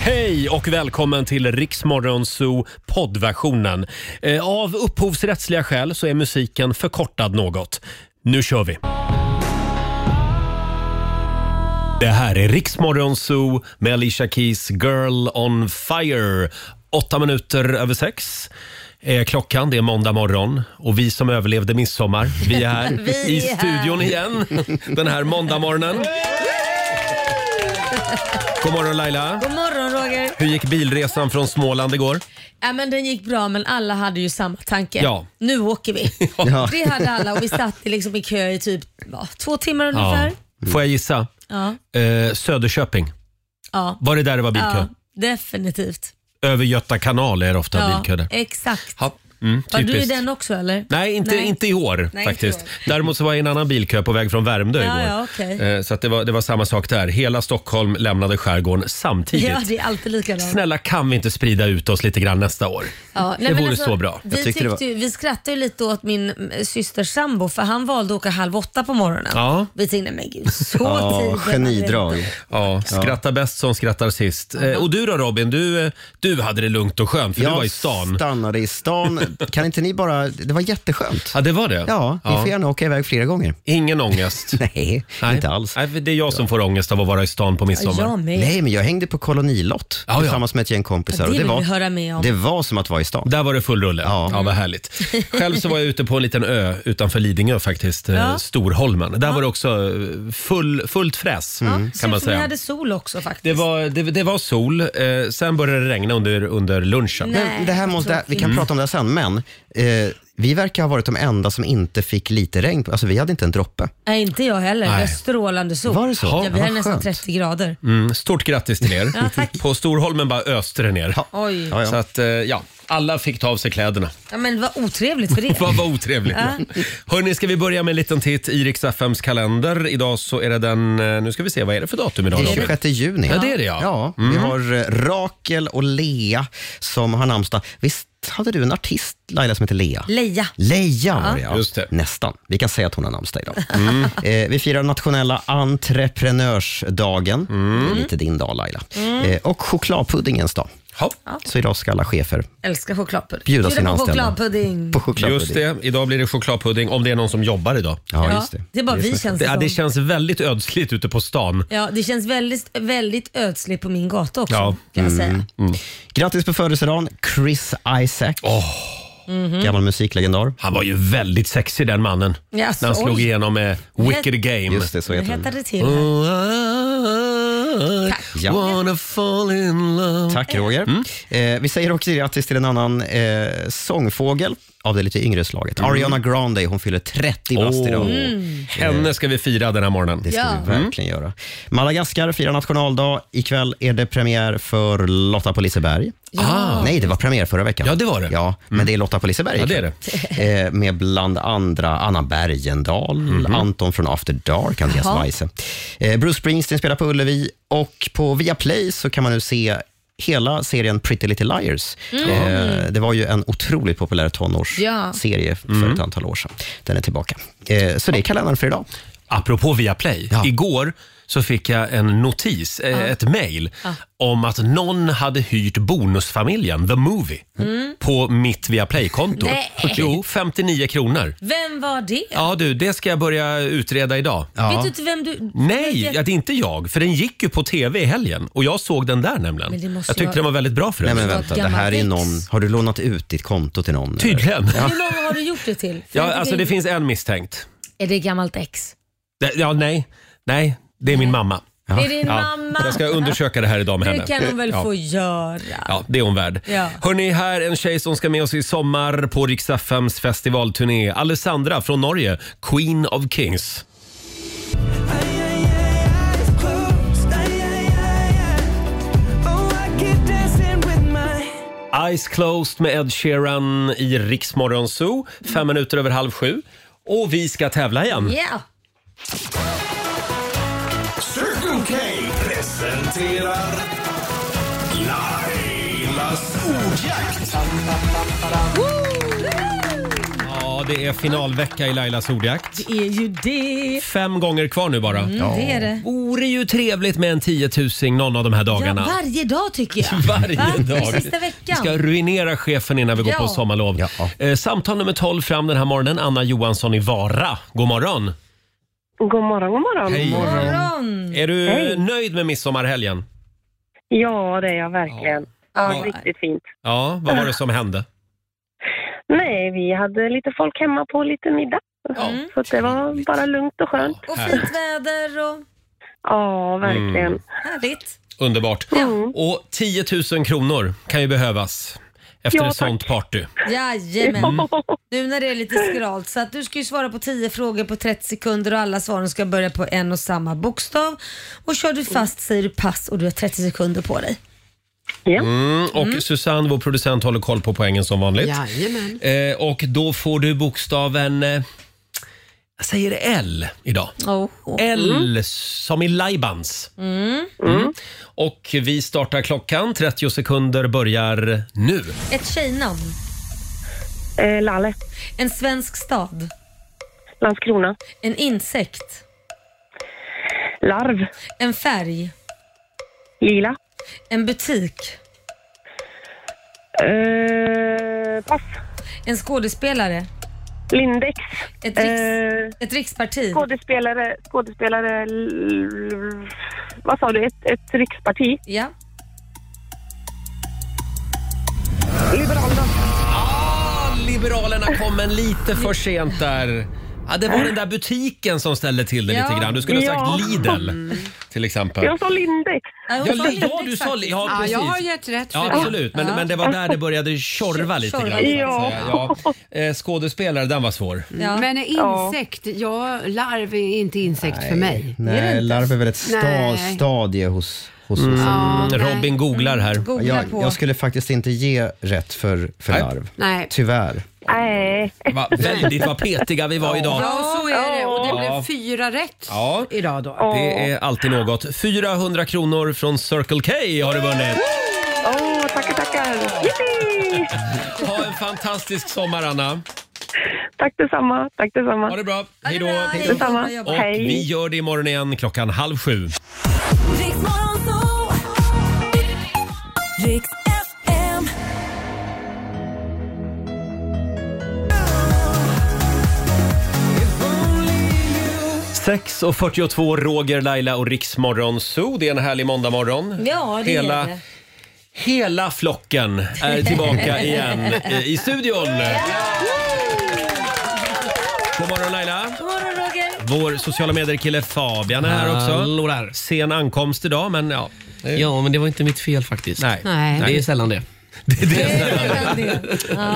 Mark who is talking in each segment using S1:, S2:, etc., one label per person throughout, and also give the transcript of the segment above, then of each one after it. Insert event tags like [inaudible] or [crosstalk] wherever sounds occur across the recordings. S1: Hej och välkommen till Riksmorgonzoo poddversionen. Eh, Av upphovsrättsliga skäl så är musiken förkortad något. Nu kör vi! Det här är Riksmorgonzoo med Alicia Keys Girl on Fire. Åtta minuter över sex är klockan. Det är måndag morgon och vi som överlevde midsommar, vi är här
S2: [laughs] Vi är
S1: i
S2: här.
S1: studion igen den här
S2: [laughs]
S1: måndagmorgonen. God morgon Laila!
S2: God morgon Roger.
S1: Hur gick bilresan från Småland igår?
S2: Ja, men den gick bra men alla hade ju samma tanke.
S1: Ja.
S2: Nu åker vi.
S1: Ja.
S2: Det hade alla och vi satt i liksom i kö i typ va, två timmar ungefär.
S1: Får jag gissa?
S2: Ja.
S1: Eh, Söderköping.
S2: Ja.
S1: Var det där det var bilkö?
S2: Ja, definitivt.
S1: Över Göta kanal är det ofta
S2: Ja,
S1: bilkö där.
S2: Exakt.
S1: Ja, mm,
S2: Var du i
S1: typiskt.
S2: den också eller?
S1: Nej, inte, inte i år
S2: Nej,
S1: faktiskt.
S2: inte i år.
S1: Däremot så var jag i en annan bilkö på väg från Värmdö
S2: Ja,
S1: igår.
S2: ja, okej.
S1: Eh, Så att det, var, det var samma sak där. Hela Stockholm lämnade skärgården samtidigt.
S2: Ja, det är alltid likadant.
S1: Snälla kan vi inte sprida ut oss lite grann nästa år?
S2: Ja, nej,
S1: det
S2: men
S1: vore
S2: alltså,
S1: så bra.
S2: Vi, tyckte ju, vi skrattade ju lite åt min mm, systers sambo för han valde att åka halv åtta på morgonen.
S1: Ja.
S2: Vi tänkte, men gud så tidigt.
S1: Ja, skratta bäst som skrattar sist. Eh, Och du då Robin, du, eh, du hade det lugnt och skönt för du
S3: Jag
S1: var i stan.
S3: stannade i stan. Kan inte ni bara... Det var jätteskönt.
S1: Ja, det [laughs] var det.
S3: Ja, ni
S1: Ja.
S3: får gärna åka iväg flera gånger.
S1: Ingen ångest?
S3: [laughs] Nej, inte alls.
S1: Nej, för det är jag som får ångest av att vara i stan på midsommar.
S2: Ja, jag med.
S3: Nej, men jag hängde på kolonilott
S1: Ja, ja.
S3: tillsammans med ett gäng kompisar.
S2: Ja, det
S3: och
S2: vill
S3: var,
S2: vi höra mer om.
S3: Det var som att vara i stan.
S1: Där var det full rulle. Ja.
S3: Ja.
S1: vad härligt. Själv så var jag ute på en liten ö utanför Lidingö faktiskt, eh,
S2: Ja.
S1: Storholmen. Där var det också eh, full, fullt fräs
S3: Mm.
S1: kan
S2: Såg
S1: man
S2: ut som Vi
S1: säga.
S2: hade sol också faktiskt.
S1: Det var, det, det var sol, eh, sen började det regna under, under lunchen.
S2: Nej.
S3: Men det här måste, det här- vi kan prata om det här sen, men eh, vi verkar ha varit de enda som inte fick lite regn. Alltså, vi hade inte en droppe.
S2: Nej, inte jag heller. Det
S1: Nej.
S2: var strålande sol.
S3: Var det så?
S2: Ja,
S3: Ja,
S2: vi
S3: vad
S2: hade nästan
S3: skönt.
S2: 30 grader.
S1: Mm, stort grattis
S3: [laughs]
S1: till er.
S2: Ja, tack.
S1: på Storholmen bara öste det ner.
S2: Oj.
S3: Ja, ja.
S1: Så att, eh, ja, alla fick ta av sig kläderna.
S2: Ja, men vad otrevligt för
S1: [laughs]
S2: det.
S1: Vad vad otrevligt. Ja. Hörni, ska vi börja med en liten titt i Rix FMs kalender. Idag så är det den, eh, nu ska vi se, vad är det för datum idag?
S3: Det är
S1: Robin?
S3: 26 juni.
S1: Ja, det är det, ja. Mm.
S3: Vi har eh, Rakel och Lea som har namnsdag. Visst hade du en artist, Laila, som heter Lea?
S2: Leja.
S3: Leia var det, ja.
S1: Just det. Mm.
S3: Nästan. Vi kan säga att hon har namnsdag idag. [laughs] Eh, vi firar nationella entreprenörsdagen.
S1: Mm.
S3: Det är lite din dag, Laila. Eh, och chokladpuddingens dag.
S1: Ja.
S3: Så idag ska alla chefer
S2: Älskar chokladpudding.
S3: bjuda
S2: Bjuda
S3: sina
S2: på
S3: anställda
S2: chokladpudding.
S3: på chokladpudding.
S1: Just det, idag blir det chokladpudding om det är någon som jobbar idag.
S3: Ja, just det.
S2: är bara vi
S3: som-
S2: känns
S1: Det, ja,
S2: det,
S1: det
S2: som. Mm.
S1: känns väldigt ödsligt ute på stan.
S2: Ja, det känns väldigt, väldigt ödsligt på min gata också.
S1: Ja. Mm.
S2: Kan jag säga.
S3: Mm. Grattis på födelsedagen, Chris Isaac.
S2: Mhm.
S3: Gammal musiklegendar.
S1: Han var ju väldigt sexig den mannen.
S2: Jaså,
S1: när han slog
S2: oj.
S1: igenom med Wicked Game.
S3: Just det, så
S2: Nu
S3: heter den.
S2: hettade det till. här.
S1: Oh, I
S3: Ja.
S1: wanna fall in love.
S3: Tack Roger.
S1: Mm.
S3: Eh, vi säger också grattis till en annan eh, sångfågel av det lite yngre slaget. Ariana Grande, hon fyller 30 bast
S1: Mm. Åh, Mm.
S3: idag.
S1: Henne ska vi fira den här morgonen.
S3: Det ska
S2: Ja.
S3: vi verkligen göra. Madagaskar firar nationaldag. Ikväll är det premiär för Lotta på Liseberg.
S1: Ah.
S3: Nej, det var premiär förra veckan.
S1: Ja, det var det. Mm.
S3: Ja, men det är Lotta på Liseberg
S1: Ja, det Mhm. är
S3: ikväll. Eh, med bland andra Anna Bergendahl, Anton från After Dark, Andreas
S2: Jaha.
S3: Weise. Eh, Bruce Springsteen spelar på Ullevi och på Viaplay så kan man nu se hela serien Pretty Little Liars. Eh, det var ju en otroligt populär
S2: Ja.
S3: tonårsserie för
S1: Mm.
S3: ett antal år sedan. Den är tillbaka. Eh, så det är kalendern för idag.
S1: Apropå Viaplay.
S3: Ja.
S1: Igår så fick jag en notis, eh, ett mejl, om att någon hade hyrt Bonusfamiljen, The Movie,
S3: Mm.
S1: på mitt Viaplay-konto.
S2: Nej.
S1: [laughs] Jo, 59 kronor.
S2: Vem var det?
S1: Ja du, det ska jag börja utreda idag.
S2: Vet du inte vem du...
S1: Nej, ja,
S2: Jag...
S1: det är inte jag. För den gick ju på tv i helgen och jag såg den där
S2: Men det
S1: nämligen. Jag
S2: måste
S1: tyckte
S2: vara-
S1: den var väldigt bra för
S3: Nej
S1: övrigt.
S3: men
S2: Det var
S3: vänta,
S2: ett
S3: det här är
S2: gammalt
S3: någon...
S2: ex.
S3: Har du lånat ut ditt konto till någon? eller?
S1: Tydligen. Ja.
S2: Hur många har du gjort det till?
S1: [laughs] Ja, alltså det finns en misstänkt.
S2: Är det gammalt ex?
S1: Det- Ja, nej. Nej, det är min mamma.
S2: Är det din
S1: Ja,
S2: mamma?
S1: jag ska undersöka det här idag med henne.
S2: Det kan hon väl
S1: ja.
S2: få göra?
S1: Ja, det är hon värd.
S2: Ja.
S1: Hörni, här en tjej som ska med oss i sommar på Rix FMs festivalturné. Alessandra från Norge, Queen of Kings. Eyes closed med Ed Sheeran i Rix Morgon Zoo. Fem minuter över halv sju. Och vi ska tävla igen.
S2: Mm. Ja.
S4: Circle K presenterar Lailas ordjakt.
S1: Ja, det är finalvecka i Lailas ordjakt.
S2: Det är ju det.
S1: Fem gånger kvar nu bara.
S2: Mm, Det är det.
S1: Vore ju trevligt med en tiotusing någon av de här
S2: Ja,
S1: dagarna.
S2: varje dag tycker jag.
S1: [laughs] Varje
S2: Va?
S1: dag.
S2: Sista
S1: Vi
S2: veckan.
S1: ska ruinera chefen innan vi går
S2: Ja.
S1: på sommarlov.
S3: Ja.
S1: Eh, samtal nummer 12 fram den här morgonen. Anna Johansson i Vara. God morgon.
S5: Mm. God morgon, god morgon.
S2: Morgon.
S1: Är du
S5: Hej.
S1: nöjd med midsommarhelgen?
S5: Ja, det är jag verkligen.
S2: Ja.
S5: Det är Riktigt fint.
S1: Ja, vad var det som hände?
S5: Nej, vi hade lite folk hemma på lite middag. Så att det var bara lugnt och skönt.
S2: Och fint väder och
S5: Ja, verkligen. [laughs]
S2: härligt.
S1: Underbart. Och 10 000 kronor kan ju behövas efter
S5: Ja,
S1: ett
S5: tack.
S1: sånt party.
S2: Jajamän. Nu när det är lite skralt. Så att du ska ju svara på 10 frågor på 30 sekunder och alla svaren ska börja på en och samma bokstav. Och kör du fast säger du pass och du har 30 sekunder på dig.
S5: Ja.
S1: Mm, och Susanne, vår producent, håller koll på poängen som vanligt.
S6: Jajamän.
S1: Eh, och då får du bokstaven... Eh, jag säger L idag.
S2: Oh.
S1: L
S5: Mm.
S1: som i Laibans. Mm. Och vi startar klockan. 30 sekunder börjar nu.
S2: Ett tjejnamn.
S5: Eh, Lalle,
S2: En svensk stad.
S5: Landskrona,
S2: En insekt.
S5: Larv,
S2: En färg.
S5: Lila.
S2: En butik.
S5: Eh, pass.
S2: En skådespelare.
S5: Lindex.
S2: Ett, riks,
S5: Eh,
S2: ett riksparti.
S5: skådespelare, skådespelare... l- l- Vad sa du? Ett, ett riksparti?
S2: Ja.
S5: Liberalerna.
S1: Ah, Liberalerna kom men lite för sent där. Ja, det var den där butiken som ställde till det
S2: Ja.
S1: lite grann. Du skulle ha sagt
S5: Ja.
S1: Lidl till exempel.
S5: Jag sa Lindex.
S2: Ja,
S1: Ja,
S2: hon sa
S1: li- ja,
S2: Lindex
S1: du sa li-
S2: faktiskt.
S1: ja,
S6: Ja,
S1: precis.
S6: jag har gett rätt för
S1: Ja,
S6: det.
S1: absolut. Men,
S2: Ja.
S1: men det var där det började tjorva lite
S2: Tjorva.
S1: grann. så att
S5: Ja.
S1: säga. Ja. Eh, Skådespelare, den var svår.
S2: Ja.
S6: Mm. Men insekt, ja, larv är inte insekt för mig.
S3: Nej, larv är väl ett sta-
S6: Nej.
S3: stadie hos, hos Susanne.
S6: Ja, nej.
S1: Mm. Robin googlar här.
S2: Googla
S3: Jag,
S2: på.
S3: jag skulle faktiskt inte ge rätt för, för
S1: Nej.
S3: larv.
S6: Nej.
S3: Tyvärr.
S5: Nej.
S1: Va, väldigt vad petiga vi var idag.
S6: Ja, så är det. Och det
S1: Ja.
S6: blev fyra rätt
S1: Ja.
S6: idag då.
S1: Det är alltid något. 400 kronor från Circle K har du vunnit.
S5: Åh, tackar, tackar. Yippee!
S1: Ha en fantastisk sommar, Anna.
S5: Tack detsamma. Tack detsamma.
S1: Ha det bra.
S2: Ja, det
S1: Hej
S2: är
S1: då.
S2: bra. Hej då.
S5: Detsamma.
S2: Bra jobbat.
S1: Och
S5: Hej.
S1: vi gör det imorgon igen klockan halv sju.
S7: Riks FM.
S1: Sex och 42, Roger, Laila och Riksmorgon Zoo. Det är en härlig måndagmorgon.
S2: Ja, det
S1: Hela-
S2: är det.
S1: Hela flocken är
S2: [laughs]
S1: tillbaka igen eh, i studion. God morgon Laila.
S2: God morgon Roger.
S1: Vår sociala medier-kille Fabian är här också.
S8: Hallå där.
S1: Sen ankomst idag, men ja.
S8: Ja, men det var inte mitt fel faktiskt.
S1: Nej.
S6: Nej.
S8: Det är sällan det.
S1: [laughs]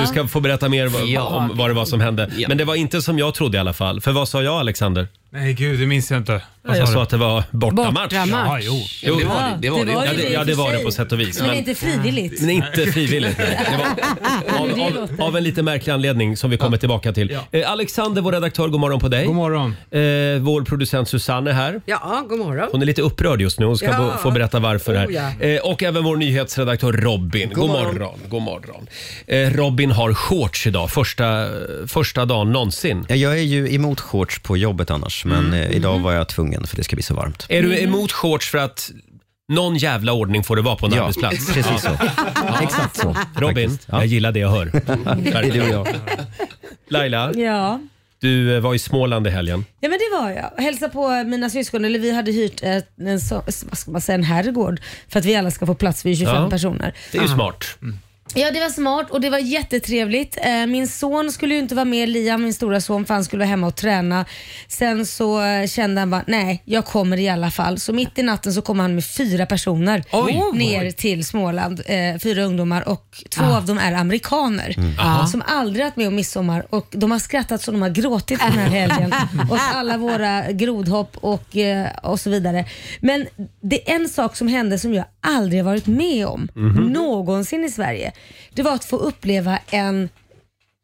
S1: Du ska få berätta mer vad-
S8: Ja.
S1: om vad det var som hände.
S8: Ja.
S1: Men det var inte som jag trodde i alla fall. För vad sa jag Alexander?
S9: Nej, gud, det minns jag inte. Vad
S1: Jag
S9: sa
S1: sa
S9: du?
S1: att det var bortamatch.
S6: Bortamatch.
S9: Ja, jo.
S8: Jo, det var det. det, var det.
S1: Ja, det-
S2: i och
S1: ja, det
S2: för
S1: var det
S2: sig.
S1: på sätt och vis,
S2: Men,
S1: men-
S2: inte frivilligt.
S1: Men inte
S4: [laughs]
S1: frivilligt. nej. Det var av, av, av en lite märklig anledning som vi kommer tillbaka till.
S9: Ja.
S1: Eh, Alexander, vår redaktör, god morgon på dig.
S9: God morgon.
S1: Eh, vår producent Susanne är här.
S6: Ja, god morgon.
S1: Hon är lite upprörd just nu. Hon ska
S6: Ja.
S1: bo- få berätta varför. här.
S6: Oh, ja.
S1: eh, och även vår nyhetsredaktör Robin. God, morgon. God morgon. Eh, Robin har shorts idag. Första, första dagen någonsin. Mm.
S3: Ja, Jag är ju emot shorts på jobbet annars, men eh, idag var jag tvungen för det ska bli så varmt.
S1: Är du emot shorts för att någon jävla ordning får det vara på en arbetsplats?
S3: precis så. Exakt
S1: [laughs]
S3: så.
S1: Robin, jag gillar det
S3: [laughs]
S1: jag hör.
S3: Det
S1: Verkligen.
S3: är jag.
S1: Laila,
S2: Ja.
S1: du eh, var i Småland i helgen.
S2: ja, men det var jag. Hälsa på mina syskon, eller vi hade hyrt ett, en, så, vad ska man säga, en herrgård för att vi alla ska få plats, vi är 25
S1: Ja.
S2: personer.
S1: Det är ju smart.
S2: Mm. Ja, det var smart och det var jättetrevligt. Eh, Min son skulle ju inte vara med, Liam, min stora son, för han skulle vara hemma och träna. Sen så eh, kände han bara, nej, jag kommer i alla fall. Så mitt i natten så kom han med fyra personer ner till Småland. eh, Fyra ungdomar och två av dem är amerikaner som aldrig varit med om midsommar och de har skrattat så de har gråtit den här
S1: [laughs]
S2: helgen. och alla våra grodhopp och, eh, och så vidare. Men det är en sak som hände som jag aldrig har varit med om
S1: Mhm.
S2: någonsin i Sverige. Det var att få uppleva en,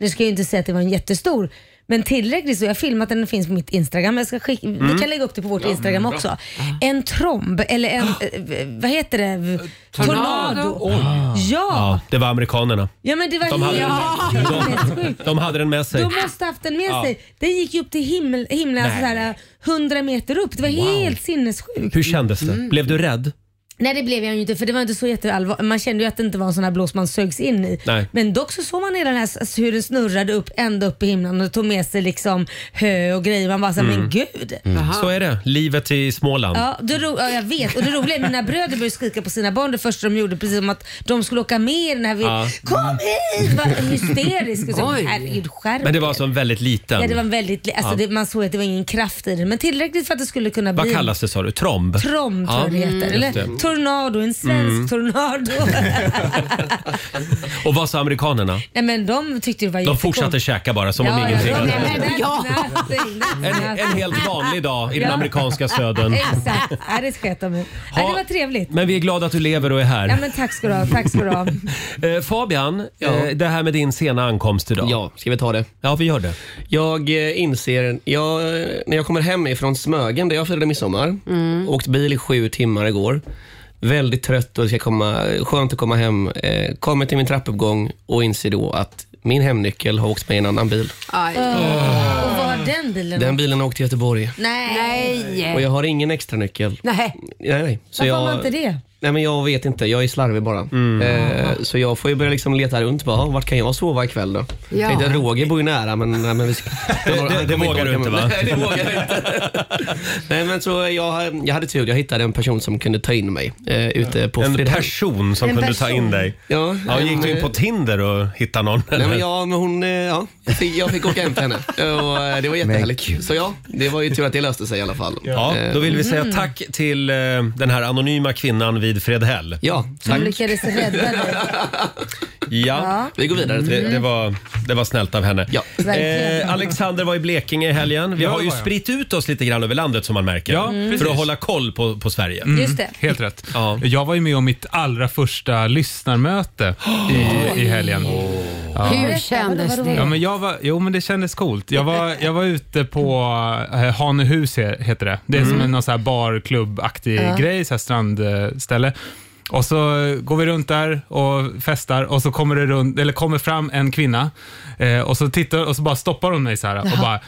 S2: nu ska jag ju inte säga att det var en jättestor, Men tillräckligt så, jag har filmat den, den finns på mitt Instagram. Jag ska skicka,
S1: Mm.
S2: Vi kan lägga upp det på vårt Instagram också. En tromb, eller
S1: Ah.
S2: en, eh, vad heter det?
S6: Tornado.
S2: Tornado. Ja,
S1: Ja, det var amerikanerna.
S2: Ah. ja men det var
S1: Ah. De hade,
S2: helt
S1: de,
S2: sinnessjukt.
S1: de hade den med sig.
S2: De måste haft den med sig. Den gick ju upp till himmel, himlen, alltså
S1: Nej.
S2: såhär, 100 meter upp. Det var helt sinnessjukt.
S1: Hur kändes
S2: Mm.
S1: det? Blev du rädd?
S2: Nej det blev jag ju inte för det var inte så jätteallvarligt. Man kände ju att det inte var en sån här blås man sögs in i.
S1: Nej.
S2: Men dock så såg man hela den här, s- hur den snurrade upp ända upp i himlen och tog med sig liksom hö och grejer. Man bara såhär, men gud.
S1: Mm. Så är det. Livet i Småland.
S2: Mm. Ja, det ro- ja, jag vet. Och det roliga är mina bröder började skrika på sina barn det första de gjorde, precis som att de skulle åka med i den här videon.
S1: Ja.
S2: Kom hit! Var hysterisk. Och så,
S6: Oj.
S2: Herregud, skärp
S1: Men det var
S2: er."
S1: alltså en väldigt liten.
S2: Ja, det var en väldigt, li- alltså, det, man såg att det var ingen kraft i den, men tillräckligt för att det skulle kunna bli
S1: Vad
S2: en
S1: kallas det sa du? Tromb?
S2: Trom tror
S1: Ja,
S2: jag det heter.
S1: just
S2: Eller
S1: det. Mm.
S2: tornado, en svensk tornado.
S1: [laughs] Och vad sa amerikanerna?
S2: Nej men de tyckte det var
S1: De
S2: jättekonstigt.
S1: fortsatte käka bara som om
S2: ja,
S1: ingenting
S2: ja,
S1: hade
S2: ja,
S1: hänt.
S2: nej, nej,
S6: Ja.
S2: nej, nej,
S1: En,
S2: nej.
S1: en helt vanlig dag i den
S2: Ja.
S1: amerikanska södern.
S2: Exakt, ja, det sket de i. Ja,
S1: Ha-
S2: det var trevligt.
S1: Men vi är glada att du lever och är här.
S2: Ja, men tack ska du ha. Tack ska
S1: [laughs]
S2: du ha.
S1: Eh, Fabian,
S8: Ja.
S1: eh, det här med din sena ankomst idag.
S8: Ja, ska vi ta det?
S1: Ja, vi gör det.
S8: Jag eh, inser, jag, när jag kommer hem ifrån Smögen där jag firade midsommar,
S2: Mm.
S8: åkt bil i sju timmar igår. Väldigt trött och det ska komma, skönt att komma hem. Eh, kommer till min trappuppgång och inser då att min hemnyckel har åkt med i en annan bil.
S6: Aj.
S2: Och vad har den bilen?
S8: Den bilen har åkt till Göteborg
S2: Nej.
S8: och
S6: Nej.
S8: jag har ingen extra nyckel.
S6: Nej.
S8: Nej, nej. Så
S2: Varför har
S8: jag-
S2: man inte det?
S8: Nej men jag vet inte, jag är slarvig bara.
S1: Mm.
S8: Eh, så jag får ju börja liksom leta runt. Bara, "Ah, vart kan jag sova ikväll då?
S6: Ja.
S8: Tänkte, Roger bor ju nära men... Nej, men vi ska,
S1: [laughs]
S8: han
S1: det
S8: kommer
S1: vågar
S8: orka
S1: du inte,
S8: med-
S1: va?
S8: Nej, det vågar jag inte.
S1: [laughs]
S8: nej men så jag, jag hade tur, jag hittade en person som kunde ta in mig eh, ute på
S1: En
S8: Fridhem.
S1: person som
S2: En
S1: kunde ta
S2: person.
S1: in dig.
S8: Ja,
S1: Ja,
S8: en-
S1: gick du in på Tinder och hittade någon?
S8: Nej, men
S1: eller?
S8: ja, men hon, eh, ja, jag, fick, jag fick åka hem till henne och eh, det var jättehärligt. Så ja, det var ju tur att det löste sig i alla fall.
S1: Ja,
S8: Eh,
S1: då vill vi säga tack till eh, den här anonyma kvinnan vid Fredhäll. Mm.
S8: ja
S2: De
S8: tack.
S2: lyckades rädda dig.
S1: Ja,
S8: Vi går vidare. Till,
S1: det, det, var, det var snällt av henne.
S8: Ja.
S2: Verkligen.
S1: Eh, Alexander var i Blekinge i helgen. Vi
S9: Ja,
S1: har
S9: det
S1: ju
S9: var jag.
S1: spritt ut oss lite grann över landet som man märker.
S9: Ja, Mm.
S1: För
S9: precis. Mm,
S1: att hålla koll på, på Sverige.
S2: Just det.
S9: Helt rätt.
S1: Ja.
S9: Jag var ju med om mitt allra första lyssnarmöte i, i helgen.
S6: Hur
S2: Berätta,
S6: kändes
S2: vadå, vadå,
S9: Ja,
S6: det?
S9: men jag var, jo, men det kändes coolt. Jag var, jag var ute på eh, Hanuhus, he- heter det. Det är som
S1: Mm.
S9: en någon så här barklubbaktig grej, så här strandställe. Och så går vi runt där och festar och så kommer det runt, eller kommer fram en kvinna eh, och så tittar och så bara stoppar hon mig så här och bara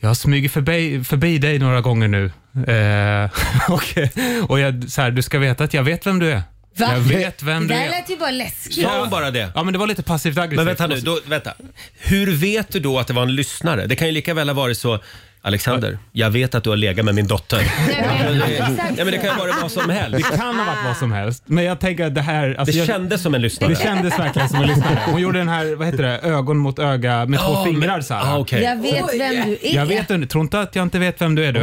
S9: jag har smugit förbi, förbi dig några gånger nu. Eh, [laughs] och och jag, så här, du ska veta att jag vet vem du är.
S2: Va?
S9: Jag vet vem du
S2: det
S9: är.
S2: här lät ju bara läskigt.
S1: Sa hon bara det?
S9: Ja, men det var lite passivt aggressivt.
S1: Men vänta nu, då, vänta. Hur vet du då att det var en lyssnare? Det kan ju lika väl ha varit så Alexander, jag vet att du har legat med min dotter.
S2: Exakt.
S1: Ja, men det kan ju vara vad som helst.
S9: Det kan ha varit vad som helst, men jag tänker att det här...
S1: Det
S9: Alltså jag,
S1: kändes som en lyssnare.
S9: det kändes verkligen som en lyssnare. Hon gjorde den här, vad heter det, ögon mot öga med två
S1: Ja, men-
S9: fingrar så här.
S1: Ah, okej.
S2: Jag vet vem du är.
S9: Jag vet inte, tror inte att jag inte vet vem du är du.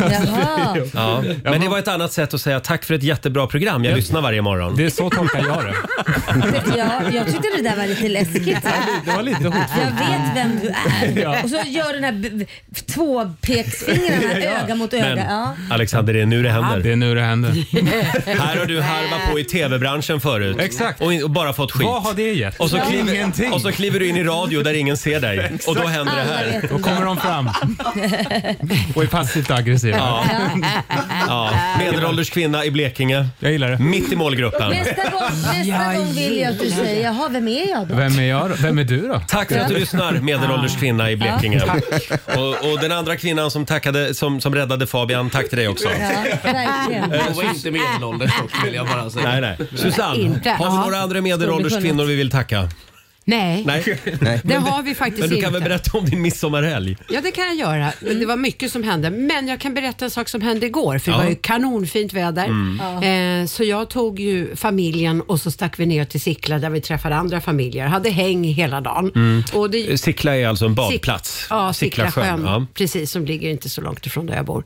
S2: Jaha.
S1: Ja. Men det var ett annat sätt att säga tack för ett jättebra program. Jag lyssnar varje morgon.
S9: Det är så tolkar jag det.
S2: Ja, jag tyckte det där var lite läskigt.
S9: Det var lite
S2: Jag
S9: hotfullt.
S2: vet vem du är.
S9: Ja.
S2: Och så gör den här b- b- tvåpeksfingrarna öga mot öga.
S1: Men
S2: Ja.
S1: Alexander, det är nu det
S9: Det
S1: händer.
S9: är nu det händer.
S1: [laughs] Här har du harvat på i tv-branschen förut.
S9: Exakt.
S1: Och, in, och bara fått skit.
S9: Vad har det gett?
S1: Och så, kliver,
S9: Ingenting.
S1: och så kliver du in i radio där ingen ser dig. Och då händer det
S2: Alla
S1: här.
S2: vet
S9: Då
S2: om det.
S9: kommer de fram och är passivt aggressiva.
S6: [laughs]
S1: Ja.
S6: Äh.
S1: Medelålders kvinna i Blekinge.
S9: Jag gillar det.
S1: Mitt i målgruppen.
S2: Nästa gång, nästa gång vill jag att du säger jaha, vem är jag då?
S9: Vem är jag då? Vem är du då?
S1: Tack för att du lyssnar, medelålders kvinna i Blekinge. Och, och den andra kvinnan som, tackade, som, som räddade Fabian, tack till dig också.
S2: Ja,
S4: Eh,
S2: verkligen.
S8: Jag var inte medelålders dock vill jag bara säga.
S1: Nej, nej. Susanne,
S6: Inte.
S1: har vi
S6: Ja.
S1: några andra medelålders kvinnor vi vill tacka?
S6: Nej.
S1: Nej.
S6: Det har vi faktiskt
S1: Men du
S6: inte.
S1: kan väl berätta om din midsommarhelg?
S6: Ja, det kan jag göra. Men det var mycket som hände. Men jag kan berätta en sak som hände igår, för
S1: Ja.
S6: det
S1: Mm.
S6: var ju kanonfint väder. Eh, så jag tog ju familjen och så stack vi ner till Sickla där vi träffade andra familjer. Hade häng hela dagen. Och det,
S1: Mm. Sickla är alltså en
S6: Mm. Eh, Sick-
S1: badplats.
S6: Ja, Sickla sjön.
S1: Ja.
S6: Precis, som ligger inte så långt ifrån där jag bor.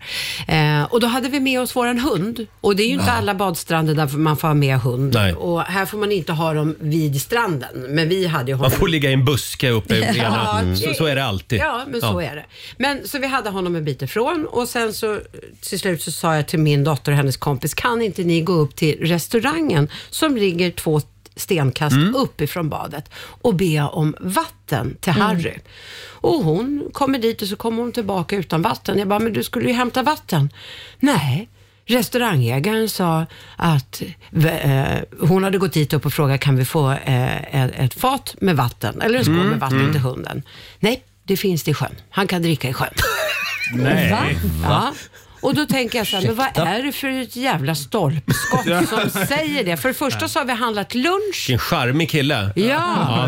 S6: Eh, och då hade vi med oss våran hund. Och det är ju inte alla badstränder där man får ha med hund.
S1: Nej.
S6: Och här får man inte ha dem vid stranden. Men vi hade ju
S1: Man
S6: honom.
S1: får ligga i en buske uppe i
S6: [laughs] Ja,
S1: ena.
S6: det-
S1: Så, så är det alltid.
S6: Ja, men så är det. Men så vi hade honom en bit ifrån och sen så till slut så sa jag till min dotter och hennes kompis, kan inte ni gå upp till restaurangen som ligger två stenkast
S1: Mm.
S6: uppifrån badet och be om vatten till
S1: Mm.
S6: Harry. Och hon kommer dit och så kommer hon tillbaka utan vatten. Jag bara, men du skulle ju hämta vatten. Nej. Restaurangägaren sa att eh, hon hade gått dit upp och frågat kan vi få eh, ett, ett fat med vatten eller en skål
S1: Mm,
S6: med vatten till hunden. Nej, det finns det i sjön. Han kan dricka i sjön.
S1: [laughs] Nej.
S6: Ja. Och då tänker jag så här, men vad är det för ett jävla stolpskott som säger det? För det första så har vi handlat lunch.
S1: Vilken charmig kille.
S6: Ja,
S9: Ja.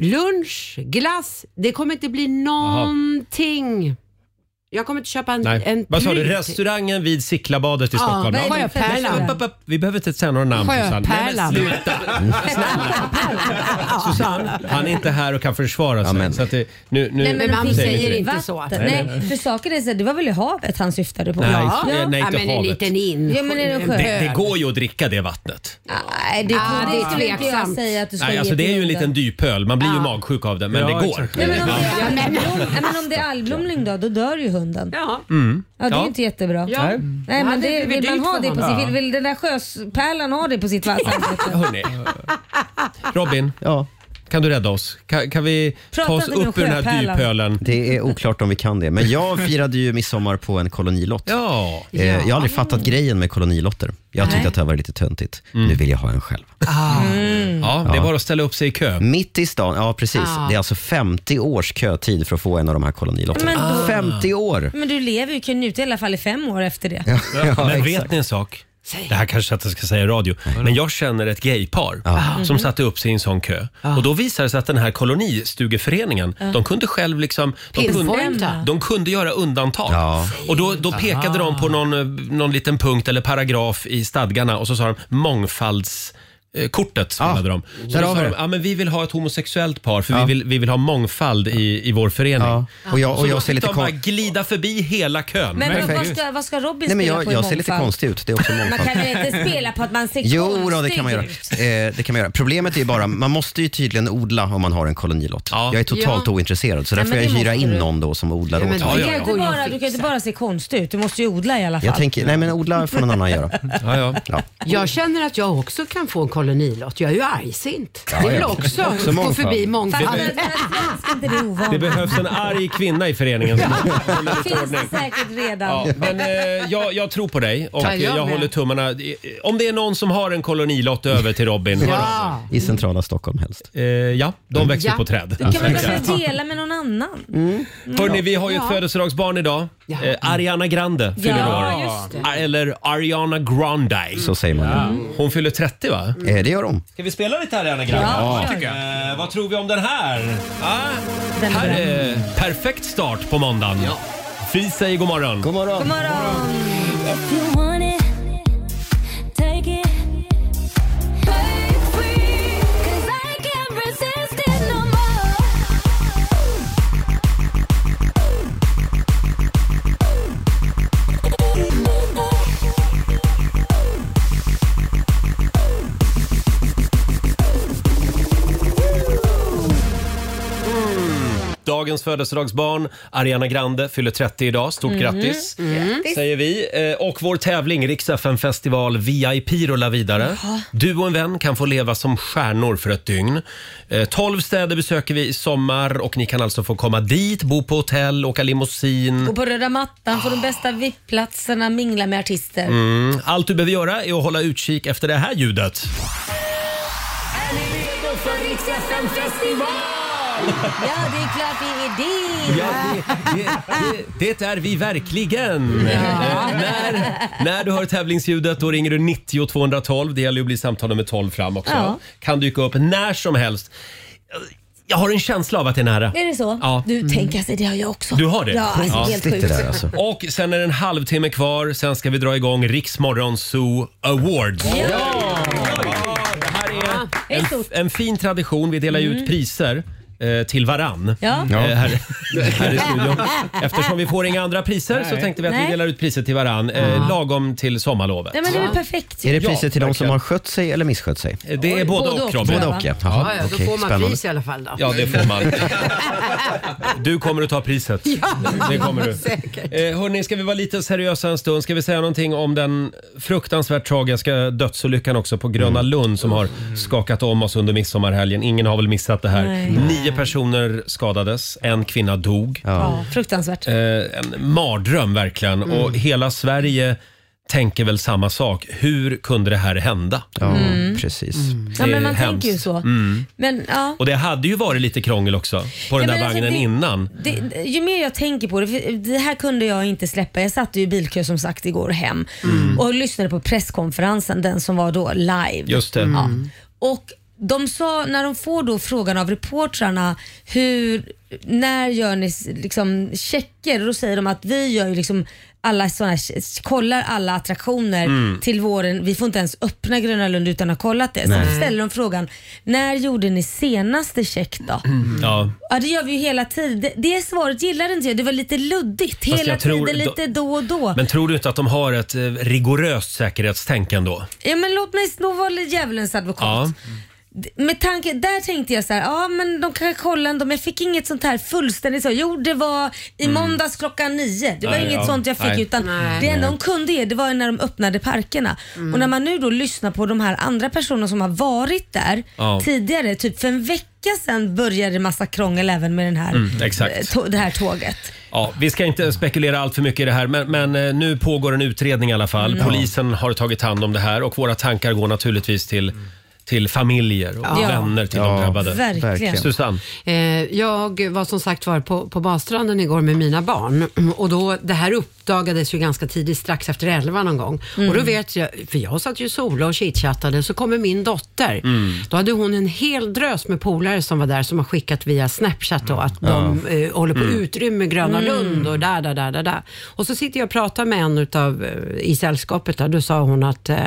S6: lunch, glass. Det kommer inte bli någonting. Jag kommer inte köpa en,
S1: Nej.
S6: en
S1: Vad sa du?
S6: prut.
S1: Restaurangen vid Sickla-badet i Stockholm?
S2: vad är det
S1: Ja.
S2: för
S1: Upp,
S6: Sjöpärlan.
S1: upp, upp. Vi behöver inte säga några namn Susanne. Nej, men
S6: Sjöpärlan.
S1: sluta. Susanne, han är inte här och kan försvara sig.
S3: men-
S1: Så att det, nu, nu,
S2: Nej, men
S6: man
S2: finns
S6: säger
S2: det
S6: inte
S2: vatten?
S6: så.
S2: Nej, för saken är så här, det var väl i havet han syftade på?
S1: Nej,
S2: Ja.
S1: eh, nej
S6: Ja,
S1: till
S6: men en
S1: havet.
S6: liten in.
S2: Ja, men är det en sjö?
S1: Det, det går ju att dricka det vattnet.
S2: Nej, det,
S6: Ah,
S2: det,
S6: det är
S2: skulle inte jag
S6: tveksamt.
S2: säga att du ska
S1: Nej, alltså
S2: ge
S1: det är ju en
S2: till
S1: liten
S2: hunden.
S1: dypöl. Man blir ju magsjuk av det, men
S9: Ja,
S1: det går.
S9: exakt.
S2: Nej, men om det
S6: Ja,
S2: är
S6: men-
S2: algblom- nej, men om det är algblomning då, då dör ju hunden.
S6: Ja.
S2: Ja, det är
S1: Ja.
S2: ju inte jättebra.
S6: Ja. Mm.
S2: Nej, men
S6: Ja, det
S2: det,
S6: blir
S2: vill man
S6: dyrt
S2: ha
S6: för
S2: det på
S9: honom.
S2: sitt, vill, vill den där sjöpärlan ha det på sitt vattensamvete?
S1: Hörrni. Robin,
S3: Ja,
S1: kan du rädda oss? Kan, kan vi
S2: Prata
S1: ta oss
S2: inte med
S1: upp ur den här
S2: sjöpärlan.
S1: dypölen?
S3: det är oklart om vi kan det. Men jag firade ju midsommar på en kolonilott.
S1: Ja.
S3: Eh, Jag har aldrig fattat grejen med kolonilotter. Jag tyckte att det här var lite töntigt. Nu vill jag ha en själv.
S1: Mm.
S4: Ah.
S2: Mm.
S1: ja, det är bara att ställa upp sig i kö.
S3: Mitt i stan, ja precis. Det är alltså 50 års kötid för att få en av de här kolonilotterna.
S2: Men
S3: 50 år!
S2: Men du lever ju, kan ju njuta i alla fall i fem år efter det.
S3: [laughs] Ja,
S1: Men
S3: exakt.
S1: vet ni en sak? Det här kanske jag inte ska säga i radio, men jag känner ett gaypar
S2: Ah. Mm.
S1: som satte upp sig i en sån kö. Och då visade det sig att den här kolonistugeföreningen,
S2: Ah.
S1: de kunde själv liksom... De kunde,
S6: Pinpointa.
S1: de kunde göra undantag.
S3: Ja.
S1: Och då, då pekade de
S2: Ah.
S1: på någon, eh, någon liten punkt eller paragraf i stadgarna och så sa de mångfalds... eh, Kortet spelade de. Så då
S3: Ah. har
S1: sa
S3: vi
S1: de,
S3: det.
S1: ja, men vi vill ha ett homosexuellt par för vi, vill, vi vill ha mångfald i, i vår förening.
S3: Ja. Och jag, och
S1: Och
S3: jag ser lite
S1: de bara
S3: kon-
S1: glida förbi hela kön.
S2: Men vad-
S9: Perfekt.
S2: vad ska, vad ska Robin
S3: Nej,
S2: spela
S3: men jag,
S2: på i
S3: jag ser lite
S2: mångfald?
S3: konstig ut. Det är också
S2: Man
S3: mångfald.
S2: kan väl inte spela på att man ser
S3: Jo,
S2: konstig
S3: då, det kan man göra.
S2: ut?
S3: Eh, det kan man göra. Problemet är ju bara, man måste ju tydligen odla om man har en kolonilott.
S1: Ja.
S3: Jag är totalt
S6: Ja.
S3: ointresserad, så där
S2: Nej,
S3: får
S2: men
S3: jag
S2: det
S3: hyra
S2: måste
S3: in
S2: du.
S3: någon då som odlar
S6: Ja, men
S3: åt
S6: det
S3: mig.
S2: Du
S1: Ja, ja,
S2: kan, ju
S6: ja.
S2: inte bara, du kan ju inte bara se konstig ut, du måste ju odla i alla fall.
S3: Jag tänker, nej men odla får någon annan göra.
S1: Ja, ja.
S3: Ja.
S6: [laughs] Jag känner att jag också kan få en kolonilott. Jag är ju argsint. Det vill också, gå
S3: mångfald.
S6: förbi mångfald.
S2: Fattar du? Men svensk inte det är
S1: Det
S2: ovanligt.
S1: behövs en arg kvinna i föreningen.
S2: Det finns det säkert redan.
S1: Ja, men eh, jag, jag tror på dig och
S6: Tack.
S1: jag,
S6: Jag med.
S1: håller tummarna. Om det är någon som har en kolonilott över till Robin, hör av
S6: Ja.
S3: I centrala Stockholm helst.
S1: sig. eh, ja, de växer
S6: Ja.
S1: på träd.
S2: Kan man kanske dela med någon annan?
S3: Mm.
S2: Mm.
S1: Hörni, vi har ju ett
S6: Ja.
S1: födelsedagsbarn idag.
S6: Ja.
S1: Eh, Ariana Grande fyller
S2: Ja,
S1: år.
S6: just det.
S1: Ah, Eller Ariana Grande.
S3: Så säger man ja.
S1: Hon fyller 30 va?
S3: eh, Det gör de.
S1: Ska vi spela lite Ariana Grande?
S2: Ja, kör.
S1: Eh, vad tror vi om den här? Ah,
S2: Den är
S1: här
S2: bra.
S1: är perfekt start på måndagen. Vi säger god morgon.
S3: God morgon.
S2: God morgon.
S1: Dagens födelsedagsbarn, Ariana Grande, fyller 30 idag.
S4: Mhm.
S1: Stort grattis, säger vi. Eh, Och vår tävling, Rix FM festival VIP, rullar vidare. Du och en vän kan få leva som stjärnor för ett dygn. Eh, 12 städer besöker vi i sommar och ni kan alltså få komma dit, bo på hotell, åka limousin.
S2: Och på röda mattan får de bästa VIP-platserna, mingla med artister.
S1: Mm, Allt du behöver göra är att hålla utkik efter det här ljudet.
S2: Ja, det är klart vi är det.
S1: Ja, det, det, det, det är vi verkligen. Eh, När, när du hör tävlingsljudet då ringer du 90 212. Det gäller ju att bli samtal nummer 12 fram också.
S2: Ja.
S1: Kan dyka upp när som helst. Jag har en känsla av att det är nära.
S2: Är det så?
S1: Ja. Mm.
S2: Du, tänk alltså, det har jag också.
S1: Du har det?
S2: Ja, alltså,
S1: Ja.
S2: helt
S3: Sitter
S2: sjukt.
S3: där alltså.
S1: Och sen är det en halvtimme kvar. Sen ska vi dra igång Riksmorgon Zoo Awards. Ja! Det här är
S2: Det är
S1: en,
S2: stort.
S1: en fin tradition. Vi delar ju ut priser eh, till varann
S2: Mm. Ja.
S1: eh, här,
S2: [laughs]
S1: här i studion. Eftersom vi får inga andra priser så tänkte vi att
S2: Nej.
S1: vi delar ut priset till varann eh, lagom till sommarlovet.
S2: Nej, men det är väl perfekt.
S3: Är det
S1: Ja,
S3: priset till de som
S1: verkligen.
S3: har skött sig eller misskött sig?
S1: Eh, Det är
S2: Oj,
S1: både,
S2: både
S1: och
S2: och,
S1: Robin.
S2: tror
S3: Både
S2: jag. va?
S3: och ja.
S6: Ja,
S3: Jaha,
S6: ja, då
S3: okej,
S6: får man
S3: spännande.
S6: pris i alla fall då.
S1: Ja, det får man.
S6: [laughs]
S1: Du kommer att ta priset. det kommer du.
S6: säkert.
S1: Eh, hörni, ska vi vara lite seriösa en stund? Ska vi säga någonting om den fruktansvärt tragiska dödsolyckan också på Gröna
S2: Mm.
S1: Lund som har skakat om oss under midsommarhelgen? Ingen har väl missat det här.
S2: Nej.
S1: Nio personer skadades, en kvinna dog.
S2: Ja, Mm. fruktansvärt.
S1: Eh, en mardröm verkligen. Och hela Sverige tänker väl samma sak. Hur kunde det här hända? Mm.
S3: Ja, precis.
S2: Ja,
S1: det är
S2: men man
S1: hemskt. Mm.
S2: tänker ju så. Men, ja.
S1: Och det hade ju varit lite krångel också på den
S2: Ja,
S1: där
S2: men alltså,
S1: vagnen
S2: det-
S1: innan.
S2: Det, det- ju mer jag tänker på det, för det här kunde jag inte släppa. Jag satt ju i bilkö som sagt igår hem
S1: Mm.
S2: och lyssnade på presskonferensen, den som var då live.
S1: Just det. Mm.
S2: Ja. Och de sa, när de får då frågan av reportrarna, hur, när gör ni s- liksom checker? Och då säger de att vi gör ju liksom alla såna här, kollar alla attraktioner
S1: Mm.
S2: till våren. Vi får inte ens öppna Gröna Lund utan att ha kollat det. Sen ställer de frågan, när gjorde ni senaste check då?
S1: Ja.
S2: Ja det gör vi ju hela tiden. Det, det svaret gillade inte jag. Det var lite luddigt.
S1: jag
S2: Hela
S1: tror-
S2: tiden, lite då och då.
S1: Men tror du inte att de har ett eh, rigoröst säkerhetstänk ändå?
S2: Ja, men låt mig nog vara lite djävulens advokat.
S1: Ja.
S2: D- Med tanke, där tänkte jag så här, ja men de kan kolla ändå, men jag fick inget sånt här fullständigt så. Jo det var i måndags klockan nio. Det var
S1: Mm. Nej,
S2: inget
S1: ja.
S2: sånt jag fick
S1: Nej. Mm.
S2: utan
S6: Nej.
S2: det enda de kunde ge det var ju när de öppnade parkerna. Och när man nu då lyssnar på de här andra personerna som har varit där
S1: Ja.
S2: tidigare, typ för en vecka sedan började det massa krångel även med den här,
S1: Mm. exakt.
S2: eh, tå- det här tåget.
S1: Ja, vi ska inte spekulera allt för mycket i det här, men, men eh, nu pågår en utredning i alla fall.
S3: Mm.
S1: Polisen har tagit hand om det här och våra tankar går naturligtvis till, till familjer och
S6: Ja.
S1: vänner till de
S3: Ja.
S1: drabbade.
S2: Verkligen.
S3: Verkligen.
S1: Susanne,
S6: Eh, jag var som sagt var på, på badstranden igår med mina barn [clears throat] och då, det här uppdagades ju ganska tidigt, strax efter elva någon gång. Och
S1: Mm.
S6: då vet jag, för jag satt ju sola och chitchattade, så kommer min dotter.
S1: Mm.
S6: Då hade hon en hel drös med polare som var där som har skickat via Snapchat då, att de eh, håller på
S1: Mm.
S6: att utrymma Gröna Lund och där, där, där, där, där. Och så sitter jag och pratar med en utav, eh, i sällskapet där, då sa hon att eh,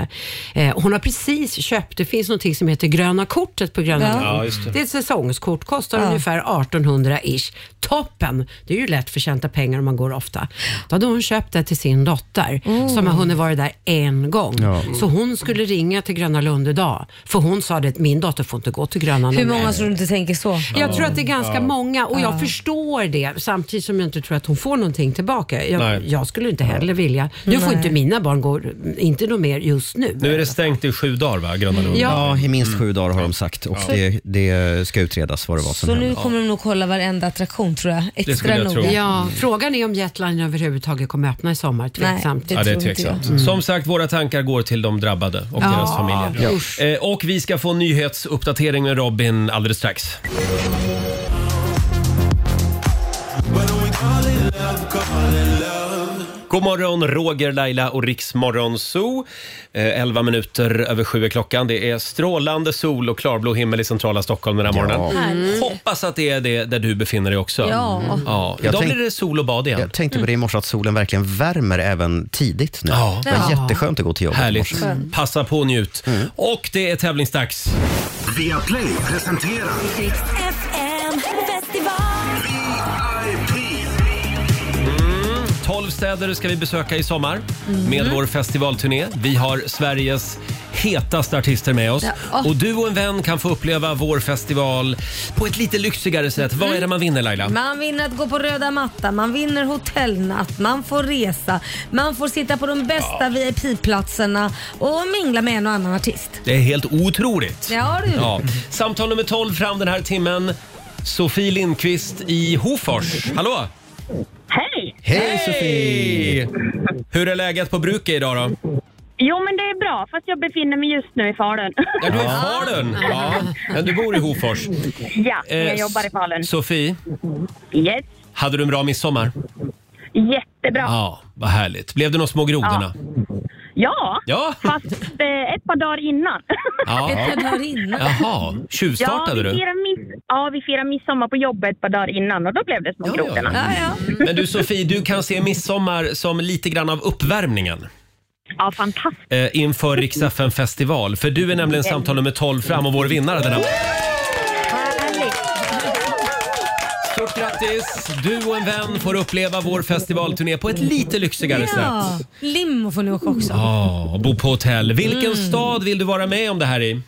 S6: eh, hon har precis köpt, det finns någonting som heter Gröna Kortet på Gröna
S2: Ja.
S6: Lund.
S1: Ja, just det.
S6: Det är ett säsongskort, kostar
S2: Ja.
S6: ungefär 1800-ish. Toppen! Det är ju lätt förtjänta pengar om man går ofta. Då hade hon köpt det till sin dotter
S2: Mm.
S6: som har hunnit vara där en gång.
S3: Ja.
S6: Så hon skulle ringa till Gröna Lund idag. För hon sa det att min dotter får inte gå till Gröna Lund.
S2: Hur många som inte tänker så?
S6: Jag tror att det är ganska många och jag förstår det samtidigt som jag inte tror att hon får någonting tillbaka.
S1: Nej.
S6: Jag, jag skulle inte heller vilja. Nu får
S2: Nej.
S6: inte mina barn gå, inte något mer just nu.
S1: nu är det stängt i sju dagar va, Gröna Lund? Mm.
S6: Ja.
S3: Ja, i minst sju dagar har de sagt och det, det ska utredas vad det var som
S2: Så
S3: hände.
S2: nu kommer de nog kolla varenda attraktion tror jag.
S1: skulle
S2: Extra
S1: jag tro.
S2: noga.
S6: Ja, frågan är om Jetline överhuvudtaget kommer öppna i sommar. Tveksamt.
S1: Ja, det är
S2: tror inte
S1: tveksamt.
S6: Mm.
S1: Som sagt, våra tankar går till de drabbade och deras familjer. Eh, och vi ska få en nyhetsuppdatering med Robin alldeles strax. God morgon, Roger, Laila och Riksmorgon Zoo. Eh, 11 minuter över sju är klockan. Det är strålande sol och klarblå himmel i centrala Stockholm den här morgonen.
S2: Härligt.
S1: Hoppas att det är det där du befinner dig också.
S2: Ja.
S1: ja.
S3: Jag
S1: Idag
S3: tänk-
S1: blir det sol och bad igen.
S3: Jag tänkte på det i morse att solen verkligen värmer även tidigt nu.
S1: Ja.
S3: Det var
S6: Ja.
S3: jätteskönt att gå till jobbet i morse.
S1: Härligt. Passa på och njut.
S2: Mm.
S1: Och det är tävlingsdags.
S4: Via Play presenterar
S7: FM festival.
S4: VIP.
S1: 12 Mm. städer ska vi besöka i sommar
S2: Mm.
S1: med vår festivalturné. Vi har Sveriges hetaste artister med oss.
S2: Ja.
S1: Och du och en vän kan få uppleva vår festival på ett lite lyxigare sätt. Vad är det man vinner Laila?
S2: Mm. Man vinner att gå på röda mattan, man vinner hotellnatt, man får resa, man får sitta på de bästa VIP-platserna och mingla med en och annan artist.
S1: Det är helt otroligt.
S2: Ja du.
S1: Ja. Samtal nummer 12 fram den här timmen. Sofie Lindqvist i Hofors. Hallå!
S5: Hej!
S3: Hej Sofie!
S1: Hur är läget på bruket idag då?
S5: Jo, men det är bra, fast jag befinner mig just nu i Falun.
S1: Ja,
S5: [laughs]
S1: du är i Falun. Ja. Men du bor i Hofors.
S5: ja,
S1: Eh,
S5: jag jobbar i Falun.
S1: Sofie,
S5: Yes.
S1: hade du en bra midsommar?
S5: Jättebra. Ja.
S1: Ja, vad härligt. Blev det något små grodorna? Ja.
S5: Fast eh, ett par dagar innan. [laughs]
S1: ja.
S2: Ett par dagar innan.
S1: Jaha,
S5: ja, vi
S1: tjuvstartade du?
S5: firar mids- ja, vi firar midsommar på jobbet ett par dagar innan och då blev det små
S1: Ja, ja.
S5: grodorna. Ja.
S2: Ja, ja.
S1: Men du Sofie, du kan se midsommar som lite grann av uppvärmningen
S5: fantastiskt.
S1: eh, inför Rix FM festival. För du är nämligen samtal nummer 12 fram och vår vinnare den här
S5: Härligt.
S1: Stort grattis! Du och en vän får uppleva vår festivalturné på ett lite lyxigare
S2: Ja,
S1: sätt.
S2: limo får ni åka också.
S1: Ja, och bo på hotell. Vilken
S2: Mm.
S1: stad vill du vara med om det här i?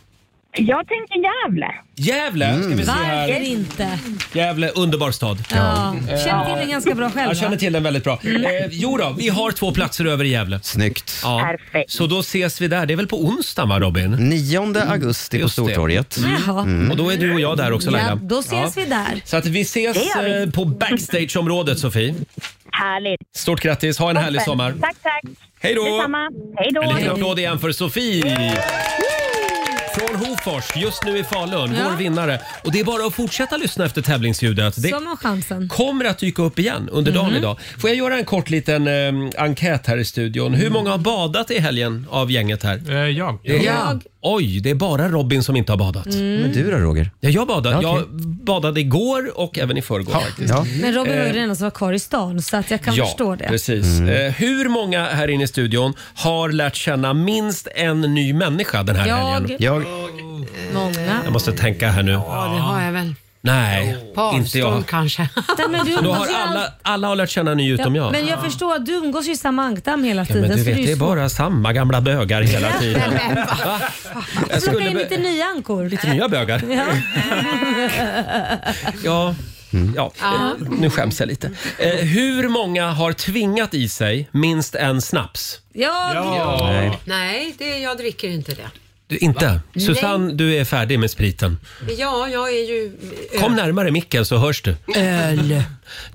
S5: Jag tänker Gävle.
S1: Gävle ska vi se
S2: Varför
S1: här.
S2: inte?
S1: Gävle, underbar stad.
S2: Ja. Mm. Känner till den ganska bra själv
S1: Jag känner
S2: va?
S1: till den väldigt bra. Eh, jo då, vi har två platser över i Gävle.
S3: Snyggt.
S1: Ja.
S5: Perfekt.
S1: Så då ses vi där. Det är väl på onsdag va Robin? Mm.
S3: 9 augusti på
S1: Just det.
S3: Stortorget.
S2: Mm.
S3: Mm.
S2: Jaha.
S1: Och då är du och jag där också Laila.
S2: Ja, då ses
S1: Ja.
S2: vi där.
S1: Så att vi ses
S5: Det gör vi.
S1: eh, på backstageområdet Sofie.
S5: Härligt.
S1: Stort grattis, ha en härlig sommar.
S5: Tack, tack.
S1: Hej då!
S5: Detsamma. Hej
S1: En
S5: då.
S1: liten applåd igen för Sofie. Från Hofors, just nu i Falun,
S2: Ja.
S1: vår vinnare. Och det är bara att fortsätta lyssna efter tävlingsljudet. Det
S2: Som har chansen.
S1: kommer att dyka upp igen under
S2: Mhm.
S1: dagen idag. Får jag göra en kort liten eh, enkät här i studion? Hur många har badat i helgen av gänget här?
S9: Eh, jag.
S1: Det är- Oj, det är bara Robin som inte har badat.
S2: Mm.
S3: Men du då Roger?
S1: Ja, jag badade.
S3: Ja, okej.
S1: Jag badade igår och även i förrgår faktiskt. Eh,
S3: Ja.
S2: Men Robin var ju den enda som var kvar i stan så att jag kan förstå det.
S1: precis.
S3: Mm.
S1: Eh, hur många här inne i studion har lärt känna minst en ny människa den här helgen?
S2: Jag,
S3: Jag,
S2: Mm. många.
S1: Jag måste tänka här nu.
S6: Ja, det har jag väl.
S1: Nej,
S6: På
S1: inte jag.
S6: avstånd kanske.
S2: Nej, men du
S1: Då
S2: umgås
S1: har
S2: ju all-
S1: alla, alla har lärt känna en ny utom
S2: Ja,
S1: jag.
S2: men jag förstår att du umgås ju i samma ankdamm hela
S1: Ja,
S2: tiden.
S1: men du
S2: så
S1: vet,
S2: ju
S1: det är
S2: svårt.
S1: bara samma gamla bögar hela tiden. Va? [laughs] Jag
S2: Plocka
S1: skulle
S2: in lite
S1: be-
S2: nya ankor.
S1: lite nya bögar.
S2: Ja.
S1: Ja. Ja, eh, nu skäms jag lite. Eh, hur många har tvingat i sig minst en snaps?
S2: Ja,
S6: Nej, det, jag dricker inte det.
S1: Du, inte? Susanne, du är färdig med spriten.
S6: Ja, jag är ju... eh,
S1: Kom närmare micken så hörs du.
S6: Öl.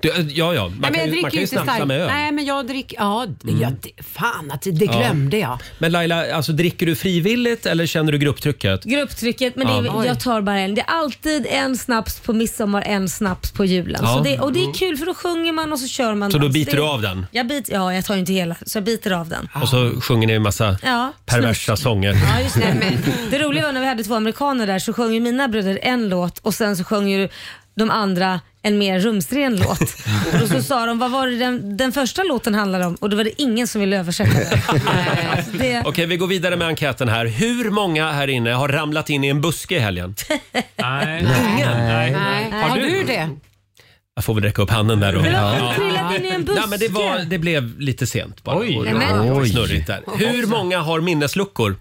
S1: du eh, ja, ja, man
S6: Nej, men
S1: kan
S6: jag
S1: ju, man kan
S6: dricker ju
S1: ju
S6: inte
S1: snapsa
S6: starkt.
S1: med öl. Mm.
S6: Nej, men jag dricker... Ja, det- ja, det, fan att det det glömde jag.
S1: Men Laila, alltså, dricker du frivilligt eller känner du grupptrycket?
S2: Grupptrycket, men det är,
S6: Oj.
S2: jag tar bara en. Det är alltid en snaps på midsommar, en snaps på julen.
S1: Ja. Mm.
S2: Så det, och det är kul för då sjunger man och så kör man.
S1: Så då
S2: dans.
S1: biter
S2: Det-
S1: du av den? Ah.
S2: Jag bit, ja, jag tar ju inte hela, så jag biter av den.
S1: Och så sjunger ni en massa
S2: Ja,
S1: perversa sånger.
S2: Ja, just det. det roliga var när vi hade två amerikaner där så sjöng ju mina bröder en låt och sen så sjöng ju de andra en mer rumsren
S1: [laughs]
S2: låt. Och så sa de, vad var det den, den första låten handlade om? Och då var det ingen som ville översätta
S1: [laughs]
S2: den. Alltså, det,
S1: Okej, vi går vidare med enkäten här. Hur många här inne har ramlat in i en buske i helgen?
S9: [laughs] Nej. Ingen? Nej.
S6: Nej. Har, du? det?
S1: Jag får väl räcka upp handen där då. Ja.
S2: trillat in i en buske.
S1: Nej, men det, var, det blev lite sent bara.
S9: Oj.
S1: Och-
S2: Nej, men-
S1: och
S3: Oj.
S1: Snurrigt där. Hur många har minnesluckor?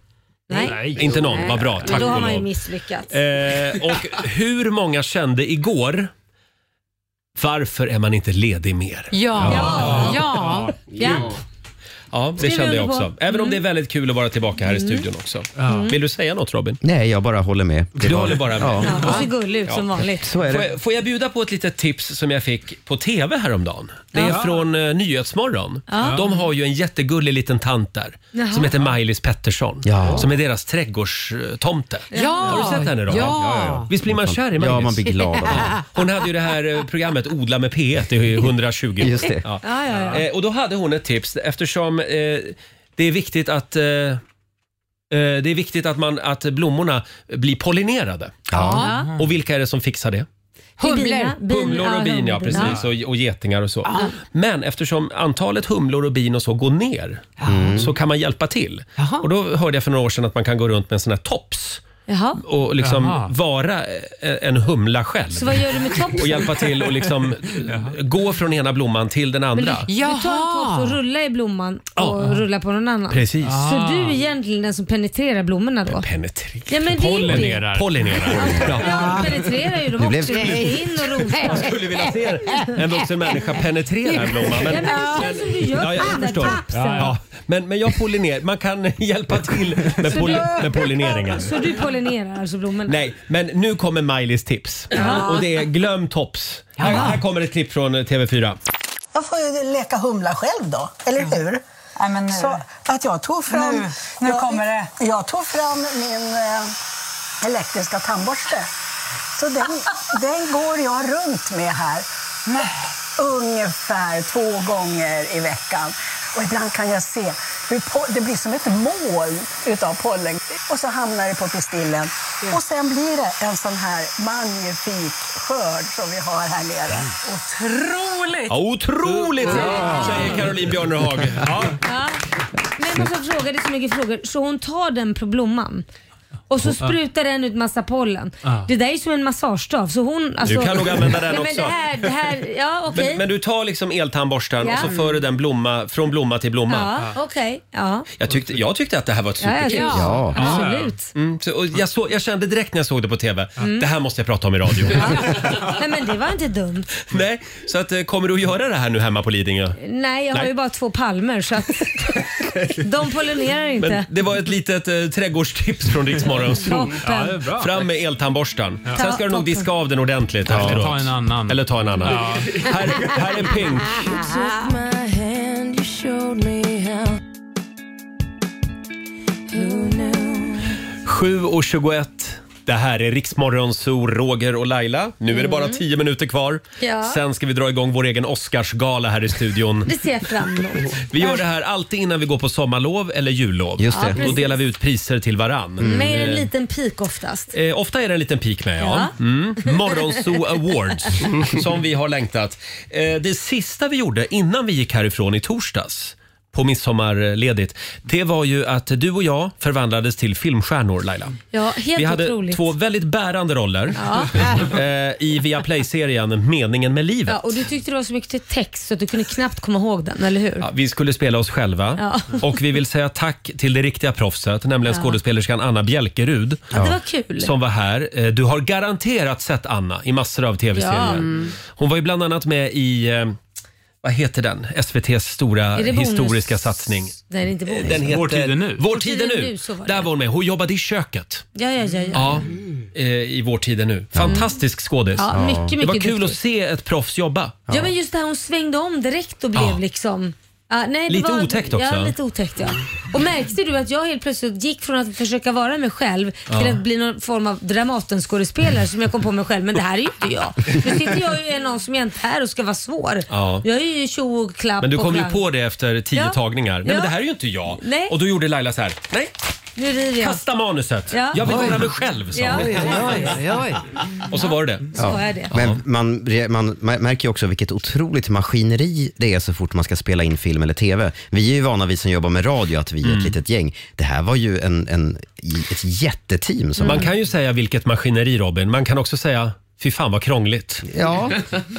S2: Nej.
S1: Inte någon, vad bra.
S2: Men
S1: Tack
S2: då har
S1: och
S2: man ju
S1: lov.
S2: misslyckats.
S1: Eh, och hur många kände igår varför är man inte ledig mer?
S6: Ja. Ja.
S2: Ja.
S1: Ja, det
S2: Skriver
S1: kände jag
S2: under på. Mm.
S1: också. Även om det är väldigt kul att vara tillbaka här i studion också. Vill du säga något Robin?
S3: nej, jag bara håller med. Det
S1: Du
S3: var-
S1: håller bara med.
S3: Ja.
S2: Ja, och så gullig ut som vanligt.
S3: Så är
S1: Får
S3: det.
S1: jag, får jag bjuda på ett litet tips som jag fick på TV häromdagen? Det är från eh, Nyhetsmorgon. De har ju en jättegullig liten tant där
S2: Jaha.
S1: som heter Maj-Lis Pettersson
S3: Ja.
S1: som är deras trädgårdstomte. Har du sett henne då?
S6: Ja. Ja, ja,
S1: Visst blir man kär i
S3: Ja, man
S1: Maj-Lis?
S3: blir glad av det.
S1: [laughs] hon hade ju det här eh, programmet Odla med P1 i 120
S3: [laughs]
S1: år.
S3: Just det.
S1: Ja.
S2: Ja, ja, ja.
S1: Eh, och då hade hon ett tips eftersom eh, det är viktigt att eh, eh, det är viktigt att, man, att blommorna blir pollinerade.
S2: Ja.
S1: Och vilka är det som fixar det?
S2: Humlor. Bin,
S1: Humlor och bin, ja
S2: humlor.
S1: precis. Och, och getingar och så. Men eftersom antalet humlor och bin och så går ner så kan man hjälpa till.
S6: Jaha.
S1: Och då hörde jag för några år sedan att man kan gå runt med en sån här tops
S2: Jaha.
S1: och liksom
S9: Jaha.
S1: vara eh, en humla själv.
S2: Så vad gör du med
S1: Och
S2: topsen?
S1: hjälpa till
S9: [laughs]
S1: och liksom eh, gå från ena blomman till den andra.
S2: Du tar en tops och rullar i blomman och rullar på någon annan.
S1: Precis.
S2: Så du är egentligen den som penetrerar blommorna då?
S1: Penetrera.
S2: Ja, men det är ju det.
S9: Pollinerar.
S1: Pollinerar. Ja.
S2: Ja, de penetrerar ju dem
S3: blev-
S2: också. De gick in och rotade.
S1: Jag skulle vilja se en vuxen människa penetrera en blomma.
S2: Ja,
S1: Men,
S2: men det känns som du gör
S1: Ja,
S2: på
S1: jag
S2: den där
S1: förstår.
S2: tapsen.
S1: Ja, men, men jag pollinerar. Man kan [laughs] hjälpa till med, pol med pollineringen.
S2: Så du pollinerar alltså blommorna?
S1: Nej, men nu kommer Maj-Lis tips. Och det är glöm tops. Här, här kommer ett klipp från eh, TV4.
S10: Jag får ju leka humla själv då, eller hur?
S11: Nej, men nu.
S10: Så att jag tog fram...
S11: Nu. Nu
S10: jag,
S11: kommer det.
S10: Jag tog fram min eh, elektriska tandborste. Så
S11: [laughs]
S10: den, den går jag runt med här. Ungefär två gånger i veckan. Och ibland kan jag se hur po- det blir som ett moln utav pollen. Och så hamnar det på pistillen.
S11: Mm.
S10: Och sen blir det en sån här magnifik skörd som vi har här nere.
S11: Mm. Otroligt!
S1: [laughs] Ja, otroligt säger Caroline Björnerhag. Ja.
S2: Ja. Men jag måste fråga, det är så mycket frågor. Så hon tar den på blomman Och så sprutar den ut massa pollen.
S1: Ah.
S2: Det där är ju som en massagestav. Så hon, alltså,
S1: Du kan nog använda den
S2: ja,
S1: också.
S2: Men det här, det här, ja okej.
S1: Men, men du tar liksom eltandborsten
S2: Ja.
S1: och så för du den blomma, från blomma till blomma.
S2: Ja, okej. Ja.
S1: Jag, tyckte, jag tyckte att det här var ett
S2: Ja, ja,
S1: supertips.
S2: ja. Ja. Absolut.
S1: Mm, så, och jag, så, jag kände direkt när jag såg det på TV,
S2: Mm.
S1: det här måste jag prata om i radio.
S2: Nej, men det var inte dumt.
S1: [laughs] Nej, så att, eh, kommer du att göra det här nu hemma på Lidingö?
S2: Nej, jag har
S1: Nej.
S2: ju bara två palmer
S1: [laughs]
S2: så att de pollinerar inte.
S1: Men det var ett litet eh, trädgårdstips från Riksmorgon.
S2: Toppen. Ja, det är bra.
S1: Fram med eltandborsten.
S2: Ja.
S1: Sen ska du nog
S2: Toppen.
S1: diska av den ordentligt efteråt.
S9: ta en
S1: annan. Eller ta en annan.
S9: Ja.
S1: Här, här är Pink. Sju och 21. Det här är Riksmorgon, Zoo, Roger och Laila. Nu är det bara tio minuter kvar.
S2: Mm. Ja.
S1: Sen ska vi dra igång vår egen Oscarsgala här i studion.
S2: Det ser jag fram emot.
S1: Vi gör det här alltid innan vi går på sommarlov eller jullov.
S2: Just det. Ja,
S1: Då
S2: precis.
S1: delar vi ut priser till varann.
S2: Mm. Med en
S1: Eh,
S2: liten pik oftast.
S1: Eh, ofta är det en liten pik med, ja.
S2: Ja.
S1: Mm. Morgonzoo
S2: [laughs]
S1: Awards, som vi har längtat. Eh, det sista vi gjorde innan vi gick härifrån i torsdags på midsommarledigt, det var ju att du och jag förvandlades till filmstjärnor, Laila.
S2: Ja, helt
S1: vi hade
S2: otroligt.
S1: två väldigt bärande roller [laughs] eh, i Viaplay-serien Meningen med livet.
S2: Ja, och du tyckte det var så mycket text så att du kunde knappt komma ihåg den, eller hur?
S1: Ja, Vi skulle spela oss själva
S2: Ja.
S1: [laughs] och vi vill säga tack till det riktiga proffset, nämligen
S2: Ja.
S1: skådespelerskan Anna Bjälkerud.
S2: Ja, det var kul.
S1: Som var här. Eh, Du har garanterat sett Anna i massor av tv-serier.
S2: Ja. Mm.
S1: Hon var ju bland annat med i, eh, vad heter den, SVTs stora
S2: Är det bonus?
S1: historiska satsning. Eh,
S2: Nej, det är inte bonus.
S1: Den heter,
S9: Vår tid är nu.
S1: Vår tid är nu.
S2: så var det.
S1: Där var hon med. Hon jobbade i köket.
S2: Ja, ja, ja. ja.
S1: Ja, eh, i Vår tid är nu. Fantastisk skådis.
S2: Ja, mycket,
S1: det var
S2: mycket
S1: kul
S2: duktig.
S1: att se ett proffs jobba.
S2: Ja, men just det här hon svängde om direkt och blev
S1: Ja.
S2: liksom... Ja, nej, det
S1: Lite
S2: var,
S1: otäckt också.
S2: Ja, lite otäckt ja. Och märkte du att jag helt plötsligt gick från att försöka vara mig själv till
S1: Ja.
S2: att bli någon form av Dramatenskådespelare som jag kom på mig själv, men det här är ju inte jag. Nu sitter jag ju i någon som jag inte är och ska vara svår.
S1: Ja.
S2: Jag är ju tjo och klapp
S1: Men du
S2: och
S1: kom ju
S2: klang.
S1: på det efter tio
S2: Ja.
S1: tagningar. Nej
S2: Ja.
S1: men det här är ju inte jag.
S2: Nej.
S1: Och då gjorde Laila så här. Nej,
S2: Nu river jag.
S1: kasta manuset.
S2: Ja.
S1: Jag vill
S2: Oj.
S1: vara mig själv sa
S2: Ja.
S1: hon.
S2: Oj, oj, oj, oj.
S1: [laughs] Och så var det det.
S2: Så är det.
S3: Men man, re- man ma- märker ju också vilket otroligt maskineri det är så fort man ska spela in film eller TV. Vi är ju vana, vi som jobbar med radio, att vi är ett
S1: Mm.
S3: litet gäng. Det här var ju en, en, i- ett jätteteam. Som
S1: Mm. Man kan ju säga vilket maskineri Robin. Man kan också säga Fy fan vad krångligt.
S3: Ja.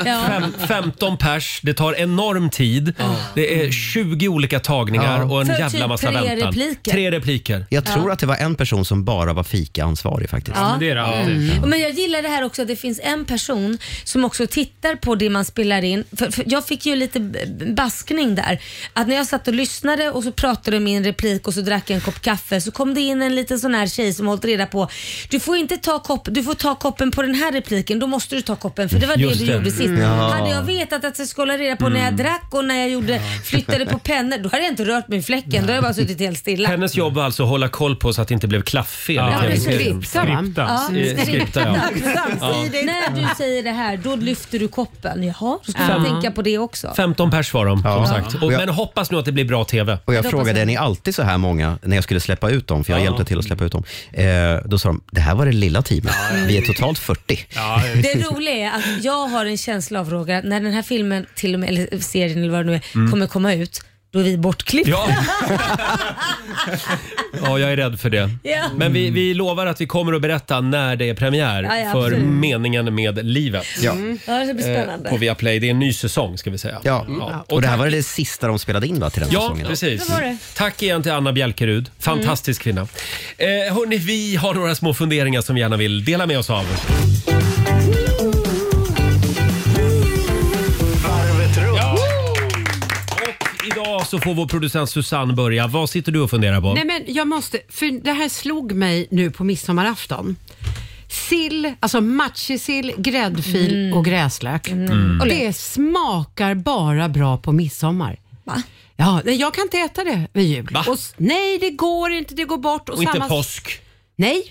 S2: Ja.
S1: Fem, 15 pers, det tar enorm tid. Det är 20 olika tagningar
S3: Ja.
S1: och en
S2: För
S1: jävla
S2: typ
S1: massa
S2: tre
S1: väntan.
S2: repliker.
S1: Tre repliker.
S3: Jag tror
S2: Ja.
S3: att det var en person som bara var fikaansvarig faktiskt.
S2: Ja. Mm. men det är
S1: det alltid.
S2: Och Men jag gillar det här också att det finns en person som också tittar på det man spelar in. För, för jag fick ju lite b- b- baskning där. Att när jag satt och lyssnade och så pratade min replik och så drack jag en kopp kaffe så kom det in en liten sån här tjej som hållit reda på. Du får inte ta kopp, du får ta koppen på den här repliken, då måste du ta koppen för det var
S1: Just
S2: det du
S1: det.
S2: gjorde sist.
S1: Mm. Ja. Mm.
S2: Hade jag vetat att jag skulle hålla reda på när jag drack och när jag gjorde, flyttade på pennor, då hade jag inte rört min fläcken. Då har jag bara suttit helt stilla.
S1: Hennes jobb var alltså att hålla koll på så att det inte blev klafffel
S2: Ja,
S1: i
S2: precis.
S1: tv-serien.
S2: Skripta,
S6: va?
S1: Skripta.
S2: Ja.
S1: Eh, skripta, ja. Ja.
S2: När du säger det här, då lyfter du koppen. Jaha, då ska
S1: Ja.
S2: man tänka på det också.
S1: 15 pers var de
S3: Ja.
S1: som sagt. Och,
S3: Och jag-
S1: men hoppas nu att det blir bra TV.
S3: Och jag
S2: Det hoppas
S3: frågade,
S2: jag.
S3: är ni alltid så här många när jag skulle släppa ut dem? För jag hjälpte till att släppa ut dem. Eh, då sa de, det här var det lilla teamet. Vi är totalt 40.
S2: Det roliga är att jag har en känsla av Roger, att när den här filmen, till och med, eller serien eller vad det nu är,
S1: Mm.
S2: kommer komma ut, då är vi bortklippta. [laughs]
S1: Ja. Ja, jag är rädd för det.
S2: Ja.
S1: Men vi, vi lovar att vi kommer att berätta när det är premiär
S2: Ja, ja,
S1: för
S2: absolut.
S1: meningen med livet.
S2: Mm. ja, det blir spännande.
S1: Eh, På Viaplay. Det är en ny säsong ska vi säga.
S3: Ja. Mm. Och det här var det sista de spelade in va, till den
S1: Ja,
S3: säsongen?
S1: precis.
S2: Det var det.
S1: Tack igen till Anna Bjälkerud. Fantastisk kvinna. Eh, hörni, vi har några små funderingar som vi gärna vill dela med oss av.
S4: Varvet runt.
S1: Och idag så får vår producent Susanne börja. Vad sitter du och funderar på?
S6: Nej, men jag måste, för det här slog mig nu på midsommarafton. Sill, alltså matjessill, gräddfil och gräslök.
S2: Mm.
S1: Mm.
S2: Och lök.
S6: Det smakar bara bra på midsommar.
S2: Va?
S6: Ja, nej, jag kan inte äta det vid jul.
S1: Va?
S6: Och, s- nej, det går inte. Det går bort.
S1: och inte
S6: samma-
S1: påsk.
S6: Nej,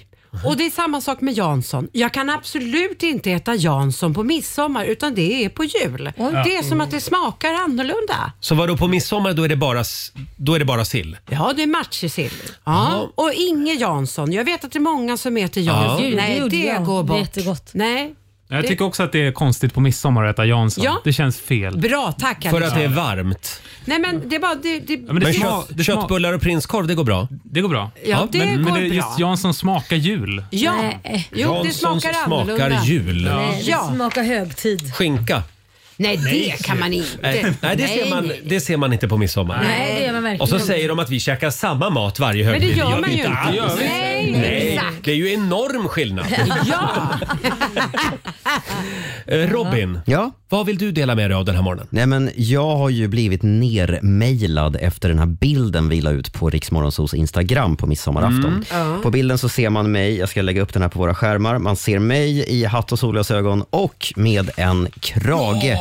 S6: och det är samma sak med Jansson. Jag kan absolut inte äta Jansson på midsommar utan det är på jul. Det är som att det smakar annorlunda.
S1: Så vadå, på midsommar då är det bara, s- då är det bara sill?
S6: Ja, det är matjessill. Ja. Och Inge Jansson. Jag vet att det är många som äter Jansson.
S1: Ja.
S2: Gud,
S6: Nej,
S2: gjorde
S6: det
S2: jag.
S6: går
S2: Det är
S6: bort.
S2: jättegott.
S6: Nej.
S9: Jag tycker också att det är konstigt på midsommar att äta Jansson.
S6: Ja.
S9: Det känns fel.
S6: Bra, tack
S9: För att det är
S1: varmt.
S6: Nej men det är bara... Det, det,
S9: men det
S6: det-
S9: smak- det smak-
S1: Köttbullar och prinskorv, det går bra?
S9: Det går bra.
S6: Ja, det
S9: men,
S6: går
S9: men det är
S6: bra.
S9: just Jansson smakar jul.
S6: Ja,
S2: Nej. eh.
S6: jo, det
S9: Janssons
S6: smakar
S9: smakar
S6: annorlunda.
S9: jul.
S6: Ja.
S2: Nej, det smakar högtid.
S1: Skinka.
S6: Nej,
S2: Nej.
S6: det kan man inte.
S1: Nej, nej, det, ser man, det ser man inte på midsommar.
S2: Nej, det gör man verkligen
S1: Och så
S2: inte.
S1: säger de att vi käkar samma mat varje
S2: Men det
S1: högtid.
S2: gör man
S1: vi
S2: ju inte.
S1: alls.
S2: Det gör vi inte. Nej,
S1: Nej,
S2: exakt.
S1: det är ju enorm skillnad. Eh, Robin,
S3: Ja?
S1: vad vill du dela med dig av den här morgonen?
S3: Nej, men jag har ju blivit nermejlad efter den här bilden vi la ut på Riksmorgonsos Instagram på midsommarafton.
S12: Mm. Ja.
S3: På bilden så ser man mig, jag ska lägga upp den här på våra skärmar. Man ser mig i hatt och solglasögon och med en krage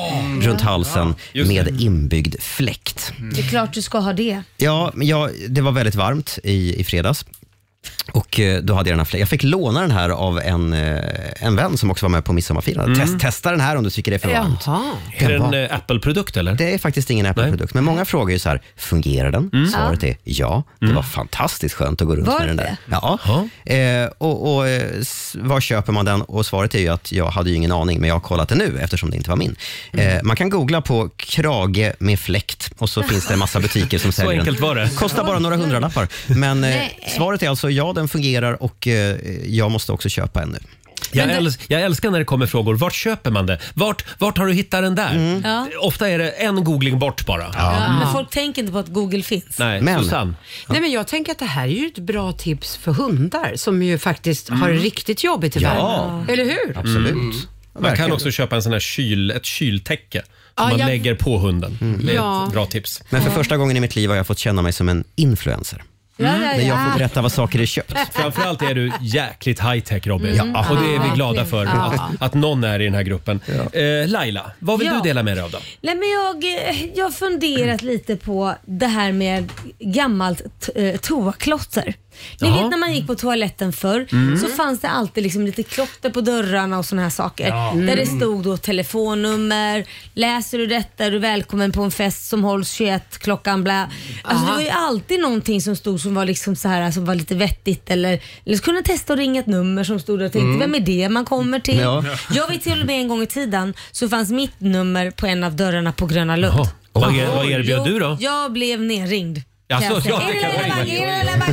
S3: runt halsen med inbyggd fläkt.
S1: Mm.
S2: Det är klart du ska ha det.
S3: Ja, men jag, det var väldigt varmt i, i fredags. Och eh, då hade jag den här flä- Jag fick låna den här av en, eh, en vän som också var med på midsommarfirandet.
S1: Mm.
S3: Test, testa den här om du tycker det är för varmt.
S6: Jaha.
S1: Är det en eh, Apple-produkt eller?
S3: Det är faktiskt ingen Apple-produkt, men många frågar ju så här, fungerar den?
S1: Mm.
S3: Svaret är ja. Det var fantastiskt skönt att gå runt
S1: Var
S3: med den
S1: det?
S3: där. Ja. Eh, och och eh, s- var köper man den? Och svaret är ju att jag hade ju ingen aning, men jag har kollat det nu eftersom det inte var min.
S1: Mm.
S3: Eh, man kan googla på krage med fläkt och så finns det en massa butiker som
S1: [laughs] Så
S3: säljer
S1: enkelt
S3: den.
S1: var det.
S3: Kostar bara några hundralappar. Men eh,
S1: Nej.
S3: svaret är alltså ja, den fungerar och eh, jag måste också köpa en nu.
S1: Jag, äls- jag älskar när det kommer frågor. Vart köper man det? Vart, vart har du hittat den där?
S2: Mm. Ja.
S1: Ofta är det en googling bort bara. Mm.
S2: Ja, Men folk tänker inte på att Google finns.
S1: Nej,
S6: Men-
S1: Susanne.
S6: Nej, men jag tänker att det här är ju ett bra tips för hundar som ju faktiskt
S1: Mm.
S6: har det riktigt jobbigt i
S1: Ja.
S6: världen. Eller hur?
S1: Mm. Man kan
S3: Verkligen.
S1: också köpa en sån här kyl, ett kyltäcke som
S6: Ja,
S1: man
S6: jag-
S1: lägger på hunden. Det är
S6: Ja.
S1: ett bra tips.
S3: Men för första gången i mitt liv har jag fått känna mig som en influencer.
S1: Ja, ja,
S3: När jag
S1: ja.
S3: får berätta vad saker är köpt.
S1: [laughs] Framförallt är du jäkligt high-tech Robin.
S3: Mm. Ja.
S1: Och det är vi
S2: Ja,
S1: glada
S2: verkligen.
S1: för,
S2: Ja.
S1: att, att någon är i den här gruppen. Eh, Laila, vad vill
S2: Ja.
S1: du dela med dig av då?
S2: Nej, men jag, eh, jag
S7: [clears throat]
S2: har funderat lite på det här med gammalt t- eh, toaklotter. Ni
S7: Jaha.
S2: vet när man gick på toaletten förr
S7: Mm.
S2: så fanns det alltid liksom lite klotter på dörrarna och såna här saker.
S7: Ja.
S2: Där det
S7: Mm.
S2: stod då telefonnummer, läser du detta är du välkommen på en fest som hålls 21 klockan bla. Alltså, det
S7: Aha.
S2: var ju alltid någonting som stod som var liksom så här som var lite vettigt eller, eller så kunde man testa att ringa ett nummer som stod där och tänkte
S7: Mm.
S2: vem är det man kommer till?
S7: Ja.
S2: Jag vet till och med en gång i tiden så fanns mitt nummer på en av dörrarna på Gröna Lund.
S1: Vad, er, vad erbjöd
S2: Jo,
S1: du då?
S2: Jag blev nerringd.
S1: Jaså, ja, det kan jag tänka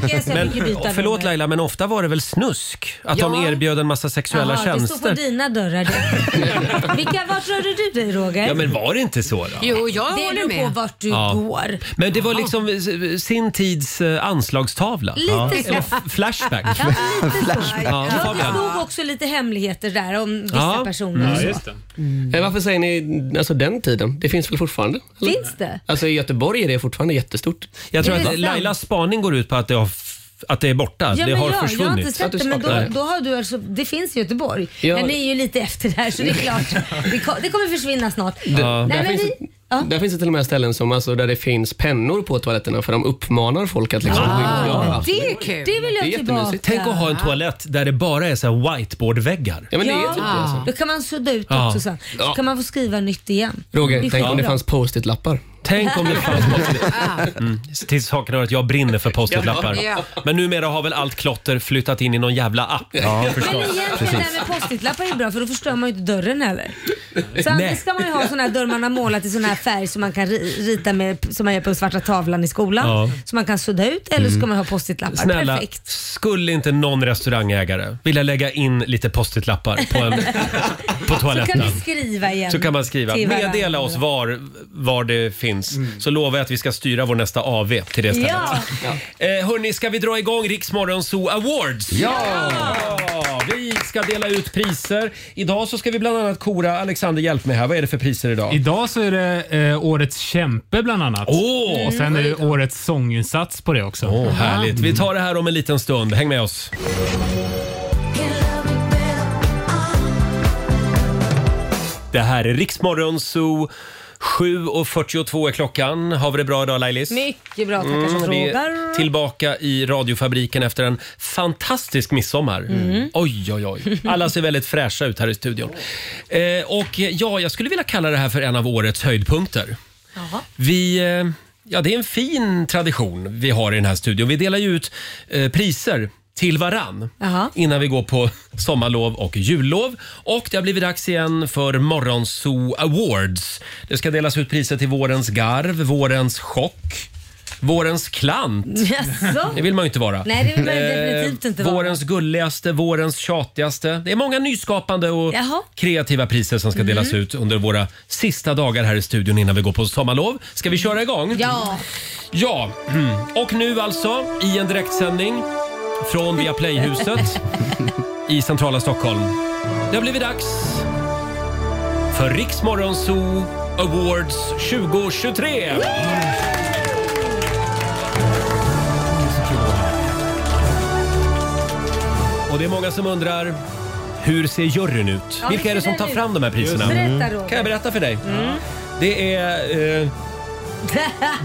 S1: mig. Men,
S2: Men, byta
S1: förlåt
S2: nummer.
S1: Laila, men ofta var det väl snusk? Att de
S2: Ja.
S1: erbjöd en massa sexuella
S2: Jaha, Det står på
S1: tjänster?
S2: dina dörrar.
S1: [laughs]
S2: det. Vilka, vart rörde du dig Roger?
S1: Ja, men var det inte så då?
S6: Jo, jag
S2: det
S6: håller
S2: beror
S6: med.
S2: på vart du
S1: Ja.
S2: går.
S1: Men det var liksom eh, sin tids eh, anslagstavla.
S2: Lite
S1: Ja.
S2: så.
S1: Eller f- Flashback.
S2: Ja, lite
S8: [laughs]
S2: så.
S1: Ja,
S2: Ja, det
S1: Fabian.
S2: stod också lite hemligheter där om vissa
S1: Mm.
S2: personer. och så.
S8: Eh, Varför säger ni alltså, den tiden? Det finns väl fortfarande? Eller?
S2: Finns det?
S8: Alltså i Göteborg är det fortfarande jättestort.
S1: Jag tror Är det att sant? Lailas spaning går ut på att det, har f- att det är borta. det har
S2: jag,
S1: försvunnit.
S2: Jag har inte sett det, men då, då har du alltså, det finns i Göteborg.
S1: Ja.
S2: Men det är ju lite efter där så det
S1: [laughs]
S2: är klart. Det, ko- det kommer försvinna snart.
S8: Det-
S2: Nej,
S8: där,
S2: men
S8: finns
S2: vi,
S8: det, där finns det till och med ställen som, alltså, där det finns pennor på toaletterna för de uppmanar folk att
S1: Ah.
S8: liksom, gå in och göra.
S2: Alltså, det är kul. Det vill
S8: Det
S2: jag
S8: är
S2: tillbaka.
S8: jättemysigt.
S1: Tänk att ha en toalett där det bara är så här whiteboardväggar.
S8: Ja, men det alltså. är
S2: Ja, Då kan man sudda ut
S1: typ alltså. Ja.
S2: också sen. Så
S1: Ja.
S2: kan man få skriva nytt igen. Det
S1: Roger,
S2: är
S1: tänk om det
S2: skitbra.
S1: fanns
S8: post-it-lappar.
S1: Tänk om det fanns post-it. Mm. Till saken är att jag brinner för post-it-lappar.
S2: Ja.
S1: Men numera har väl allt klotter flyttat in i någon jävla app. Ja,
S2: Men egentligen det här med post-it-lappar är bra för då förstör man ju inte
S1: [laughs]
S2: dörren heller. Så
S1: Nej.
S2: antingen ska man ju ha sådana här dörrar man har målat i sån här färg som man kan ri- rita med, som man gör på svarta tavlan i skolan.
S1: Ja.
S2: Som man kan sudda ut eller så ska
S1: Mm.
S2: man ha post-it-lappar.
S1: Snälla,
S2: Perfekt.
S1: skulle inte någon restaurangägare vilja lägga in lite post-it-lappar på, en, på
S2: [laughs] Så kan
S1: toaletten?
S2: vi skriva igen.
S1: Så kan man skriva.
S2: till varandra.
S1: Meddela oss var, var det finns. Så lovar jag att vi ska styra vår nästa AV till det stället.
S2: Ja.
S1: Eh, hörni, ska vi dra igång Riksmorgon Zoo Awards?
S7: Ja!
S1: Ja, Vi ska dela ut priser. Idag så ska vi bland annat kora. Alexander, hjälp mig här. Vad är det för priser idag?
S9: Idag så är det eh, årets kämpe bland annat.
S1: Åh!
S9: Och sen är
S6: Mm.
S9: det årets sånginsats på det också.
S1: Åh, härligt. Vi tar det här om en liten stund. Häng med oss. Det här är Riksmorgon Zoo. 7.42 är klockan. Har vi det bra idag Lailis?
S2: Mycket bra, tackar som
S1: vi
S2: frågar.
S1: Mm, är tillbaka i radiofabriken efter en fantastisk midsommar.
S2: Mm.
S1: Oj, oj, oj. Alla ser väldigt fräscha ut här i studion. Eh, och ja, jag skulle vilja kalla det här för en av årets höjdpunkter. Vi, eh, ja, det är en fin tradition vi har i den här studion. Vi delar ju ut eh, priser till varann
S2: Jaha.
S1: innan vi går på sommarlov och jullov. Och det har blivit dags igen för Morgonzoo Awards. Det ska delas ut priser till vårens garv, vårens chock, vårens klant.
S2: Jaså?
S1: Det vill man ju inte vara.
S2: Nej, det vill man ju
S1: Eh,
S2: definitivt inte vara.
S1: Vårens gulligaste, vårens tjatigaste. Det är många nyskapande och
S2: Jaha.
S1: kreativa priser som ska delas ut under våra sista dagar här i studion innan vi går på sommarlov. Ska vi köra igång?
S2: Ja.
S1: Ja, mm. och nu alltså i en direktsändning från Viaplayhuset i centrala Stockholm. Det har blivit dags för Riks Morgonzoo Awards 2023. Och det är många som undrar hur ser juryn ut?
S2: Ja,
S1: Vilka är det
S2: hur ser
S1: som tar
S2: den
S1: fram
S2: ut?
S1: de här priserna? Mm.
S2: Berätta, Roger.
S1: Kan jag berätta för dig?
S2: Mm. [laughs]
S1: Det är eh,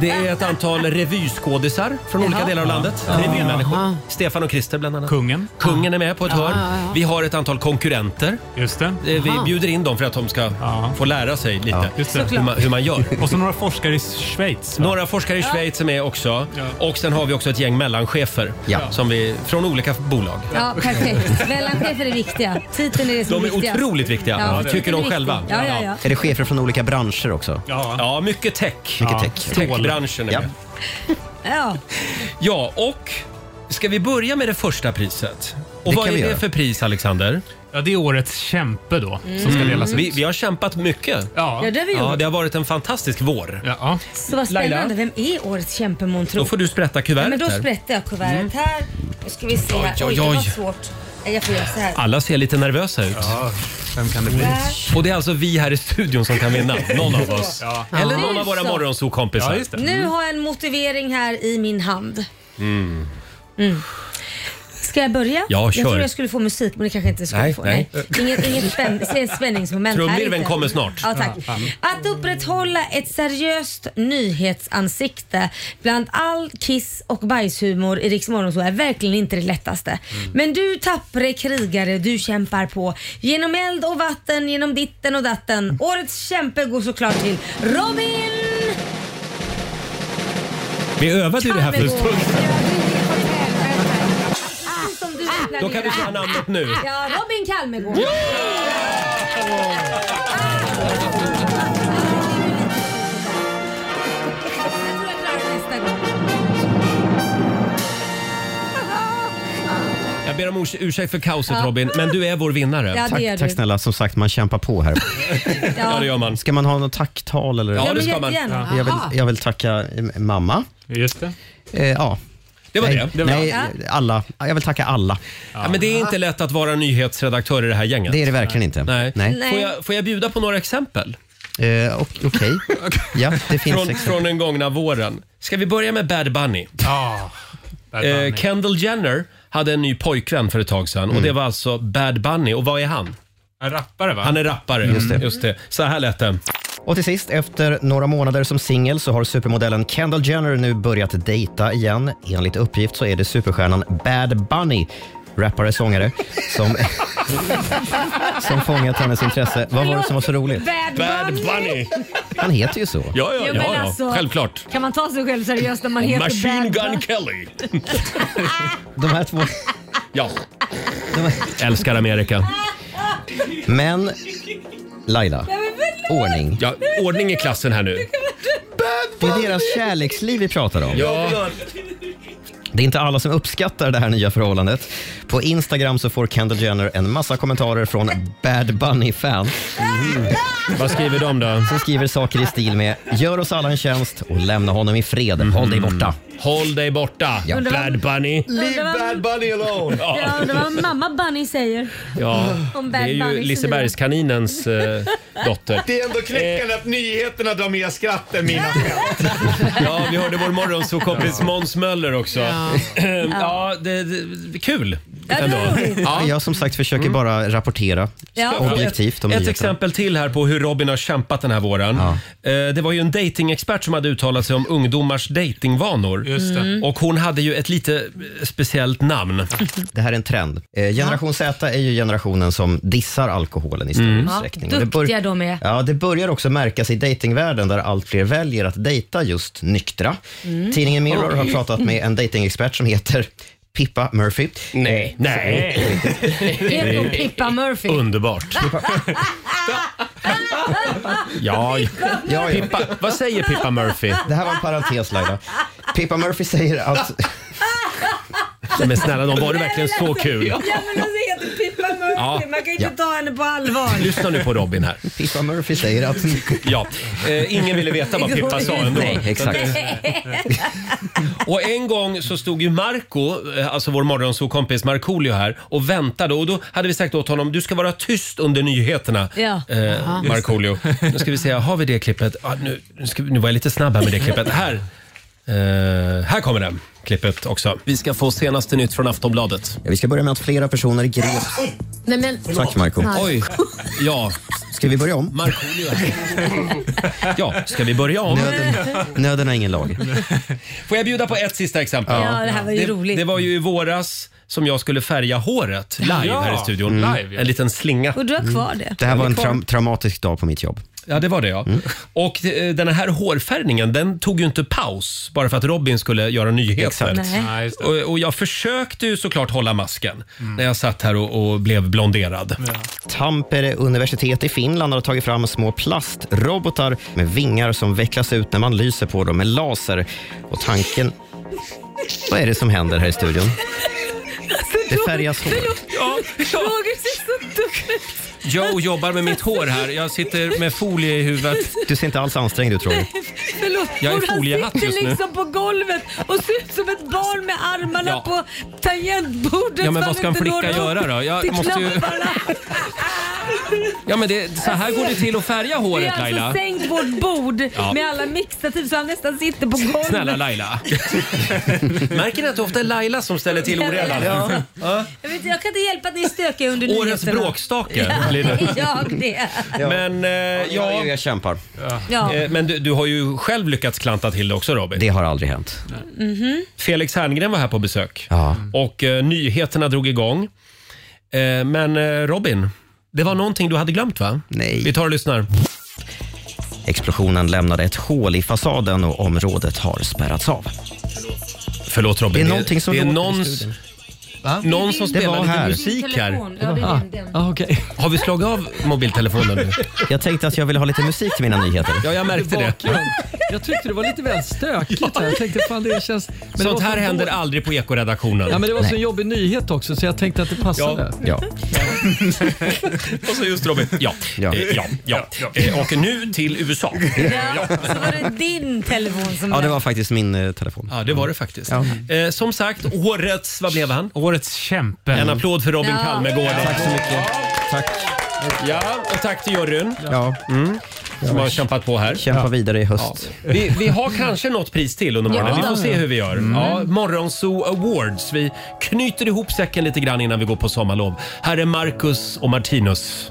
S1: det är
S2: [laughs]
S1: ett antal revyskådisar från
S2: Jaha.
S1: olika delar av landet.
S2: Ja.
S1: Revymänniskor. Stefan och Christer bland annat. Kungen. Kungen är med på ett
S2: Ja,
S1: hörn.
S2: ja, ja.
S1: Vi har ett antal konkurrenter. Just det. Vi
S9: Jaha.
S1: bjuder in dem för att de ska få lära sig lite
S9: Just det.
S1: hur, man, hur man gör.
S9: [laughs] Och så några forskare i Schweiz. va?
S1: [laughs] Några forskare i Schweiz är med också. Och sen har vi också ett gäng mellanchefer som vi, från olika bolag.
S2: Ja, perfekt. Mellanchefer är viktiga. Titeln är det som
S1: De är
S2: viktigast.
S1: otroligt viktiga,
S2: Ja, titeln
S1: tycker
S2: är
S1: de
S2: viktig.
S1: själva.
S2: Ja, ja, ja.
S3: Är det chefer från olika branscher också?
S1: Ja, mycket tech.
S3: Mycket tech.
S1: Techbranschen är
S3: Ja.
S1: med.
S2: ja.
S1: Ja, och ska vi börja med det första priset? Och
S9: Det
S1: vad är
S9: kan vi
S1: det
S9: göra.
S1: för pris, Alexander?
S9: Ja, det är årets kämpe då, som ska
S1: Mm.
S9: delas ut.
S1: Vi, vi har kämpat mycket.
S2: Ja, det har vi gjort.
S1: det har varit en fantastisk vår. Ja.
S2: Så vad spännande. Vem är årets kämpe månntro?
S1: då får du sprätta
S2: ja,
S1: kuvertet
S2: men Då
S1: här.
S2: sprättar jag kuvertet
S1: Mm.
S2: här. Nu ska vi se här.
S1: Oj, oj,
S2: Oj, det var
S1: oj.
S2: svårt. Nej, Jag får göra så här.
S1: Alla ser lite nervösa ut. vem kan det
S2: bli?
S1: Och det är alltså vi här i studion som kan vinna. Någon av oss.
S2: Ja.
S1: Eller
S2: Ja.
S1: någon av våra
S2: Nu så.
S1: morgonsokompisar.
S9: Ja, just
S2: Nu har jag en motivering här i min hand.
S1: Mm.
S2: Mm. Ska jag börja?
S1: Ja, kör.
S2: Jag trodde jag skulle få musik, men det kanske jag inte skulle
S1: Nej,
S2: få.
S1: nej.
S2: Inget, inget spänn,
S1: [laughs]
S2: se- spänningsmoment här.
S1: Trumvirveln
S2: inte.
S1: kommer snart.
S2: Ja, tack. Att upprätthålla ett seriöst nyhetsansikte bland all kiss och bajshumor i Rix Morgon så är verkligen inte det lättaste.
S1: Mm.
S2: Men du tappre krigare, du kämpar på. Genom eld och vatten, genom ditten och
S1: Mm.
S2: datten. Årets kämpe går såklart till Robin
S1: Vi övade ju det här för en
S2: Kammergård.
S1: stund sedan.
S2: som du
S1: Ah,
S2: planerar.
S1: Då kan vi säga namnet nu.
S2: Ja, Robin Kalmegård.
S1: Jag ber om urs- ursäkt för kaoset
S2: Ja.
S1: Robin, men du är vår vinnare.
S2: Ja, det
S3: Tack,
S2: är du.
S3: tack snälla, som sagt man kämpar på här.
S1: Ja, det gör man.
S3: Ska man ha något tacktal? Eller?
S1: Ja, Ja, det men ska man. jättegärna.
S3: Jag,
S1: Aha.
S3: vill, jag vill tacka eh, mamma.
S9: Just det.
S3: Eh, ja.
S1: Det var
S3: nej,
S1: det. Det var-
S3: nej,
S1: Ja.
S3: alla. Jag vill tacka alla.
S1: Ja, men det är inte lätt att vara nyhetsredaktör i det här gänget.
S3: Det är det verkligen inte.
S1: Nej.
S3: Nej.
S1: Får, jag, får jag bjuda på några exempel?
S3: Eh, och-
S1: [laughs]
S3: Okej. ja, det finns liksom-
S1: från,
S3: exempel.
S1: från den gångna våren. Ska vi börja med Bad Bunny?
S9: Ah,
S1: Eh, Kendall Jenner hade en ny pojkvän för ett tag sedan
S3: Mm.
S1: och det var alltså Bad Bunny. Och vad är han?
S9: En rappare va?
S1: Han är rappare.
S3: Mm. Just det.
S1: Så här lät det.
S3: Och till sist, efter några månader som singel så har supermodellen Kendall Jenner nu börjat dejta igen. Enligt uppgift så är det superstjärnan Bad Bunny, rappare-sångare,
S2: [laughs]
S3: som, som fångat hennes intresse. Vad var det som var så roligt?
S2: Bad Bad Bunny. Bunny.
S3: Han heter ju så.
S1: Ja,
S2: Jo, men alltså, Kan man ta sig själv seriöst när man heter
S1: Machine
S2: Bad
S1: Gun
S2: Bunny?
S1: Kelly.
S3: De här två...
S1: Ja. Älskar Amerika.
S3: Men, Laila. Ordning.
S1: Ja, ordning i klassen här nu.
S3: Det är deras kärleksliv vi pratar om.
S1: Ja.
S3: Det är inte alla som uppskattar det här nya förhållandet. På Instagram så får Kendall Jenner en massa kommentarer från Bad Bunny-fans.
S1: Mm. Vad skriver de då?
S3: Som skriver saker i stil med “Gör oss alla en tjänst och lämna honom i fred. Håll dig borta.”
S1: Mm. Håll dig borta,
S2: Undrar vad-
S1: Bad Bunny.
S2: Undrar vad-
S3: Bunny alone!
S2: Ja, undrar vad mamma Bunny säger.
S1: Ja,
S2: Om
S1: det
S2: Bad
S1: är ju
S2: Bunny
S1: Lisebergskaninens eh, dotter.
S12: Det är ändå
S1: Eh.
S12: knäckande att nyheterna drar mer skratt än mina
S1: Ja, vi hörde vår morgonsåkompis Måns Möller också. Ja, [clears throat]
S12: Ja.
S1: det, det, kul
S2: Ja, det var
S1: ändå. Mm.
S2: roligt.
S3: Jag som sagt försöker bara rapportera
S2: Ja.
S3: objektivt om
S1: Ett
S3: nyheterna.
S1: exempel till här på hur Robin har kämpat den här våren. Eh, Det var ju en datingexpert som hade uttalat sig om ungdomars datingvanor.
S9: Just det. Mm.
S1: Och hon hade ju ett lite eh, speciellt
S2: [laughs]
S1: namn.
S3: Det här är en trend. Eh, Generation Z är ju generationen som dissar alkoholen i större
S1: Mm.
S2: Ja,
S3: utsträckning. Och det bör-
S2: duktiga de är.
S3: Ja, det börjar också märkas i datingvärlden där allt fler väljer att dejta just nyktra.
S2: Mm.
S3: Tidningen Mirror
S2: Oj.
S3: har pratat med en datingexpert som heter Pippa Murphy.
S8: Nej.
S3: [laughs] Nej.
S2: Heter hon Pippa Murphy? [laughs]
S1: Underbart.
S3: ja,
S1: Ja,
S3: ja.
S1: Pippa, vad säger Pippa Murphy?
S3: Det här var en parentes Laila. Pippa Murphy säger att...
S1: Men snälla nån, var det verkligen så kul?
S2: Ja men alltså heter Pippa Murphy.
S1: Ja.
S2: Man kan ju inte
S1: Ja.
S2: ta henne på allvar.
S1: Lyssna nu på Robin här.
S3: Pippa Murphy säger att...
S1: Ja, eh, ingen ville veta vad Pippa sa ändå.
S3: Nej, exakt.
S1: Och en gång så stod ju Marco, eh, alltså vår morgonsåkompis Markoolio här och väntade och då hade vi sagt åt honom du ska vara tyst under nyheterna.
S2: Ja.
S1: Eh,
S2: Jaha.
S1: Markoolio. Nu ska vi se, har vi det klippet? Ah, nu, nu, ska, vi- nu var jag lite snabb här med det klippet. Här, eh, här kommer det klippet också. Vi ska få senaste nytt från Aftonbladet.
S3: Vi ska börja med att flera personer greps.
S2: [laughs] Nej, men...
S3: Tack Marco.
S1: Oj, ja.
S3: Ska vi börja om?
S1: Markoolio Ja, ska vi börja om?
S3: Nöden, nöden har ingen lag.
S1: [laughs] Får jag bjuda på ett sista exempel?
S2: Ja, det här var ju
S1: det,
S2: roligt.
S1: Det var ju i våras som jag skulle färga håret live
S2: Ja,
S1: här i studion.
S2: mm. live, ja.
S1: En liten slinga. Mm.
S2: Och du har kvar det.
S3: Det här var en
S1: kvar.
S3: traum- traumatisk dag på mitt jobb.
S1: Ja, det var det ja. Och eh, den här hårfärgningen, den tog ju inte paus bara för att Robin skulle göra nyheter.
S3: Exakt. Nej. Nej, just det. Mm.
S1: Och, och jag försökte ju såklart hålla masken när jag satt här och, och blev blonderad.
S3: Tampere universitet i Finland har tagit fram små plastrobotar med vingar som vecklas ut när man lyser på dem med laser. Och tanken... Vad är det som händer här i studion? Det färgas hår.
S1: Ja, ja.
S2: Roger ser så dum ut.
S1: Joe jobbar med mitt hår här. Jag sitter med folie i huvudet.
S3: Du ser inte alls ansträngd ut Roger.
S2: Förlåt,
S1: Jag är
S2: hon
S1: foliehatt
S2: sitter
S1: just nu.
S2: liksom på golvet och ser ut som ett barn med armarna
S1: Ja.
S2: på tangentbordet.
S1: Ja, men
S2: så
S1: vad ska
S2: han
S1: en
S2: inte
S1: flicka
S2: når upp
S1: göra då? Jag
S2: till
S1: måste ju-
S2: knapparna.
S1: Ja, men det, så här går det till att färga
S2: Vi
S1: håret
S2: har
S1: Laila.
S2: alltså sänkt vårt bord
S1: [laughs] Ja.
S2: med alla mixtativ så han nästan sitter på golvet.
S1: Snälla Laila. Märker ni att det ofta är Laila som ställer till oredan?
S2: Ja.
S1: Ja.
S2: Jag, vet, inte, jag kan inte hjälpa att ni är stökiga under
S1: Årets
S2: nyheterna.
S1: bråkstake
S2: Ja,
S1: blir
S2: [laughs]
S1: det.
S2: ja, det.
S1: Men, eh, ja.
S3: jag, jag kämpar.
S2: Ja.
S1: Eh, Men du, du har ju själv lyckats klanta till det också Robin.
S3: Det har aldrig hänt.
S1: Mm-hmm.
S2: Mhm.
S1: Felix Herngren var här på besök
S3: Ja.
S1: och eh, nyheterna drog igång. Eh, men eh, Robin, det var någonting du hade glömt va?
S3: Nej.
S1: Vi tar och lyssnar.
S3: Explosionen lämnade ett hål i fasaden och området har spärrats av.
S1: Förlåt Robin.
S3: Det är någonting som
S1: det är
S3: låter i
S1: någons,
S3: studion.
S1: någon som
S3: Det var
S1: spelar lite
S3: här.
S1: musik här.
S2: Telefon. Ja, det är den, den.
S1: Ah, okay. Har vi slagit av mobiltelefonen nu?
S3: Jag tänkte att jag ville ha lite musik till mina nyheter.
S1: Ja, jag märkte det.
S13: Jag tyckte det var lite väl stökigt. Här. Jag tänkte fan det känns... men det var
S1: Sånt
S13: så
S1: här händer
S13: dåligt.
S1: aldrig på ekoredaktionen.
S13: Ja, men det var så en jobbig nyhet också så jag tänkte att det passade.
S3: Ja.
S1: Och så just Robin. Ja, ja,
S3: Ja.
S1: ja. ja. Eh, Och nu till USA.
S2: Ja, så var det din telefon som
S3: Ja, det var faktiskt min eh, telefon.
S1: Ja, det var det faktiskt. Eh, som sagt, årets, vad blev han?
S9: Årets kämpe.
S1: En applåd för Robin
S2: Ja.
S1: Kalmegård.
S3: Tack så mycket. Tack.
S1: Ja, och tack till juryn
S3: Ja, Mm.
S1: som har kämpat på här.
S3: kämpa vidare i höst.
S1: Vi, vi har kanske något pris till under morgonen. Vi får se hur vi gör.
S13: Mm.
S1: Ja, Morgonzoo Awards. Vi knyter ihop säcken lite grann innan vi går på sommarlov. Här är Marcus och Martinus.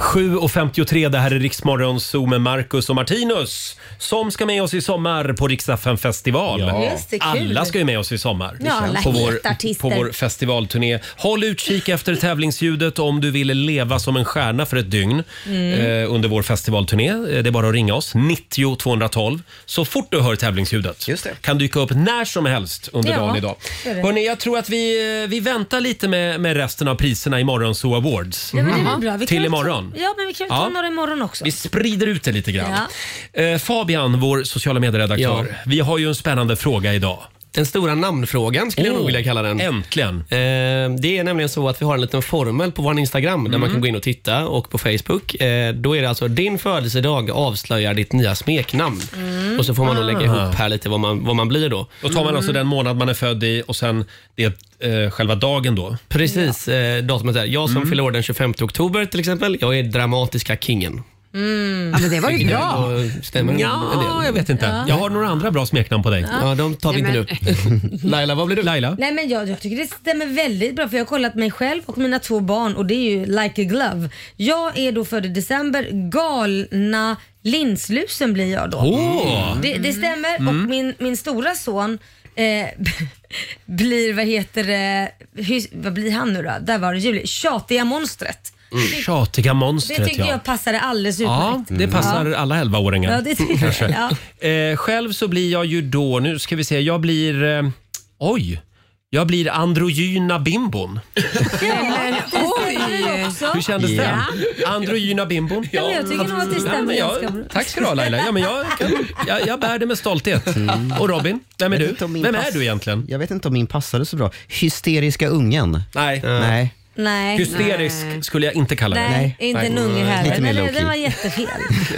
S1: 7.53, det här är Riksmorgon Zoo med Marcus och Martinus som ska med oss i sommar på Riksdagen festival.
S2: Ja. Just det, kul.
S1: alla ska ju med oss i sommar
S2: Ja, alla
S1: på, vår,
S2: heta artister.
S1: på vår festivalturné. Håll utkik efter tävlingsljudet om du vill leva som en stjärna för ett dygn
S2: Mm.
S1: eh, under vår festivalturné. Eh, Det är bara att ringa oss, 90 212. Så fort du hör tävlingsljudet
S3: Just det.
S1: kan dyka upp när som helst under
S2: Ja,
S1: dagen idag.
S2: det är det.
S1: Hörrni, jag tror att vi, eh, vi väntar lite med, med resten av priserna i Morgonzoo Awards.
S2: Ja, men det var bra. Vi kan
S1: Mm. Till
S2: väl ta-
S1: imorgon.
S2: Ja, men vi kan väl ta
S1: Ja.
S2: några imorgon också.
S1: Vi sprider ut det lite grann. Eh, Fabian, vår sociala medieredaktör.
S8: Ja.
S1: Vi har ju en spännande fråga idag.
S8: Den stora namnfrågan skulle jag nog vilja kalla den.
S1: Äntligen!
S8: Eh, Det är nämligen så att vi har en liten formel på vår Instagram där
S1: Mm.
S8: man kan gå in och titta och på Facebook. Eh, Då är det alltså din födelsedag avslöjar ditt nya smeknamn. Och så får man då lägga ihop här lite vad man, vad man blir då.
S1: Mm. Ah. Då tar man alltså den månad man är född i och sen det är eh, själva dagen då. Mm.
S8: Precis, eh, datumet där. Jag som fyller år den 25 oktober till exempel, jag är dramatiska kingen.
S2: Mm.
S6: Ja, men det var ju bra.
S8: Ja. Stämmer en
S1: Ja,
S8: del.
S1: jag vet inte. Jag har några andra bra smeknamn på dig.
S8: Ja, de tar vi inte
S6: Nej,
S8: nu. [laughs] Laila, vad blir du?
S1: Laila?
S2: Nej men jag, jag tycker det stämmer väldigt bra för jag har kollat mig själv och mina två barn och det är ju like a glove. Jag är då född i december, galna linslusen blir jag då.
S1: Åh! Mm.
S2: Det, det stämmer och min, min stora son eh, [laughs] blir, vad heter det, hur, vad blir han nu då? Där var det juli. Tjatiga monstret.
S1: Tjatiga
S2: Det
S1: monstret,
S2: tycker
S1: ja.
S2: jag passade alldeles
S1: Ja,
S2: utmärkt. Mm.
S1: det passar
S2: Ja.
S1: alla 11-åringar.
S2: Ja, det tycker jag.
S1: kanske.
S2: Ja.
S1: Eh, själv så blir jag ju då, nu ska vi se, jag blir... Eh, oj! Jag blir androgyna bimbon. Hur kändes det? Androgyna bimbon.
S2: Ja, men jag tycker nog att det stämmer
S1: Ja, men jag,
S2: ganska bra.
S1: Tack ska du ha Laila. Ja, men jag, kan, jag, jag bär det med stolthet.
S2: Mm.
S1: Och Robin, vem är
S3: Jag vet
S1: du?
S3: inte om min
S1: Vem är
S3: pass-
S1: du egentligen?
S3: Jag vet inte om min passade så bra. Hysteriska ungen. Eh.
S1: Nej.
S3: Nej.
S2: Nej.
S1: Hysterisk skulle jag inte kalla
S2: Nej,
S1: det.
S2: inte en unge heller.
S1: Lite mer
S2: Nej, det-
S1: low-key.
S2: Den var jättefel.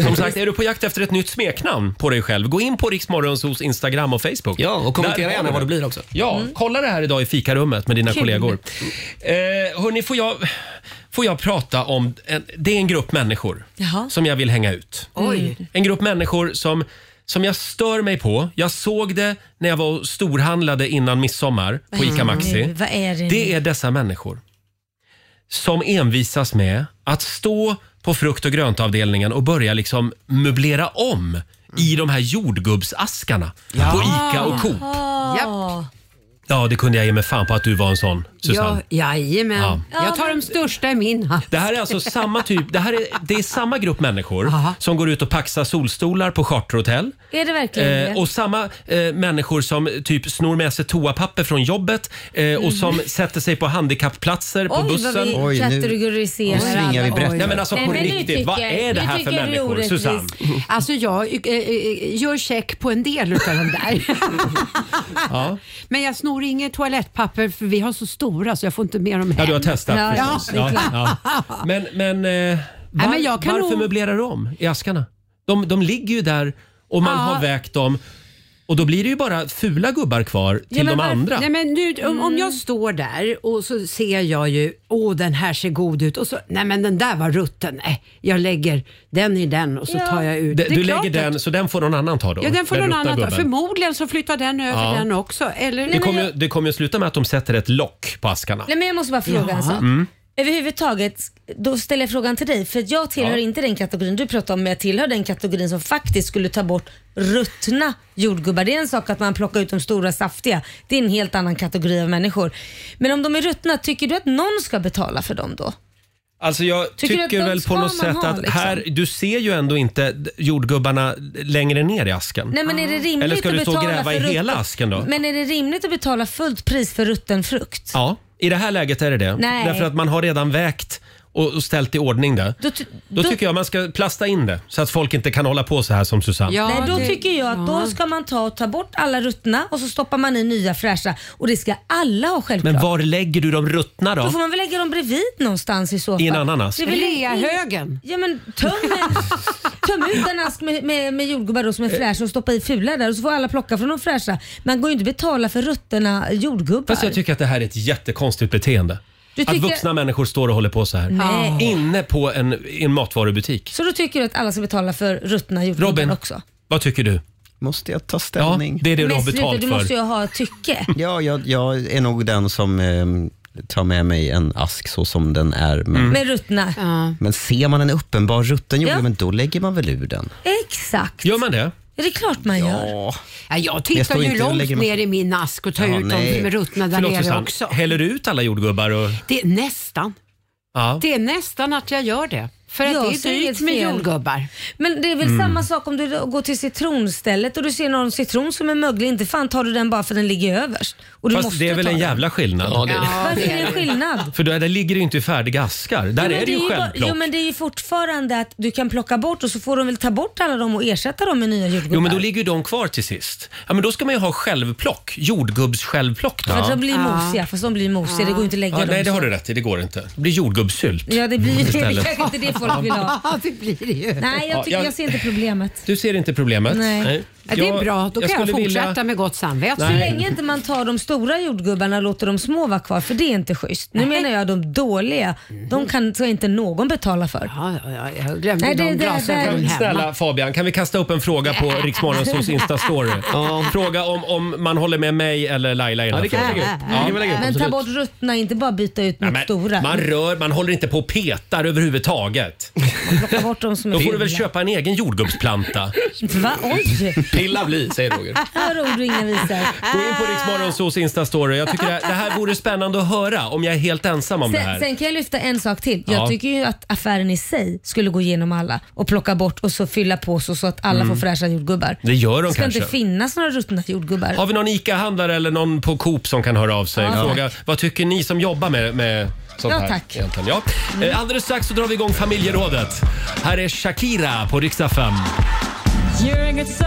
S1: Som sagt, är du på jakt efter ett nytt smeknamn på dig själv, gå in på Riksmorgonsos Instagram och Facebook. Ja,
S8: och kommentera gärna vad det blir också.
S1: Ja,
S2: Mm.
S1: kolla det här idag i fikarummet med dina
S8: Kul.
S1: kollegor. Eh, hörni, får jag, får jag prata om... En, det är en grupp människor
S2: Jaha.
S1: som jag vill hänga ut.
S2: Oj.
S1: En grupp människor som, som jag stör mig på. Jag såg det när jag var och storhandlade innan midsommar på ICA Maxi.
S2: Vad är det nu?
S1: Det är dessa människor som envisas med att stå på frukt och gröntavdelningen och börja liksom möblera om i de här jordgubbsaskarna på ICA och Coop.
S6: Ja.
S1: Ja, det kunde jag ge mig fan på att du var en sån,
S6: Ja,
S1: Susanne.
S6: jajamän.
S1: Ja.
S6: Jag tar de största i min hand.
S1: Det här är alltså
S6: [laughs]
S1: samma typ, det här är, det är samma grupp människor som går ut och paxar solstolar på charterhotell.
S2: Är det verkligen
S1: Eh,
S2: det?
S1: och samma eh, människor som typ snor med sig toapapper från jobbet eh, och som
S6: Mm.
S1: sätter sig på handikappplatser på
S2: Oj,
S1: bussen.
S2: vad vi Oj, nu- kategoriserar
S1: Nu svingar vi
S2: alla.
S1: brett.
S2: Oj.
S1: Nej men alltså
S2: Nej,
S1: på
S2: men nu
S1: riktigt,
S2: tycker
S1: vad
S2: jag-
S1: är det
S2: nu
S1: här för
S2: tycker jag det är
S1: människor?
S2: orättvist.
S1: Susanne?
S6: Alltså jag eh, eh, gör check på en del utav de där. [laughs]
S1: Ja.
S6: Men jag snor inget toalettpapper för vi har så stora så jag får inte med dem hem.
S1: ja, du har testat
S6: Ja,
S1: förstås. Ja, ja. Men, men, eh, var,
S6: men jag kan
S1: varför
S6: nog-
S1: möblerar du om i askarna? De, de ligger ju där och man
S6: Ja.
S1: har vägt dem och då blir det ju bara fula gubbar kvar till de
S6: Ja, men varför-
S1: andra.
S6: Nej, men nu, om,
S2: Mm.
S6: om jag står där och så ser jag ju, åh den här ser god ut och så, nej men den där var rutten. Nej, jag lägger den i den och så
S1: Ja.
S6: tar jag ut.
S1: D-
S6: Det är
S1: du
S6: klart
S1: lägger
S6: att-
S1: den, så den får någon annan ta då?
S6: Ja, den får någon
S1: ruttna
S6: annan ta.
S1: gubben.
S6: Förmodligen så flyttar den över
S1: Ja.
S6: den också. Eller?
S1: Det kommer, ju- det kommer ju sluta med att de sätter ett lock på askarna.
S2: Nej, men jag måste bara fråga en sak.
S1: Mm.
S2: Överhuvudtaget, då ställer jag frågan till dig, för jag tillhör
S1: Ja.
S2: inte den kategorin du pratar om, men jag tillhör den kategorin som faktiskt skulle ta bort ruttna jordgubbar. Det är en sak att man plockar ut de stora saftiga, det är en helt annan kategori av människor. Men om de är ruttna, tycker du att någon ska betala för dem då?
S1: Alltså jag
S2: Tycker
S1: tycker,
S2: du att de
S1: väl
S2: ska
S1: på något
S2: man
S1: sätt
S2: ha,
S1: att
S2: liksom?
S1: här, du ser ju ändå inte d- jordgubbarna längre ner i asken. Ah.
S2: Nej, men är det rimligt
S1: Eller ska
S2: att
S1: du stå och
S2: betala
S1: gräva i
S2: för
S1: hela
S2: rutten-
S1: asken då?
S2: Men är det rimligt att betala fullt pris för rutten frukt?
S1: Ja, i det här läget är det det.
S2: Nej.
S1: Därför att man har redan vägt och och ställt i ordning det.
S2: Då, ty-
S1: Då tycker jag man ska plasta in det så att folk inte kan hålla på så här som Susanne.
S2: Nej, då
S6: det-
S2: tycker jag att
S6: ja.
S2: då ska man ta och ta bort alla ruttna och så stoppar man i nya fräscha och det ska alla ha självklart.
S1: Men var lägger du de ruttna då?
S2: Då får man väl lägga dem bredvid någonstans i så fall.
S1: I en ananas?
S2: Det är väl-
S6: Reahögen.
S2: Ja men töm,
S6: [laughs]
S2: töm ut en ask med, med, med jordgubbar då som är
S1: Eh.
S2: fräscha och stoppa i fula där och så får alla plocka från de fräscha. Man går ju inte betala för ruttna jordgubbar.
S1: Fast jag tycker att det här är ett jättekonstigt beteende.
S2: Du
S1: Att
S2: tycker-
S1: vuxna människor står och håller på så här.
S2: Nej.
S1: Inne på en, i en matvarubutik.
S2: Så då tycker du att alla ska betala för ruttna jordgubbar
S1: Robin,
S2: också?
S1: vad tycker du?
S3: Måste jag ta ställning?
S1: Ja, det är det du har
S2: Men sluta,
S1: betalt
S2: du
S1: för.
S2: måste ju ha tycke.
S3: Ja, jag, jag är nog den som eh, tar med mig en ask så som den är.
S1: Mm.
S3: Men,
S2: Med ruttna.
S3: men ser man en uppenbar rutten jordgubbe,
S2: Ja.
S3: men då lägger man väl ur den?
S2: Exakt.
S1: Gör man det?
S2: Är det klart man gör?
S3: Ja.
S6: Ja, jag
S3: Jag står
S6: tittar ju
S3: inte och
S6: långt
S3: lägger mig-
S6: ner i min ask och tar
S1: Ja,
S6: ut
S1: nej.
S6: dem med ruttna där
S1: Förlåt
S6: nere
S1: Susanne,
S6: också.
S1: häller du ut alla jordgubbar? Och,
S6: Det är nästan.
S1: ja.
S6: Det är nästan att jag gör det. För att
S2: Jag
S6: det
S2: ser
S6: är dyrt
S2: inget
S6: med
S2: fel.
S6: jordgubbar.
S2: Men det är väl
S1: Mm.
S2: samma sak om du går till citronstället och du ser någon citron som är möglig. Inte fan tar du den bara för den ligger överst. Och du
S1: Fast
S2: måste
S1: det är väl
S2: ta
S1: en
S2: den.
S1: jävla skillnad?
S2: Ja, det är det. Ja, Varför är det en skillnad?
S1: För där, där ligger det ju inte i färdiga askar. Där
S2: Jo,
S1: är
S2: men
S1: det ju
S2: bara-
S1: självplock.
S2: Jo men det är ju fortfarande att du kan plocka bort och så får de väl ta bort alla dem och ersätta dem med nya jordgubbar.
S1: Jo, men då ligger ju de kvar till sist. Ja, men då ska man ju ha självplock. Jordgubbs-självplock. då.
S2: För de blir mosiga, fast de blir mosiga. Det går ju inte att lägga
S1: Ja,
S2: dem
S1: nej, det
S2: så.
S1: har du rätt i. Det går inte. Det blir jordgubbssylt.
S2: Ja det blir ju det. [laughs]
S1: [laughs]
S2: Det
S1: Istället.
S2: kanske inte det folk vill
S6: [laughs]
S2: ha.
S6: det blir det ju.
S2: Nej
S1: Ja,
S2: jag, tycker,
S1: jag-
S2: jag ser inte problemet.
S1: Du ser inte problemet?
S2: Nej.
S6: Ja, det är bra, då kan jag,
S1: skulle vilja-
S6: fortsätta med gott samvete.
S2: Så länge inte man tar de stora jordgubbarna och låter de små vara kvar, för det är inte schysst. Nu menar jag de dåliga, de kan, ska inte någon betala för.
S6: Ja, ja, ja, jag glömde
S2: Nej, det-
S6: de
S2: det-
S6: glasögonen
S2: det-
S6: hemma.
S1: Snälla Fabian, kan vi kasta upp en
S8: [laughs]
S1: fråga på Riksmorgonsols Insta-story? Fråga om, om man håller med mig eller Laila i den
S8: Ja,
S1: här
S8: det kan vi
S1: frågan.
S8: lägga ut. Det kan vi lägga ut,
S2: Äh, Men ta bort ruttna, inte bara byta ut
S1: Nej,
S2: mot
S1: men
S2: stora.
S1: Man rör, man håller inte på och petar överhuvudtaget.
S2: kan plocka bort dem som är
S1: Då får du väl
S2: fula.
S1: köpa en egen
S2: [laughs]
S1: jordgubbsplanta.
S2: Va? Oj!
S1: Pilla bli, säger Roger.
S2: Här har ord och inga visor.
S1: Gå in på Riksmorgonsos Insta-story. Jag tycker det här, det här vore spännande att höra om jag är helt ensam om det
S2: Sen,
S1: här.
S2: sen kan jag lyfta en sak till. Jag
S1: Ja.
S2: tycker ju att affären i sig skulle gå igenom alla och plocka bort och så fylla på så, så att alla
S1: Mm.
S2: får fräscha jordgubbar.
S1: Det gör de
S2: ska
S1: kanske.
S2: inte finnas några ruttna jordgubbar.
S1: Har vi någon ICA-handlare eller någon på Coop som kan höra av sig?
S2: Ja,
S1: Fråga, vad tycker ni som jobbar med, med sånt
S2: Ja,
S1: här?
S2: tack.
S1: egentligen? Ja. Eh, Alldeles strax så drar vi igång familjerådet. Här är Shakira på riksdag 5.
S7: You're a good soldier.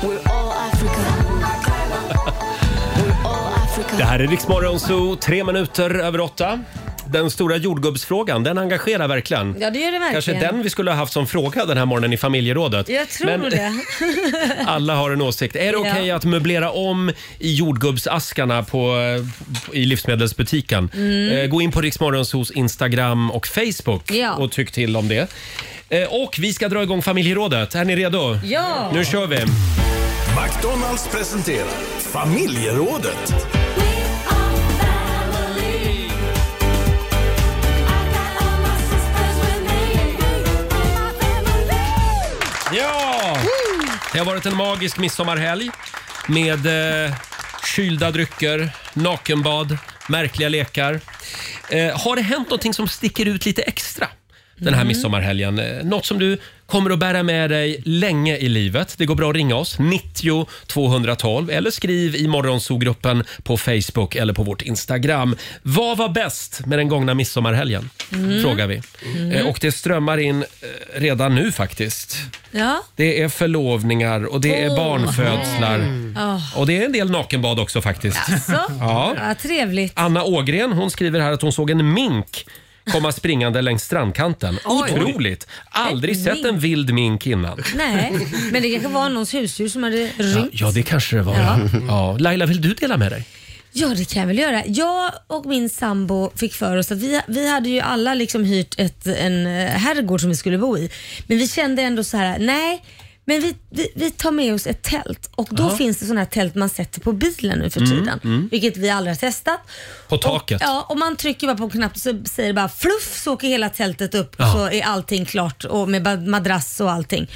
S7: We're all Africa. We're all Africa.
S1: Det här är Riksmorgon Zoo, tre minuter över åtta. Den stora jordgubbsfrågan, den engagerar verkligen.
S2: Ja, det gör det verkligen.
S1: Kanske den vi skulle ha haft som fråga den här morgonen i familjerådet.
S2: Jag tror
S1: Men
S2: det.
S1: [laughs] alla har en åsikt. Är det okej
S2: Ja.
S1: att möblera om i jordgubbsaskarna på, eh, i livsmedelsbutiken?
S2: Mm.
S1: Eh, Gå in på Riksmorgon Zoos Instagram och Facebook
S2: Ja.
S1: och tyck till om det. Eh, Och vi ska dra igång familjerådet. Är ni redo?
S2: Ja.
S1: Nu kör vi!
S4: McDonalds presenterar familjerådet.
S1: Ja! Det har varit en magisk midsommarhelg med eh, kylda drycker, nakenbad, märkliga lekar. Eh, har det hänt någonting som sticker ut lite extra den här
S14: Mm.
S1: midsommarhelgen? Eh, Något som du kommer att bära med dig länge i livet? Det går bra att ringa oss, 90 212 eller skriv i morgonsogruppen på Facebook eller på vårt Instagram. Vad var bäst med den gångna midsommarhelgen?
S2: Mm.
S1: Frågar vi.
S2: Mm.
S1: Eh, och det strömmar in eh, redan nu faktiskt.
S2: Ja.
S1: Det är förlovningar och det är
S2: Åh.
S1: barnfödslar.
S2: Oh.
S1: Och det är en del nakenbad också faktiskt.
S2: Alltså?
S1: [laughs] Ja.
S2: Ja, trevligt.
S1: Anna Ågren hon skriver här att hon såg en mink komma springande längs strandkanten.
S2: Oj.
S1: Otroligt! Aldrig
S2: En
S1: sett
S2: mink.
S1: en vild mink innan.
S2: Nej, men det kanske var någons husdjur som hade rymt.
S1: Ja, det kanske det var. Ja.
S2: Ja.
S1: Laila, vill du dela med dig?
S2: Ja, det kan jag väl göra. Jag och min sambo fick för oss att vi, vi hade ju alla liksom hyrt ett, en eh, herrgård som vi skulle bo i. Men vi kände ändå så här, nej, men vi, vi, vi tar med oss ett tält och då
S1: Ja.
S2: finns det sådana här tält man sätter på bilen nu för
S1: Mm,
S2: tiden.
S1: mm.
S2: Vilket vi aldrig har testat.
S1: På taket?
S2: Och, ja, och man trycker bara på en knapp och så säger det bara fluff så åker hela tältet upp
S1: Ja.
S2: så är allting klart och med ba- madrass och allting.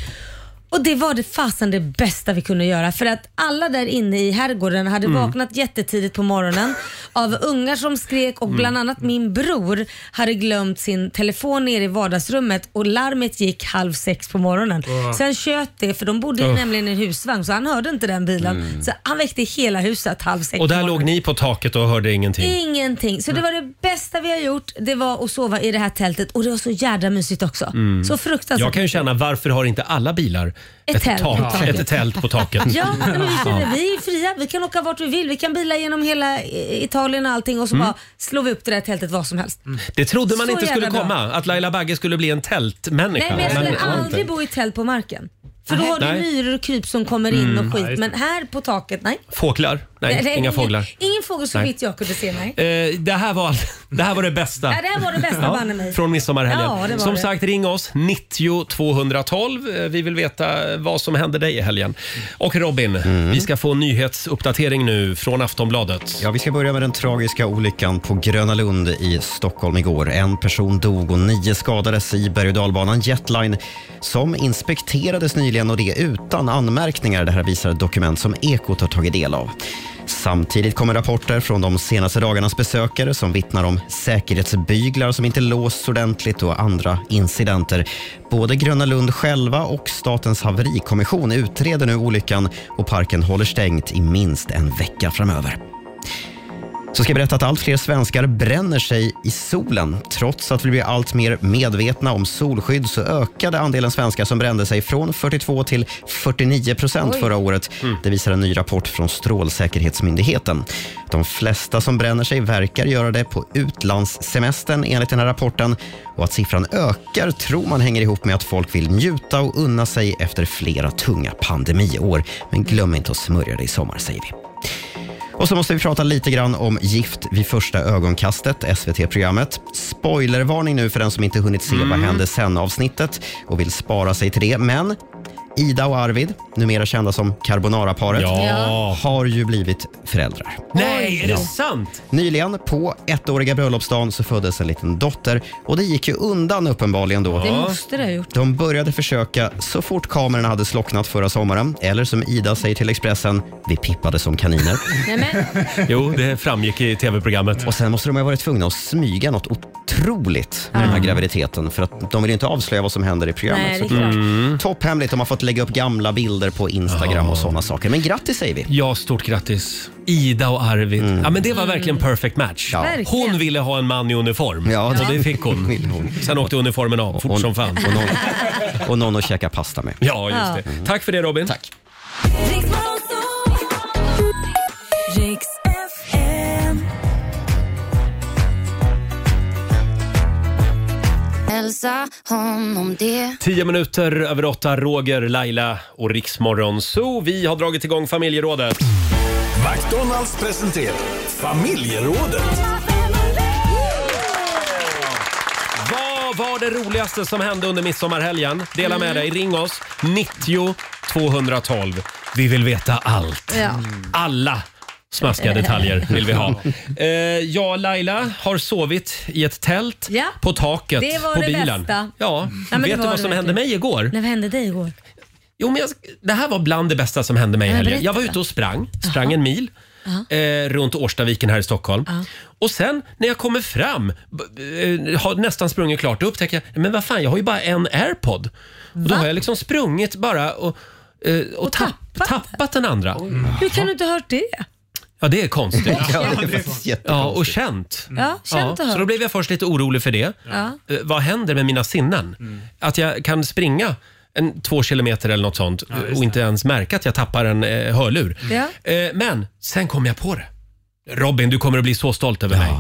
S2: Och det var det fasen det bästa vi kunde göra för att alla där inne i herrgården hade
S7: Mm.
S2: vaknat jättetidigt på morgonen av ungar som skrek och
S7: Mm.
S2: bland annat min bror hade glömt sin telefon nere i vardagsrummet och larmet gick halv sex på morgonen.
S7: Wow.
S2: Så han tjöt det för de bodde ju
S1: Uff.
S2: nämligen i en husvagn så han hörde inte den bilen.
S1: Mm.
S2: Så han väckte hela huset halv sex
S1: Och
S2: på
S1: där
S2: morgonen.
S1: låg ni på taket och hörde ingenting.
S2: Ingenting. Så det var det bästa vi har gjort. Det var att sova i det här tältet och det var så jädra mysigt också.
S1: Mm.
S2: Så fruktansvärt.
S1: Jag kan ju känna, varför har inte alla bilar
S2: Ett tält på
S1: tak,
S2: taket.
S1: ett tält på taket?
S2: Ja, nej, men vi,
S1: [laughs]
S2: känner,
S1: Ja.
S2: vi är fria. Vi kan åka vart vi vill. Vi kan bila genom hela eh, Italien och allting och så
S1: Mm.
S2: bara slår vi upp det där tältet var som helst.
S1: Det trodde man
S2: Så
S1: inte skulle
S2: jävla bra.
S1: komma, att Laila Bagge skulle bli en
S2: Nej,
S1: tältmänniska.
S2: men jag skulle
S1: det var inte.
S2: aldrig bo i tält på marken. För då har du
S1: Nej.
S2: myror och kryp som kommer in
S1: Mm. Ja,
S2: och skit.
S1: just
S2: Men här på taket, nej.
S1: Fåglar? Nej,
S2: det är
S1: inga
S2: ingen,
S1: fåglar.
S2: Ingen fågel så
S1: Nej.
S2: vitt jag kunde se, nej.
S1: Eh, det, här var, [laughs] det här var det bästa.
S2: Ja, det här var det bästa, banne mig.
S1: Från midsommarhelgen.
S2: Ja, det var
S1: som
S2: det.
S1: sagt, ring oss. 90 212. Eh, Vi vill veta vad som hände dig i helgen. Och Robin, vi ska få en nyhetsuppdatering nu från Aftonbladet.
S3: Ja, vi ska börja med den tragiska olyckan på Gröna Lund i Stockholm igår. En person dog och nio skadades i berg och dalbanan Jetline som inspekterades nyligen och det utan anmärkningar. Det här visar ett dokument som Ekot har tagit del av. Samtidigt kommer rapporter från de senaste dagarnas besökare som vittnar om säkerhetsbyglar som inte låsts ordentligt och andra incidenter. Både Gröna Lund själva och Statens haverikommission utreder nu olyckan och parken håller stängt i minst en vecka framöver så ska jag berätta att allt fler svenskar bränner sig i solen. Trots att vi blir allt mer medvetna om solskydd så ökade andelen svenskar som brände sig från 42 till 49 procent
S15: Oj.
S3: förra året. Det visar en ny rapport från Strålsäkerhetsmyndigheten. De flesta som bränner sig verkar göra det på utlandssemestern enligt den här rapporten. Och att siffran ökar tror man hänger ihop med att folk vill njuta och unna sig efter flera tunga pandemiår. Men glöm inte att smörja dig i sommar, säger vi. Och så måste vi prata lite grann om Gift vid första ögonkastet, SVT-programmet.
S2: Mm.
S3: Spoilervarning nu för den som inte hunnit se Vad hände sen-avsnittet och vill spara sig till det. Men Ida och Arvid, numera kända som Carbonara-paret,
S1: Ja.
S3: har ju blivit föräldrar.
S1: Nej, är det
S3: Ja.
S1: sant?
S3: Nyligen, på ettåriga bröllopsdagen, så föddes en liten dotter och det gick ju undan uppenbarligen då.
S2: Det måste det ha gjort.
S3: De började försöka så fort kamerorna hade slocknat förra sommaren, eller som Ida säger till Expressen, vi pippade som kaniner.
S2: Nej, men,
S1: Jo, det framgick i tv-programmet.
S3: Och sen måste de ha varit tvungna att smyga något otroligt med den här graviditeten för att de vill ju inte avslöja vad som händer i programmet.
S1: Nej, det är
S3: såklart.
S1: klart.
S3: Topphemligt, de har fått lägga upp gamla bilder på Instagram och sådana saker. Men grattis säger vi.
S1: Ja, stort grattis. Ida och Arvid. Ja, men det var verkligen perfect match.
S3: Verkligen.
S1: Hon ville ha en man i uniform
S3: Ja,
S1: och det fick hon. Sen åkte uniformen av fort som fan.
S3: Och någon, och någon att käka pasta med.
S1: Ja, just det. Tack för det Robin. Tack.
S7: Hälsa honom det
S1: Tio minuter över åtta, Roger, Laila och Riksmorgon Zoo. Vi har dragit igång familjerådet.
S4: McDonalds presenterar familjerådet.
S1: Vad var det roligaste som hände under midsommarhelgen? Dela
S2: Mm.
S1: med dig. Ring oss. 90 212. Vi vill veta allt.
S2: ja.
S1: Alla smaskiga
S2: [laughs]
S1: detaljer vill vi ha. Eh, ja, Laila har sovit i ett tält
S2: Ja.
S1: på taket
S2: Det var
S1: på
S2: det
S1: bilen.
S2: bästa.
S1: Ja.
S2: Ja, men det
S1: Vet du
S2: var
S1: vad
S2: det
S1: som hände
S2: verkligen.
S1: mig igår?
S2: Nej, vad hände dig igår?
S1: Jo, men jag, det här var bland det bästa som hände mig i
S2: Ja,
S1: helgen.
S2: berätta.
S1: Jag var ute och sprang, sprang en mil
S2: Ja.
S1: eh, runt Årstaviken här i Stockholm. Och sen när jag kommer fram, b- eh, har nästan sprungit klart, då upptäcker jag men vad fan, jag har ju bara en airpod. Och då har jag liksom sprungit bara och, eh, och, tapp, tappat. den andra.
S2: Hur kan du inte ha hört
S1: Mm.
S2: det?
S1: Ja, det är konstigt.
S2: Ja, det är
S1: ja, och känt.
S2: Ja, känt och
S1: så då
S2: hört.
S1: blev jag först lite orolig för det.
S2: Ja.
S1: Eh, vad händer med mina sinnen?
S2: Mm.
S1: Att jag kan springa en, två kilometer eller något sånt och inte ens märka att jag tappar en eh, hörlur.
S2: Ja.
S1: Eh, men sen kom jag på det. Robin, du kommer att bli så stolt över mig.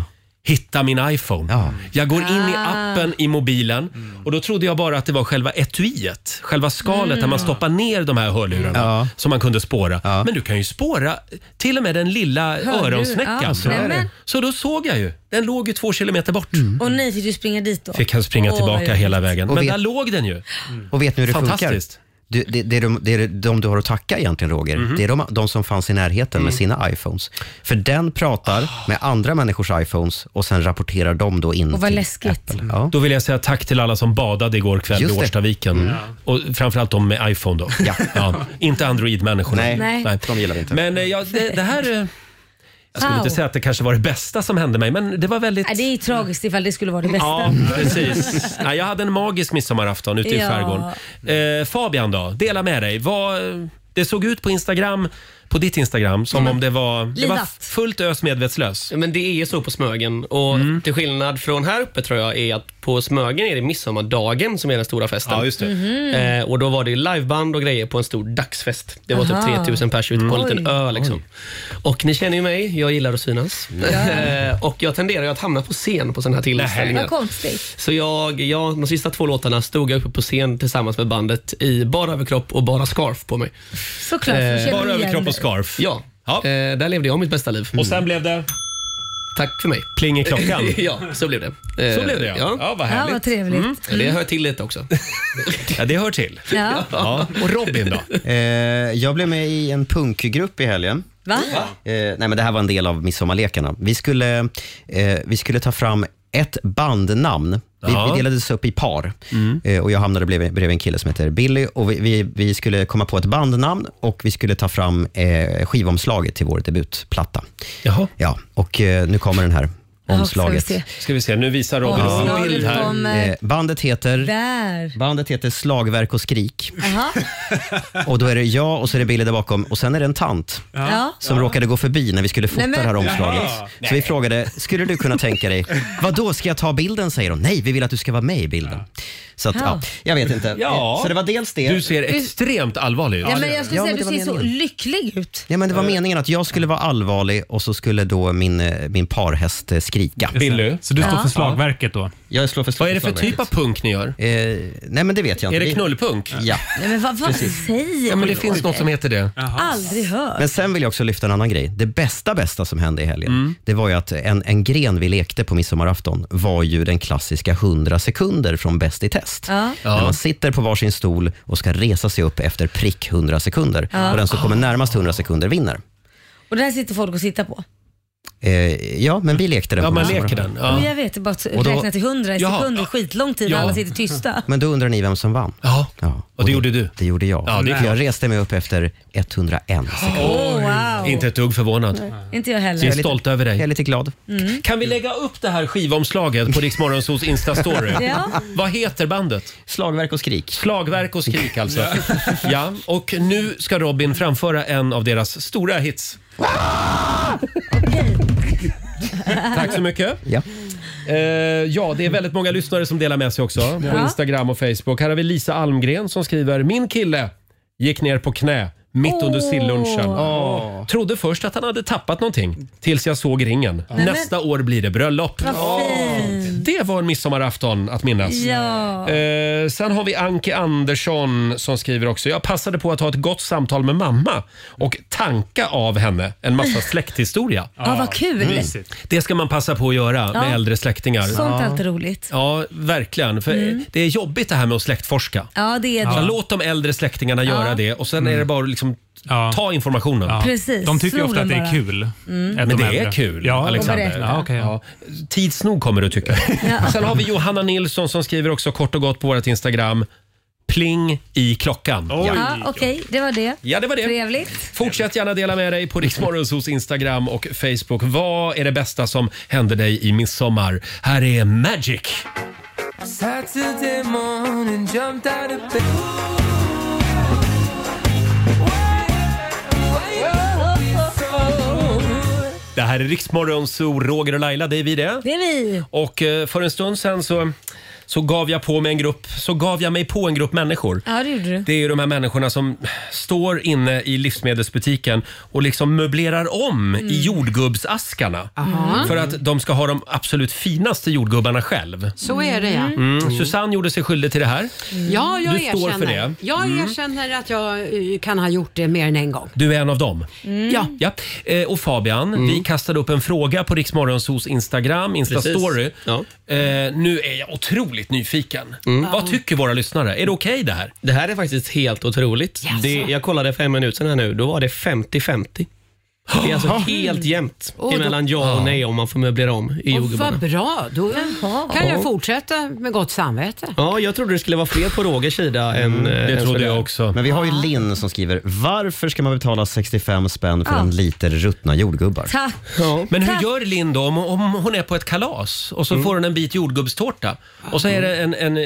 S1: Hitta min iPhone. Jag går in i
S2: Ah.
S1: appen i mobilen
S2: Mm.
S1: och då trodde jag bara att det var själva etuiet, själva skalet där
S2: Mm.
S1: man stoppar ner de här hörlurarna som man kunde spåra. Men du kan ju spåra till och med den lilla
S2: Hörlur,
S1: öronsnäckan.
S2: ja, så är det. Mm.
S1: så då såg jag ju. Den låg ju två kilometer bort.
S2: Och nej, fick du springa dit då?
S1: Fick han springa
S2: Åh, vad
S1: tillbaka
S2: jobbigt.
S1: hela vägen.
S3: Och
S1: Men
S3: vet- Mm.
S1: där låg den ju.
S3: Och vet ni hur det funkar?
S1: Fantastiskt. Mhm.
S3: Du, det, det, är de, det är de du har att tacka egentligen, Roger. Det är de, de som fanns i närheten
S1: Mm.
S3: med sina iPhones. För den pratar med andra människors iPhones och sen rapporterar de då in
S2: Och vad
S3: till
S2: läskigt.
S3: Apple. Ja.
S1: Då vill jag säga tack till alla som badade igår kväll i
S3: Just det.
S1: Årstaviken.
S3: Mm.
S1: Och framförallt de med iPhone då. Ja. Inte Android-människorna.
S3: Nej, de gillar vi inte.
S1: Men eh, ja, det, det här... eh, Jag skulle inte säga att det kanske var det bästa som hände mig, men det var väldigt...
S2: Nej, det är tragiskt ifall det skulle vara det bästa.
S1: Ja, precis. Ja, jag hade en magisk midsommarafton ute i
S2: Ja.
S1: skärgården. Eh, Fabian då, dela med dig. Vad, det såg ut på Instagram, på ditt Instagram som om det var, det var
S8: Livat.
S1: fullt ös medvetslös. Mm.
S8: Men det är ju så på Smögen och till skillnad från här uppe tror jag är att på Smögen är det midsommardagen som är den stora festen.
S1: Ja, just det.
S2: Mhm.
S8: Eh, och då var det ju liveband och grejer på en stor dagsfest. Det var
S2: Aha.
S8: typ 3000 pers ute på en liten
S2: Oj.
S8: ö liksom. Och ni känner ju mig, jag gillar att synas. [laughs] Eh, och jag tenderar ju att hamna på scen på sådana här tillställningar.
S2: Vad konstigt.
S8: Så jag, jag, de sista två låtarna stod jag uppe på scen tillsammans med bandet i bara överkropp och bara scarf på mig. Eh,
S2: Såklart, för känner igen dig.
S1: scarf?
S8: Ja. Eh, där levde jag mitt bästa liv.
S1: Och sen blev det?
S8: Tack för mig.
S1: [laughs] Pling i klockan.
S8: [laughs] ja, så blev det. Eh,
S1: Så blev det, ja. Ja, vad härligt. Ja, vad
S2: trevligt.
S8: Mm. Ja, det hör till lite
S1: [laughs]
S8: också.
S1: ja, det hör till.
S2: Ja.
S1: Och Robin då?
S3: [laughs] Eh, jag blev med i en punkgrupp i helgen.
S2: Va?
S3: Eh, nej, men det här var en del av midsommarlekarna. Vi skulle, eh, vi skulle ta fram ett bandnamn. Vi,
S14: Ja.
S3: vi delades upp i par
S1: Mm.
S3: eh, och jag hamnade bredvid, bredvid en kille som heter Billy. Och vi, vi, vi skulle komma på ett bandnamn och vi skulle ta fram eh, skivomslaget till vår debutplatta.
S1: Jaha.
S3: Ja, och eh, nu kommer den här.
S2: Ja,
S3: Omslaget.
S2: ska vi
S1: Ska vi se, nu visar
S2: Robin sin Omslaget bild här. kommer.
S3: Eh, Bandet heter,
S2: Där.
S3: bandet heter Slagverk och skrik.
S2: Jaha.
S3: [laughs] Och då är det jag och så är det Billy där bakom och sen är det en tant
S2: Ja.
S3: som råkade gå förbi när vi skulle fota
S2: Nej, men-
S3: det här omslaget.
S2: Jaha.
S3: Så vi frågade, skulle du kunna tänka
S2: [laughs]
S3: dig, vad då ska jag ta bilden säger hon. Nej, vi vill att du ska vara med i bilden. Så att, ja,
S2: Ja.
S3: jag vet inte.
S1: Ja.
S3: Så det var dels det.
S1: Du ser extremt allvarlig ut.
S2: Ja, men jag skulle
S3: Ja,
S2: säga
S3: men
S2: att du
S3: det var
S2: ser så
S3: meningen.
S2: lycklig ut.
S3: Ja, men det var meningen att jag skulle vara allvarlig och så skulle då min, eh, min parhäst eh, skrika.
S9: Billy. Så du står för slagverket då?
S3: Jag slår för Eh,
S1: Vad är det för typ av punk ni gör?
S3: nej men det vet jag inte.
S1: Är det
S3: Vi-
S1: knullpunk?
S3: Ja.
S2: Nej, men vad, vad
S3: Precis.
S2: säger
S1: Ja, men det
S2: du, Ah.
S1: finns
S2: Roger?
S1: något som heter det.
S2: Aldrig hört.
S3: Men sen vill jag också lyfta en annan grej. Det bästa bästa som hände i helgen,
S1: Mm.
S3: det var ju att en, en gren vi lekte på midsommarafton var ju den klassiska 100 sekunder från Bäst i test.
S2: Ja.
S3: När man sitter på varsin stol och ska resa sig upp efter prick 100 sekunder.
S2: Ja.
S3: Och den som kommer närmast 100 sekunder vinner.
S2: Och det här sitter folk och tittar på.
S3: Eh, ja, men vi lekte den
S1: Ja,
S3: på
S1: man
S3: midsommarafton.
S1: leker den,
S2: Ja. Men jag vet, det är bara att
S3: Och då-
S2: räkna till hundra i
S3: Jaha,
S2: sekunder,
S3: ja.
S2: skitlång tid när
S3: Ja.
S2: alla sitter tysta.
S3: [laughs]
S1: [laughs]
S3: Men då undrar ni vem som vann?
S1: Ja.
S3: och, det, gjorde
S1: du?
S3: Det gjorde jag.
S1: Ja, det är
S3: För
S1: klart.
S3: jag reste mig upp efter 101 sekunder.
S2: Åh, Oh, wow.
S1: Inte ett dugg förvånad.
S2: Inte jag heller.
S1: Vi är stolta över dig. Jag är
S3: lite glad.
S2: Mm.
S1: Kan vi lägga upp det här skivomslaget på Rix Morgonzoos Insta-story?
S2: Ja.
S1: Vad heter bandet?
S3: Slagverk och skrik.
S1: Slagverk och skrik alltså. [laughs] ja, och nu ska Robin framföra en av deras stora hits. Tack så mycket.
S3: Ja.
S1: Eh, ja, det är väldigt många lyssnare som delar med sig också på
S14: Ja.
S1: Instagram och Facebook. Här har vi Lisa Almgren som skriver “Min kille gick ner på knä mitt under
S14: Åh.
S1: sillunchen.
S14: Åh.
S1: Trodde först att han hade tappat någonting tills jag såg ringen.
S2: men-
S1: Nästa år blir det bröllop.”
S2: Vad fint.
S1: Det var en midsommarafton att minnas.
S2: Ja.
S1: Eh, sen har vi Anke Andersson som skriver också. Jag passade på att ha ett gott samtal med mamma och tanka av henne en
S2: [laughs]
S1: massa släkthistoria. Mm.
S2: Ja, vad kul.
S1: Det ska man passa på att göra
S2: Ja.
S1: med äldre släktingar.
S2: Sånt är alltid roligt.
S1: Ja, verkligen. För
S2: Mm.
S1: Det är jobbigt det här med att släktforska.
S2: Ja, det är det.
S1: Så låt de äldre släktingarna
S2: Ja.
S1: göra det och sen är det bara att liksom ta informationen.
S2: Precis, Mm. De tycker ju slå ofta att den det är bara. kul, Mm. att
S1: Men
S2: de
S1: det
S2: äldre-
S1: är kul,
S2: Ja, och
S1: Alexander.
S2: berätta. Ja,
S1: Ja. Tids nog kommer du tycka. [laughs]
S2: Ja.
S1: Sen har vi Johanna Nilsson som skriver också kort och gott på vårt Instagram. Pling i klockan.
S2: Ja, Okej, det var det.
S1: Ja, det var det.
S2: Trevligt.
S1: Fortsätt gärna dela med dig på Riksmorgonsos Instagram och Facebook. Vad är det bästa som hände dig i midsommar? Här är Magic!
S14: Saturday morning, jumped out of bed.
S1: Det här är Riksmorgonso, Roger och Laila, det är vi det.
S2: Det är vi.
S1: Och eh, för en stund sen så, så gav jag på mig en grupp, så gav jag mig på en grupp människor.
S2: Ja, det gjorde du.
S1: Det är ju de här människorna som står inne i livsmedelsbutiken och liksom möblerar om i jordgubbsaskarna.
S6: Mm. Aha.
S1: För att de ska ha de absolut finaste jordgubbarna själv.
S6: Så är det, ja.
S1: Mm. Susanne gjorde sig skyldig till det här.
S6: Ja, jag
S1: du
S6: erkänner.
S1: står för det.
S6: Jag
S1: Mm.
S6: erkänner att jag eh, kan ha gjort det mer än en gång.
S1: Du är en av dem.
S2: Mm.
S6: Ja.
S1: Ja. Eh, och Fabian, vi kastade upp en fråga på Riksmorgonsos Instagram, Instastory.
S8: Precis.
S1: Eh, nu är jag otroligt nyfiken. Vad tycker våra lyssnare? Är det okej det här?
S8: Mm. Det här är faktiskt helt otroligt. Det, jag kollade för en minut sedan här nu, då var det 50-50. Det
S1: [gasps]
S8: är alltså
S6: Jaha.
S8: helt jämnt
S6: Åh, då-
S8: emellan ja och nej om man får möblera om i
S6: Och
S8: jordgubbarna.
S6: vad bra, då kan
S8: Ja.
S6: jag fortsätta med gott samvete.
S8: Ja, jag trodde det skulle vara fler på Rogers sida
S3: Mm,
S1: Mm,
S8: än... eh, än sådär.
S1: också.
S3: Men vi har ju Linn som skriver, varför ska man betala 65 spänn för
S2: Ja.
S3: en liter ruttna jordgubbar?
S2: Tack.
S1: Men hur
S2: Tack.
S1: gör Linn då om, om hon är på ett kalas och så får hon en bit jordgubbstårta och så är det en, en,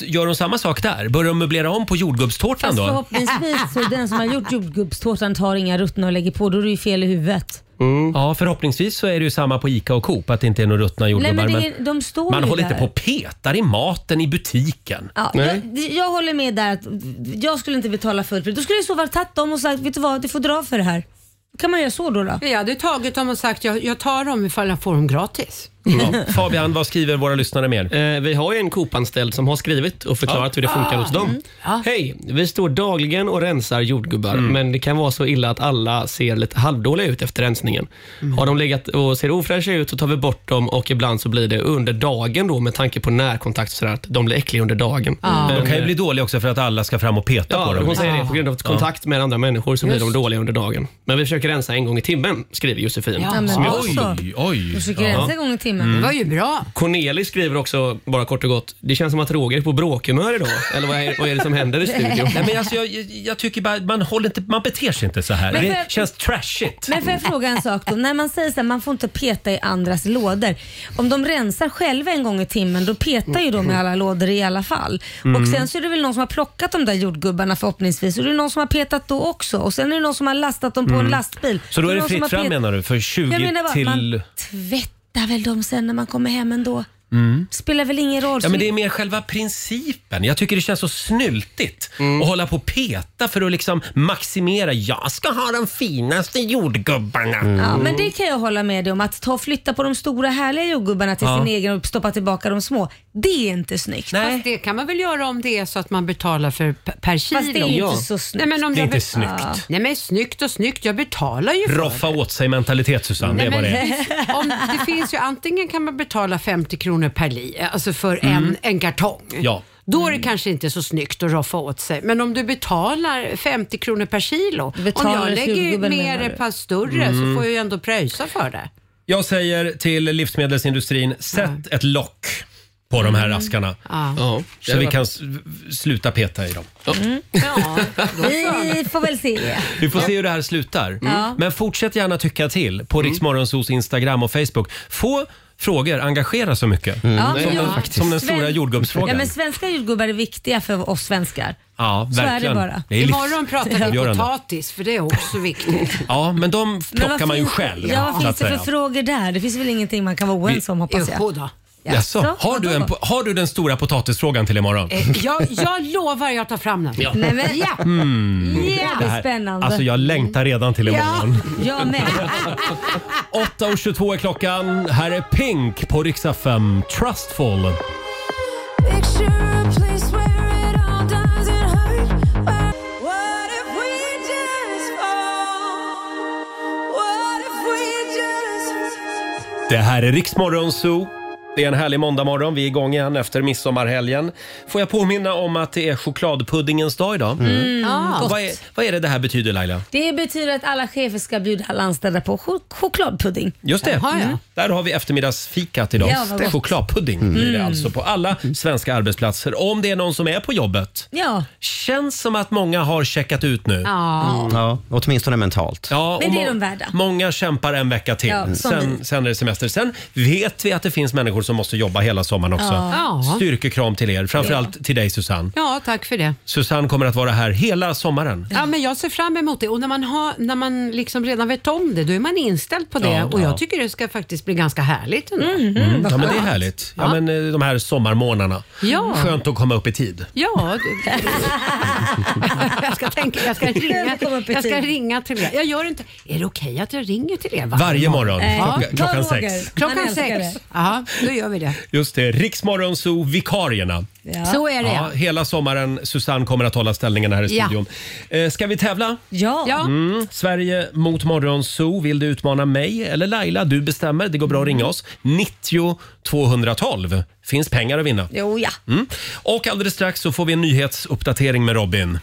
S1: gör hon samma sak där? Börjar hon möblera om på jordgubbstårtan
S2: Fast
S1: då?
S2: förhoppningsvis så den som har gjort jordgubbstårtan tar inga ruttna och lägger på. Då är det ju fel i huvudet.
S1: Ja, förhoppningsvis så är det ju samma på ICA och Coop att det inte är några ruttna
S2: Nej,
S1: jordgubbar.
S2: men det
S1: men-
S2: är, de står
S1: Man
S2: ju
S1: håller
S2: där.
S1: inte på och petar i maten i butiken.
S2: Ja, jag, jag håller med där att jag skulle inte betala fullt pris. Då skulle jag i så fall tagit dem och sagt, vet du vad, du får dra för det här. Kan man göra så då? då?
S6: Jag hade tagit dem och sagt jag, jag tar dem ifall jag får dem gratis.
S1: Ja. Fabian, vad skriver våra lyssnare mer?
S8: Eh, vi har ju en Coop-anställd som har skrivit och förklarat
S1: Ja.
S8: hur det funkar
S1: Ah.
S8: hos dem.
S1: Mm.
S8: Hej! Vi står dagligen och rensar jordgubbar, men det kan vara så illa att alla ser lite halvdåliga ut efter rensningen.
S2: Mm.
S8: Har de legat och ser ofräscha ut så tar vi bort dem och ibland så blir det under dagen då med tanke på närkontakt och sådär, att de blir äckliga under dagen.
S1: Ah. De kan ju
S8: eh,
S1: bli dåliga också för att alla ska fram och peta på
S8: Ja,
S1: dem.
S8: hon säger det. På grund av
S1: Ja.
S8: kontakt med andra människor så blir de
S1: Just.
S8: dåliga under dagen. Men vi försöker rensa en gång i timmen, skriver Josefin.
S2: Ja, men
S8: jag
S2: oj,
S8: också-
S1: oj.
S2: Du försöker rensa en gång i timmen.
S8: Mm. Det var
S6: ju bra.
S8: Cornelis skriver också, bara kort och gott, det känns som att Roger är på bråkhumör idag. Eller vad är, vad är det som
S2: [laughs]
S8: händer i studion?
S1: Nej, men alltså, jag, jag tycker bara man, håller inte, man beter sig inte så här.
S2: Men
S1: Det
S2: för-
S1: känns trashigt.
S2: Men får jag fråga en sak då? När man säger så här, man får inte peta i andras lådor. Om de rensar själva en gång i timmen, då petar ju de i alla lådor i alla fall.
S15: Mm.
S2: Och sen så är det väl någon som har plockat de där jordgubbarna förhoppningsvis och det är någon som har petat då också. Och sen är det någon som har lastat dem på
S1: Mm.
S2: en lastbil.
S1: Så då är det
S2: någon som
S1: fritt
S2: har
S1: fram
S2: pet-
S1: menar du? För 20
S2: Jag menar bara,
S1: till...
S2: man tvättar väl dem sen när man kommer hem ändå?
S1: Mm.
S2: Spelar väl ingen roll.
S1: Ja, men det är mer själva principen. Jag tycker det känns så snyltigt att hålla på och peta för att liksom maximera. Jag ska ha de finaste jordgubbarna.
S2: Ja,
S1: Mm.
S2: men det kan jag hålla med dig om. Att ta och flytta på de stora härliga jordgubbarna till
S1: Ja.
S2: sin egen och stoppa tillbaka de små. Det är inte snyggt.
S6: Fast det kan man väl göra om det är så att man betalar för p- per kilo.
S2: Fast det är ju inte så snyggt.
S6: Nej, men om
S1: Det är
S6: jag
S1: inte
S6: be-
S1: snyggt.
S6: Ja. Nej men snyggt och snyggt, jag betalar ju för
S1: Mm. Roffa åt sig mentalitet Susanne, det är vad det är.
S6: [laughs] men om, det finns ju antingen kan man betala 50 kronor per li, alltså för
S1: Mm.
S6: en, en kartong.
S1: Ja.
S6: Då är det kanske inte så snyggt att roffa åt sig. Men om du betalar 50 kronor per kilo.
S2: betalar
S6: om jag lägger
S2: jordgubben,
S6: mer
S2: menar du?
S6: ett par större
S1: Mm.
S6: så får jag ju ändå pröjsa för det.
S1: Jag säger till livsmedelsindustrin, sätt ett lock på de här askarna.
S6: Ja.
S1: Så vi kan s- sluta peta i dem.
S2: Vi får väl se.
S1: Vi får se hur det här slutar.
S2: Mm. Ja.
S1: Men fortsätt gärna tycka till på mm. Riksmorgonsos Instagram och Facebook. Få frågor engagera så mycket.
S2: Mm. Ja, men
S1: som,
S2: jag-
S1: den, som den stora
S2: Sven- Ja,
S1: jordgubbsfrågan.
S2: men svenska jordgubbar är viktiga för oss svenskar.
S1: Ja,
S2: Så är det
S1: verkligen.
S2: bara.
S1: livs-
S6: Imorgon pratar vi
S1: avgörande.
S6: potatis för det är också viktigt.
S1: Ja, men de
S2: Men vad
S1: plockar man ju
S2: finns-
S1: själv.
S2: Ja, vad
S1: så
S2: finns
S1: att
S2: det för
S1: säga.
S2: frågor där? Det finns väl ingenting man kan vara oense om hoppas jag.
S6: Jodå.
S1: Jaså, har, du en, po- har du den stora potatisfrågan till imorgon? [laughs]
S6: Eh, Jag, jag lovar jag tar fram den.
S1: Ja.
S2: Nej, men-
S6: ja.
S1: Mm.
S6: Ja,
S1: Det här-
S6: spännande.
S1: Alltså jag längtar redan till imorgon.
S2: [laughs] Jag med.
S1: 8.22 är klockan. Här är Pink på riksdag 5. Trustful. Det här är Riksmorgon Zoo. Det är en härlig måndagmorgon. Vi är igång igen efter midsommarhelgen. Får jag påminna om att det är chokladpuddingens dag idag?
S2: Mm, Ah. gott.
S1: vad, är, vad är det det här betyder Laila?
S2: Det betyder att alla chefer ska bjuda alla anställda på chok- chokladpudding.
S1: Just det.
S2: Jaha, ja.
S1: Mm. Där har vi eftermiddagsfikat idag.
S2: Ja, vad gott.
S1: Chokladpudding blir det
S2: Mm.
S1: alltså på alla svenska arbetsplatser. Om det är någon som är på jobbet.
S2: Ja.
S1: Känns som att många har checkat ut nu.
S2: Ja.
S1: Mm. ja åtminstone mentalt. Ja,
S2: Men
S1: och
S2: det är
S1: må-
S2: de värda.
S1: Många kämpar en vecka till.
S2: Ja, som
S1: sen,
S2: vi.
S1: sen är det semester. Sen vet vi att det finns människor som måste jobba hela sommaren också.
S6: Ja. Ja.
S1: Styrkekram till er, framförallt till dig Susanne.
S6: Ja, tack för det.
S1: Susanne kommer att vara här hela sommaren.
S6: Ja, men jag ser fram emot det och när man, har, när man liksom redan vet om det, då är man inställd på det
S1: Ja,
S6: och
S1: ja.
S6: jag tycker det ska faktiskt bli ganska härligt
S2: Mhm.
S6: ändå.
S1: Mm. Ja, men det är härligt. Ja,
S6: Ja.
S1: men, eh, de här sommarmånaderna.
S6: Ja.
S1: Skönt att komma upp i tid.
S6: Ja, det, jag ska tänka, jag ska ringa, jag ska ringa till er. Jag gör inte, är det okej att jag ringer till er
S1: Varje morgon,
S6: Ja.
S1: klocka- klockan Ta, Roger. sex.
S6: Klockan
S2: Man älskar
S6: sex,
S2: det.
S6: ja då gör vi det.
S1: Just det, Riksmorgonzoo vikarierna.
S6: Ja. Så är det, ja.
S1: hela sommaren. Susanne kommer att hålla ställningen här i
S6: Ja.
S1: studion. Eh, Ska vi tävla?
S2: Ja.
S1: Mm. Sverige mot Morgonzoo. Vill du utmana mig eller Laila? Du bestämmer. Det går bra att ringa oss. 90 212. Finns pengar att vinna.
S2: Jo, ja.
S1: Mm. Och alldeles strax så får vi en nyhetsuppdatering med Robin.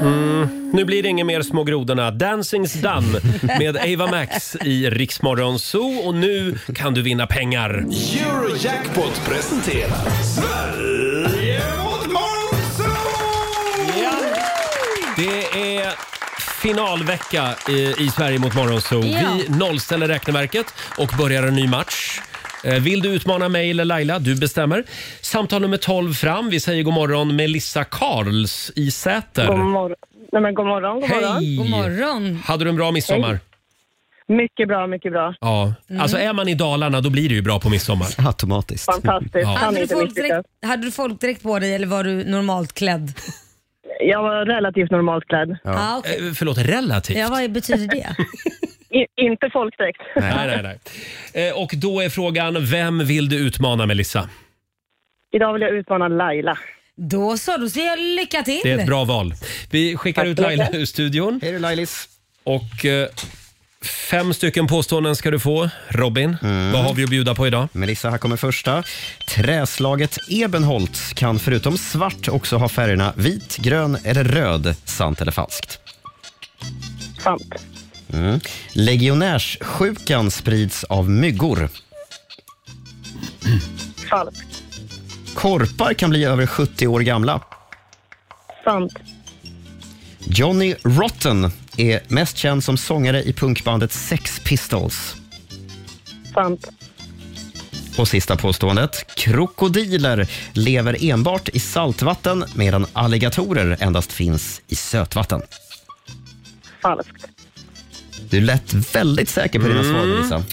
S1: Mm. Nu blir det inget mer Små grodorna. Dancing's done med Ava Max i Riksmorgon Zoo. Och nu kan du vinna pengar.
S4: Eurojackpot presenterar Sverige mot
S1: Det är finalvecka i, i Sverige mot Morgonzoo.
S4: Ja.
S1: Vi nollställer räkneverket och börjar en ny match. Eh, Vill du utmana mig eller Laila? Du bestämmer. Samtal nummer 12 fram. Vi säger god morgon Melissa Karls i Säter.
S5: God morgon. Nej, men god morgon, god
S1: Hej.
S5: morgon.
S1: God morgon. Hade du en bra midsommar?
S5: Hej. Mycket bra, mycket bra.
S1: Ja.
S5: Mm.
S1: Alltså är man i Dalarna då blir det ju bra på midsommar. Automatiskt.
S5: Fantastiskt. Han
S2: Hade,
S5: är
S2: du
S5: inte
S2: folkdräkt, hade du folkdräkt på dig eller var du normalt
S1: [laughs]
S2: klädd?
S5: Jag var relativt normalt klädd.
S2: Ah, okej.
S1: Eh, Förlåt, relativt?
S2: Ja, vad betyder det?
S5: I, inte folkdräkt.
S1: Nej, nej, nej. Eh, Och då är frågan, vem vill du utmana Melissa?
S5: [laughs] Idag vill jag utmana Laila.
S2: Då så, då säger jag lycka till.
S1: Det är ett bra val. Vi skickar
S2: Tack
S1: ut
S2: så
S1: Laila
S2: mycket.
S1: ur studion. Hej Lailis. Och eh, fem stycken påståenden ska du få. Robin, vad har vi att bjuda på idag?
S3: Mm. Melissa, här kommer första. Träslaget ebenholt kan förutom svart också ha färgerna vit, grön eller röd. Sant eller falskt?
S5: Sant.
S3: Mm. Legionärssjukan sprids av myggor.
S5: Falskt.
S3: Korpar kan bli över 70 år gamla.
S5: Sant.
S3: Johnny Rotten är mest känd som sångare i punkbandet Sex Pistols.
S5: Sant.
S3: Och sista påståendet. Krokodiler lever enbart i saltvatten medan alligatorer endast finns i sötvatten.
S5: Falskt.
S3: Du lät väldigt säker på dina
S1: Mm.
S3: svar, Lisa.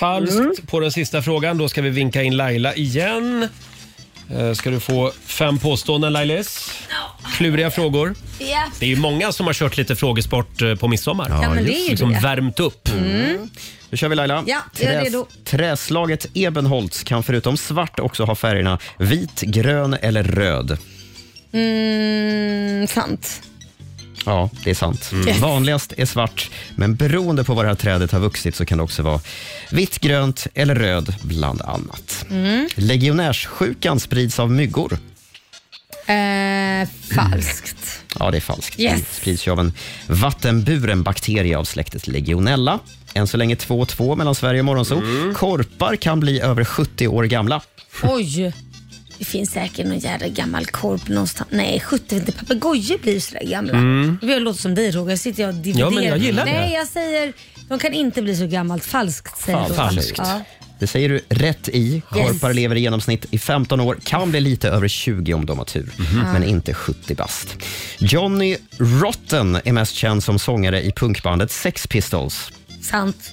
S1: Falskt
S4: Mm.
S1: på den sista frågan. Då ska vi vinka in Laila igen. Eh, Ska du få fem påståenden Lailis? Kluriga frågor.
S2: Ja.
S1: Det är ju många som har kört lite frågesport eh, på midsommar.
S2: Ja, men det är just ju det.
S1: liksom värmt upp.
S2: Mm.
S3: Nu kör vi Laila.
S2: Ja, jag är redo.
S3: Träslaget ebenholts kan förutom svart också ha färgerna vit, grön eller röd.
S2: Mm, sant.
S3: Ja, det är sant.
S2: Yes.
S3: Vanligast är svart, men beroende på var det här trädet har vuxit så kan det också vara vitt, grönt eller röd bland annat.
S2: Mm.
S3: Legionärssjukan sprids av myggor.
S2: Eh, falskt.
S3: Ja, det är falskt.
S2: Yes.
S3: Den sprids ju av en vattenburen bakterie av släktet legionella. Än så länge 2-2 mellan Sverige och Morgonzoo. Korpar kan bli över 70 år gamla.
S2: Oj. Det finns säkert någon jävla gammal korp någonstans. Nej, 70 inte. Papegojor blir ju sådär gamla.
S3: Mm.
S2: Nu vill jag låta som dig Roger. Jag sitter jag och
S3: Ja,
S2: dividerar.
S3: men jag gillar det.
S2: Nej, jag säger de kan inte bli så gammalt. Falskt säger jag då.
S3: Falskt.
S2: Ja.
S3: Det säger du rätt i. Korpar lever i genomsnitt i 15 år, kan bli lite över 20 om de har tur,
S2: Mhm.
S3: men
S2: Ja.
S3: inte 70 bast. Johnny Rotten är mest känd som sångare i punkbandet Sex Pistols.
S2: Sant.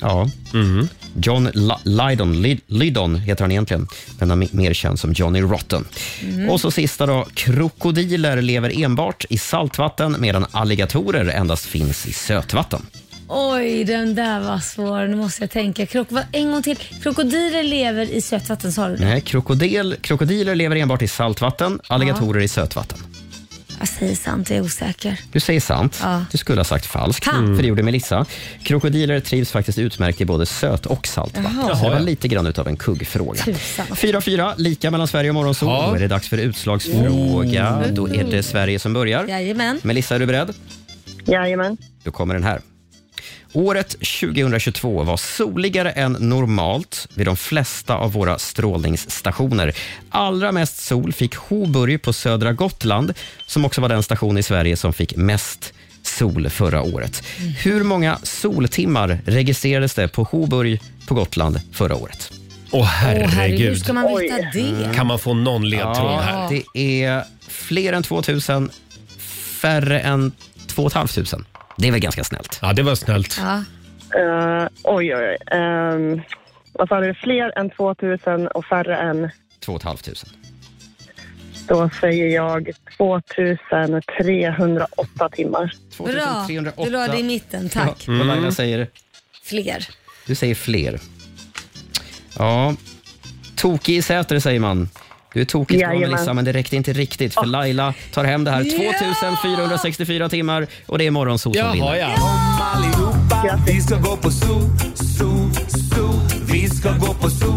S3: Ja.
S2: Mhm.
S3: John La- Lydon, Lyd- Lydon heter han egentligen, men han är mer känd som Johnny Rotten.
S2: Mm.
S3: Och så sista då. Krokodiler lever enbart i saltvatten medan alligatorer endast finns i sötvatten.
S2: Oj, den där var svår. Nu måste jag tänka. Krok va- en gång till. Krokodiler lever i sötvatten, sa du det?
S3: Nej, krokodil, krokodiler lever enbart i saltvatten, alligatorer i sötvatten.
S2: Jag säger sant, jag är osäker.
S3: Du säger sant.
S2: Ja.
S3: Du skulle ha sagt falskt,
S2: Fan.
S3: för det gjorde Melissa. Krokodiler trivs faktiskt utmärkt i både söt och saltvatten.
S2: Jaha.
S3: Så det var
S2: Jaha, ja.
S3: lite grann utav en kuggfråga.
S2: Tusan.
S3: 4-4, lika mellan Sverige och Morgonzoo. Då är det dags för utslagsfråga.
S2: Mm.
S3: Då är det Sverige som börjar.
S2: Jajamän.
S3: Melissa, är du beredd?
S5: Jajamän.
S3: Då kommer den här. Året 2022 var soligare än normalt vid de flesta av våra strålningsstationer. Allra mest sol fick Hoburg på södra Gotland som också var den station i Sverige som fick mest sol förra året.
S2: Mm.
S3: Hur många soltimmar registrerades det på Hoburg på Gotland förra året?
S1: Åh herregud.
S2: Åh, herregud, hur ska man veta Oj. det?
S1: Kan man få någon ledtråd
S3: Mm. Ja,
S1: här?
S3: Det är fler än 2000, färre än 2 500. Det är väl ganska snällt?
S1: Ja, det var snällt.
S2: Ja.
S5: Eh, oj, oj, oj. Ehm, vad sa du? Fler än 2000 och färre än...
S3: 2 500.
S5: Då säger jag 2308 timmar.
S2: Bra, du la det i mitten. Tack.
S3: Ja,
S1: Mm.
S2: Mm.
S3: och Laila säger
S2: Fler.
S3: Du säger fler. Ja, tokig i Säter säger man. Du är tokigt bra
S2: Jajamän.
S3: Melissa, men det räckte inte riktigt för Laila tar hem det här.
S4: Ja!
S3: 2464 timmar och det är Morgonzoo som
S4: Jaha,
S3: vinner.
S4: ja. Kom allihopa, vi ska gå på zoo, zoo, zoo. Vi ska gå på zoo.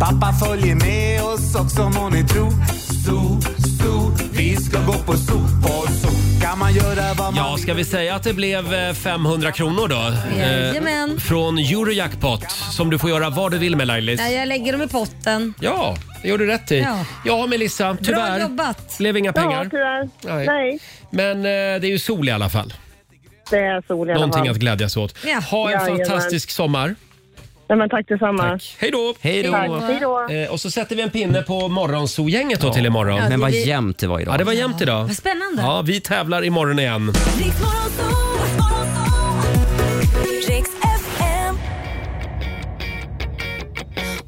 S4: Pappa följer med oss också må ni tro. Zoo, zoo. Vi ska gå på zoo, på zoo. Kan man göra vad man
S1: Ja, ska vi säga att det blev eh, 500 kronor då? Eh,
S2: Jajamän.
S1: från Eurojackpot som du får göra vad du vill med Lailis.
S2: Nej, jag lägger dem i potten.
S1: Ja, det gjorde du rätt i.
S2: Ja.
S1: Ja, Melissa, tyvärr.
S2: Bra jobbat.
S1: blev inga pengar.
S5: Ja, tyvärr. Nej.
S1: Men eh, det är ju sol i alla fall.
S5: Det är sol i alla
S1: Någonting
S5: fall.
S1: att glädjas åt.
S5: Ja.
S1: Ha en
S5: Jajamän.
S1: fantastisk sommar.
S5: Nej, men tack detsamma.
S1: Hej då!
S5: Hej då. Tack, hej då.
S1: Eh, och så sätter vi en pinne på morgonzoo-gänget då till imorgon.
S3: Men vad jämnt det var idag.
S1: Ja, det var jämnt idag.
S2: Vad spännande.
S1: Ja, vi tävlar imorgon igen.
S7: Rix FM.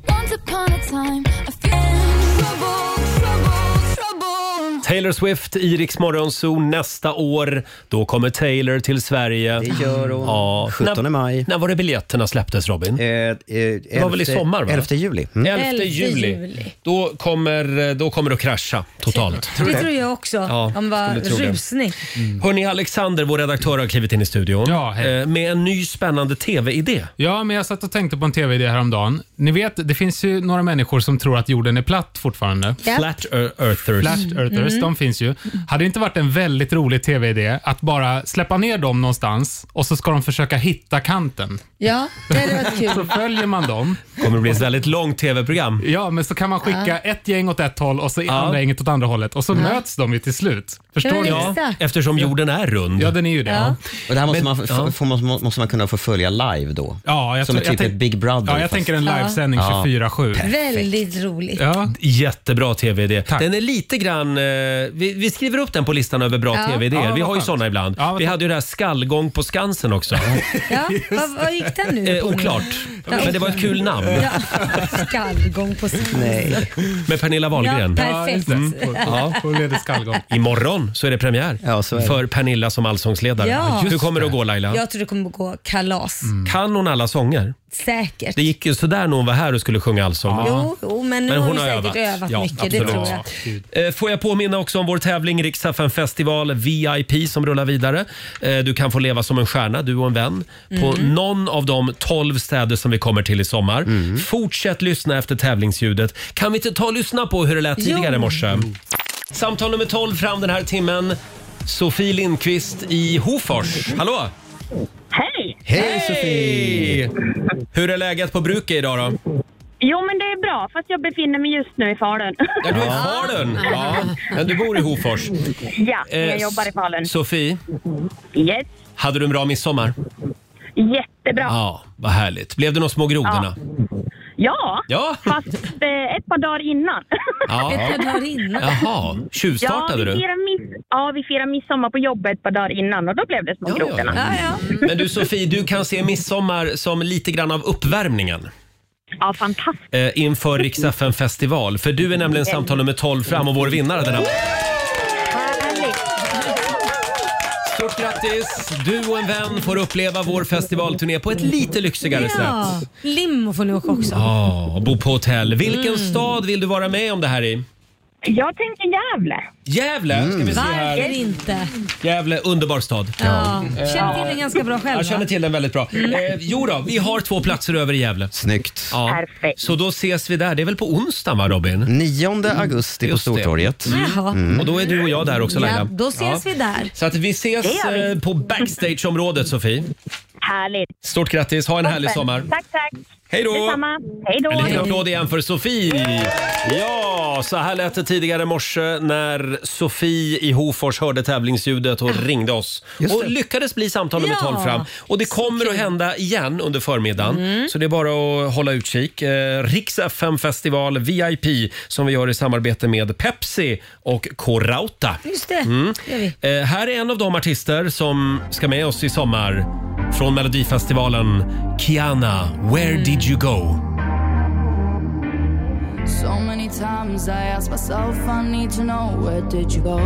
S7: Once upon a time, I feel trouble, trouble, trouble.
S1: Taylor Swift i Rix Morgonzoo nästa år. Då kommer Taylor till Sverige. Det
S3: gör hon.
S1: Ja.
S3: 17
S1: när, maj. När var det biljetterna släpptes Robin? det var väl i
S3: eh, elfte-
S1: sommar? Va?
S3: 11 juli. Mm.
S1: 11 juli.
S2: juli.
S1: Då, kommer, då kommer det att krascha totalt.
S2: det tror jag också.
S1: Ja,
S2: Om var
S1: skulle tro det.
S2: rusning.
S3: Mm.
S1: Hörni, Alexander, vår redaktör, har klivit in i studion Eh, med en ny spännande TV-idé.
S9: Ja, men jag satt och tänkte på en tv-idé häromdagen. Ni vet, det finns ju några människor som tror att jorden är platt fortfarande.
S1: Ja. Flat ear- earthers.
S9: Flat earthers,
S1: Mm.
S9: de finns ju. Hade det inte varit en väldigt rolig tv-idé att bara släppa ner dem någonstans och så ska de försöka hitta kanten?
S2: Ja, det hade varit
S9: Så
S2: kul.
S9: följer man dem.
S1: kommer det bli ett väldigt långt tv-program.
S9: Ja, men så kan man skicka
S2: Ja.
S9: ett gäng åt ett håll och så
S1: Ja.
S9: andra gänget åt andra hållet och så möts de ju till slut.
S2: Ja,
S1: Förstår
S2: men
S1: ja,
S2: exakt.
S1: Eftersom jorden är rund. Ja,
S9: den är ju
S2: det. Ja.
S3: Och det här måste,
S1: Men-
S3: man, f-
S1: ja.
S3: få- måste, man- måste man kunna få följa live då?
S9: Ja, jag
S3: Som
S9: tror-
S3: ett
S9: jag
S3: typ
S9: tänk-
S3: ett Big Brother.
S9: Ja, jag
S3: fast-
S9: tänker en
S2: Ja.
S9: livesändning
S3: Ja.
S9: 24-7.
S2: Väldigt roligt.
S1: Jättebra tv-idé. Den är lite grann... eh, Vi, vi skriver upp den på listan över bra
S2: Ja.
S1: tv-idéer.
S2: Ja,
S1: vi
S2: vad
S1: har ju
S2: skönt.
S1: såna ibland. vi hade ju det här skallgång på Skansen
S2: [laughs]
S1: också.
S2: Ja, vad, vad gick den nu
S1: Eh,
S2: på nu?
S1: oklart.
S2: Ja,
S1: Men det var ett kul namn.
S2: Ja. Skallgång på skansen.
S1: Med Pernilla Wahlgren. Mm.
S2: Ja, perfekt. Ja, just det.
S3: Mm.
S1: Ja.
S9: Hon leder skallgång.
S1: Imorgon så är det premiär
S3: är det.
S1: för Pernilla som allsångsledare.
S2: Ja.
S1: Hur kommer det att gå Laila?
S2: Jag tror det kommer gå kalas.
S1: Kan hon alla sånger?
S2: Säkert.
S1: Det gick ju sådär när hon var här och skulle sjunga allsång.
S2: Jo, jo, men nu har hon säkert övat mycket, det tror jag.
S1: Eh, Får jag påminna också om vår tävling Riksdagen festival VIP som rullar vidare. Eh, Du kan få leva som en stjärna, du och en vän, på
S15: Mm.
S1: någon av de 12 städer som vi kommer till i sommar. Fortsätt lyssna efter tävlingsljudet. Kan vi inte ta och lyssna på hur det lät
S15: Jo.
S1: tidigare i morse? Samtal nummer 12 fram den här timmen. Sofie Lindqvist i Hofors. Hallå!
S16: Hej!
S1: Hej Sofie! Hur är läget på bruket idag då?
S16: Jo, men det är bra, fast jag befinner mig just nu i Falun.
S1: Ja, du är
S5: [laughs]
S1: i Falun. Ja. Men du bor i Hofors.
S16: ja, jag
S1: Eh,
S16: jobbar i Falun.
S1: Sofie?
S16: Yes.
S1: Hade du en bra midsommar?
S16: Jättebra.
S1: Ja, vad härligt. Blev det några små grodorna?
S16: Ja,
S1: Ja.
S16: fast eh, ett par dagar innan.
S1: [laughs] Ja. Ett par dagar
S16: innan?
S1: Jaha, tjuvstartade
S16: ja, vi
S1: du?
S16: Firar miss- ja, vi firade midsommar på jobbet ett par dagar innan och då blev det små grodorna. Ja,
S1: Men du Sofie, du kan se midsommar som lite grann av uppvärmningen
S16: fantastiskt.
S1: eh, inför Rix FM festival. För du är nämligen samtal nummer 12 fram och vår vinnare den här Stort grattis! Du och en vän får uppleva vår festivalturné på ett lite lyxigare sätt.
S2: Ja, limo får ni åka också.
S1: Ja, och bo på hotell. Vilken
S2: Mm.
S1: stad vill du vara med om det här i?
S16: Jag tänker Gävle.
S1: Gävle! Ska vi se
S2: Varför
S1: här.
S2: inte?
S1: Gävle, underbar stad.
S2: Ja. Känner till
S1: Eh,
S2: den ganska bra själv
S1: Jag känner
S2: va?
S1: till den väldigt bra.
S2: Mm.
S1: Eh, jo då, vi har två platser över i Gävle.
S3: Snyggt.
S1: Ja. Perfekt. Så då ses vi där. Det är väl på onsdag va Robin? Mm. 9
S3: augusti på Stortorget.
S2: Jaha.
S1: Mm. Och då är du och jag där också Laila.
S2: Ja, då ses
S1: Ja.
S2: vi där.
S1: Så att vi ses
S2: Det gör vi.
S1: eh, på backstageområdet Sofie.
S16: Härligt.
S1: Stort grattis, ha en härlig
S16: Toppen.
S1: sommar.
S16: Tack, tack.
S1: Hej då.
S16: Detsamma. Hej då.
S1: En liten applåd igen för Sofie. Ja, så här lät det tidigare i morse när Sofie i Hofors hörde tävlingsljudet och ringde oss.
S15: Just
S1: Och
S15: det.
S1: lyckades bli samtal nummer
S15: Ja.
S1: 12 fram. Och det kommer att hända igen under förmiddagen. Så det är bara att hålla utkik. Eh, Rix FM festival VIP som vi gör i samarbete med Pepsi och K-Rauta.
S2: Just det,
S1: Mm.
S2: det gör vi.
S1: Eh, här är en av de artister som ska med oss i sommar från Melodifestivalen. Kiana, Where Did You Go?
S7: So many times I ask myself, I need to know where did you go?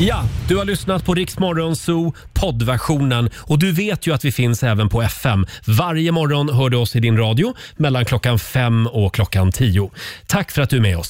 S1: Ja, du har lyssnat på Rix Morgon Zoo poddversionen och du vet ju att vi finns även på FM. Varje morgon hör du oss i din radio mellan klockan fem och klockan tio. Tack för att du är med oss.